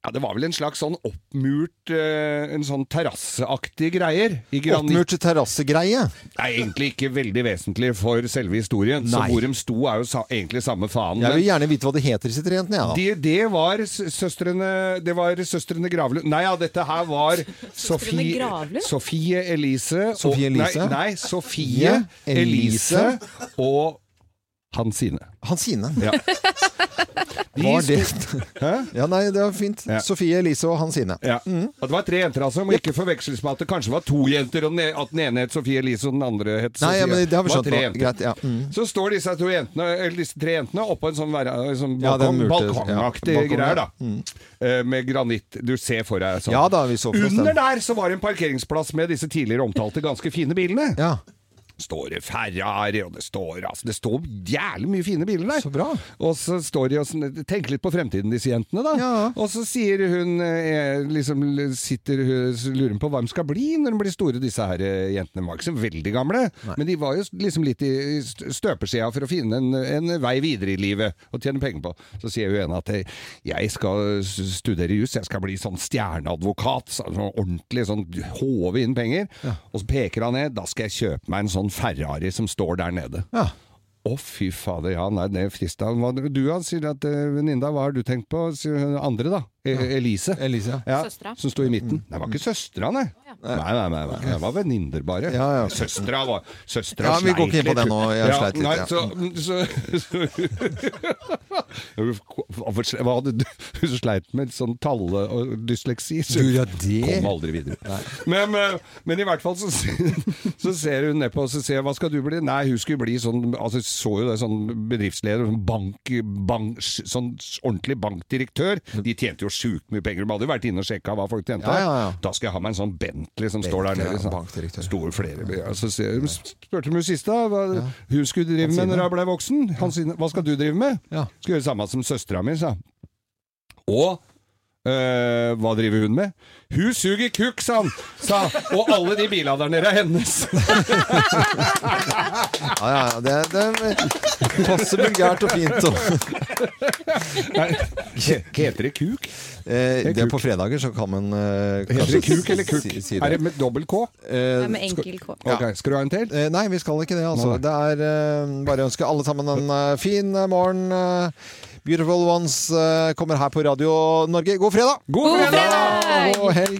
ja, Det var vel en slags sånn oppmurt eh, En sånn terrasseaktig greier. i granitt.
Oppmurt terrassegreie.
Det er egentlig ikke veldig vesentlig for selve historien. Så
Nei.
hvor de sto er jo sa egentlig samme faen.
Jeg
men-
vil gjerne vite hva de heter, disse tre jentene. jeg, da.
det, det var s- søstrene Det var søstrene Gravlund Nei, ja, dette her var Sofie,
Gravlund?
Sofie Elise og-
Sofie Elise?
Nei, nei Sofie Elise og Hansine
Hansine?
Ja De
Var
sto-
det-
Hæ?
Ja, nei, det var fint.
Ja.
Sofie Elise og Hansine.
Ja.
Mm.
Og det var tre jenter altså, må ikke forveksles med at det kanskje var to jenter, og den e- at den ene het Sofie Elise og den andre het Sofie.
Nei, ja, men det har vi
Det var
skjønt
tre
nå.
jenter.
Greit, ja. Mm.
Så står disse, to jentene, eller disse tre jentene oppå en sånn, vera- sånn
Ja, den
balkong,
murte-
balkongaktig
ja, balkong,
greier, da.
ja. Mm.
Eh, Med granitt. Du ser for deg sånn.
Ja da, vi så for oss den.
Under der så var det en parkeringsplass med disse tidligere omtalte ganske fine bilene. Står det Ferrari, og det står altså, Det står jævlig mye fine biler der. Så bra. Og så står de og sånn- tenker litt på fremtiden, disse jentene, da. Og så sier hun eh, liksom sitter, hun- så lurer hun på hva de skal bli når de blir store, disse her eh, jentene. De var ikke så veldig gamle, men de var jo liksom litt i i stø- støpeskjea for å finne en, en vei videre i livet og tjene penger på. Så sier hun ene at eh, jeg skal s- studere jus, jeg skal bli sånn stjerneadvokat. så- Sånn ordentlig sånn håve inn penger. Og så peker han ned, da skal jeg kjøpe meg en sånn Ferrari som står der nede. Å, fy fader, ja, nei, det frista Hva Du, han sier at eh, venninna, hva har du tenkt på? Sier hun andre, da. E Elise. Ja,
Søstra.
Som sto i
Mm.
midten. Nei, det var ikke søstera, nei. Nei, nei, nei, nei. Det var venninner, bare. Søstera var Søstera
Ja, vi går ikke inn på det nå. Jeg sleit litt,
Nei,
ja.
så, så, Hvorfor sle- Hva hadde du Hun sleit med sånn talle og dysleksi. Så
Du, ja, det.
Kom aldri videre. Men, eh, men i hvert fall så, ser- så ser hun nedpå og så ser jeg, hva skal du bli? Nei, hun skulle bli sånn altså, jeg Så jo det sånn bedriftsleder, sånn, bank, bank, sånn ordentlig bankdirektør. De tjente jo sjukt mye penger. De hadde jo vært inne og sjekka hva folk tjente.
Ja, ja, ja.
Da skal jeg ha meg en sånn Bentley som står der nede.
Bentley, ja,
Sånn. Store flere ja, så ser, hun Spurte hun sist da hva hun skulle drive
Hansine.
med når hun ble voksen. Hansine, hva skal du drive med? Skal gjøre det samme som søstera mi, sa hun. Og eh, Eh, hva driver hun med? Hun suger kukk, sa han! Sa, og alle de bilene der nede er hennes!
Ja, ja, ja, det, det passer vulgært og fint. Og.
Heter det kuk?
Eh, det er på fredager, så kan man eh,
Heter det
kanskje
kuk eller kukk?
Si, si
Er det med dobbel K?
Eh,
med enkel K.
Ok, Skal du ha en til?
Eh, Nei, vi skal ikke det. Altså.
Nei.
Det er eh, bare å ønske alle sammen en eh, fin eh, morgen. eh, Beautiful Ones eh, kommer her på Radio Norge. God fredag!
God fredag!
God helg!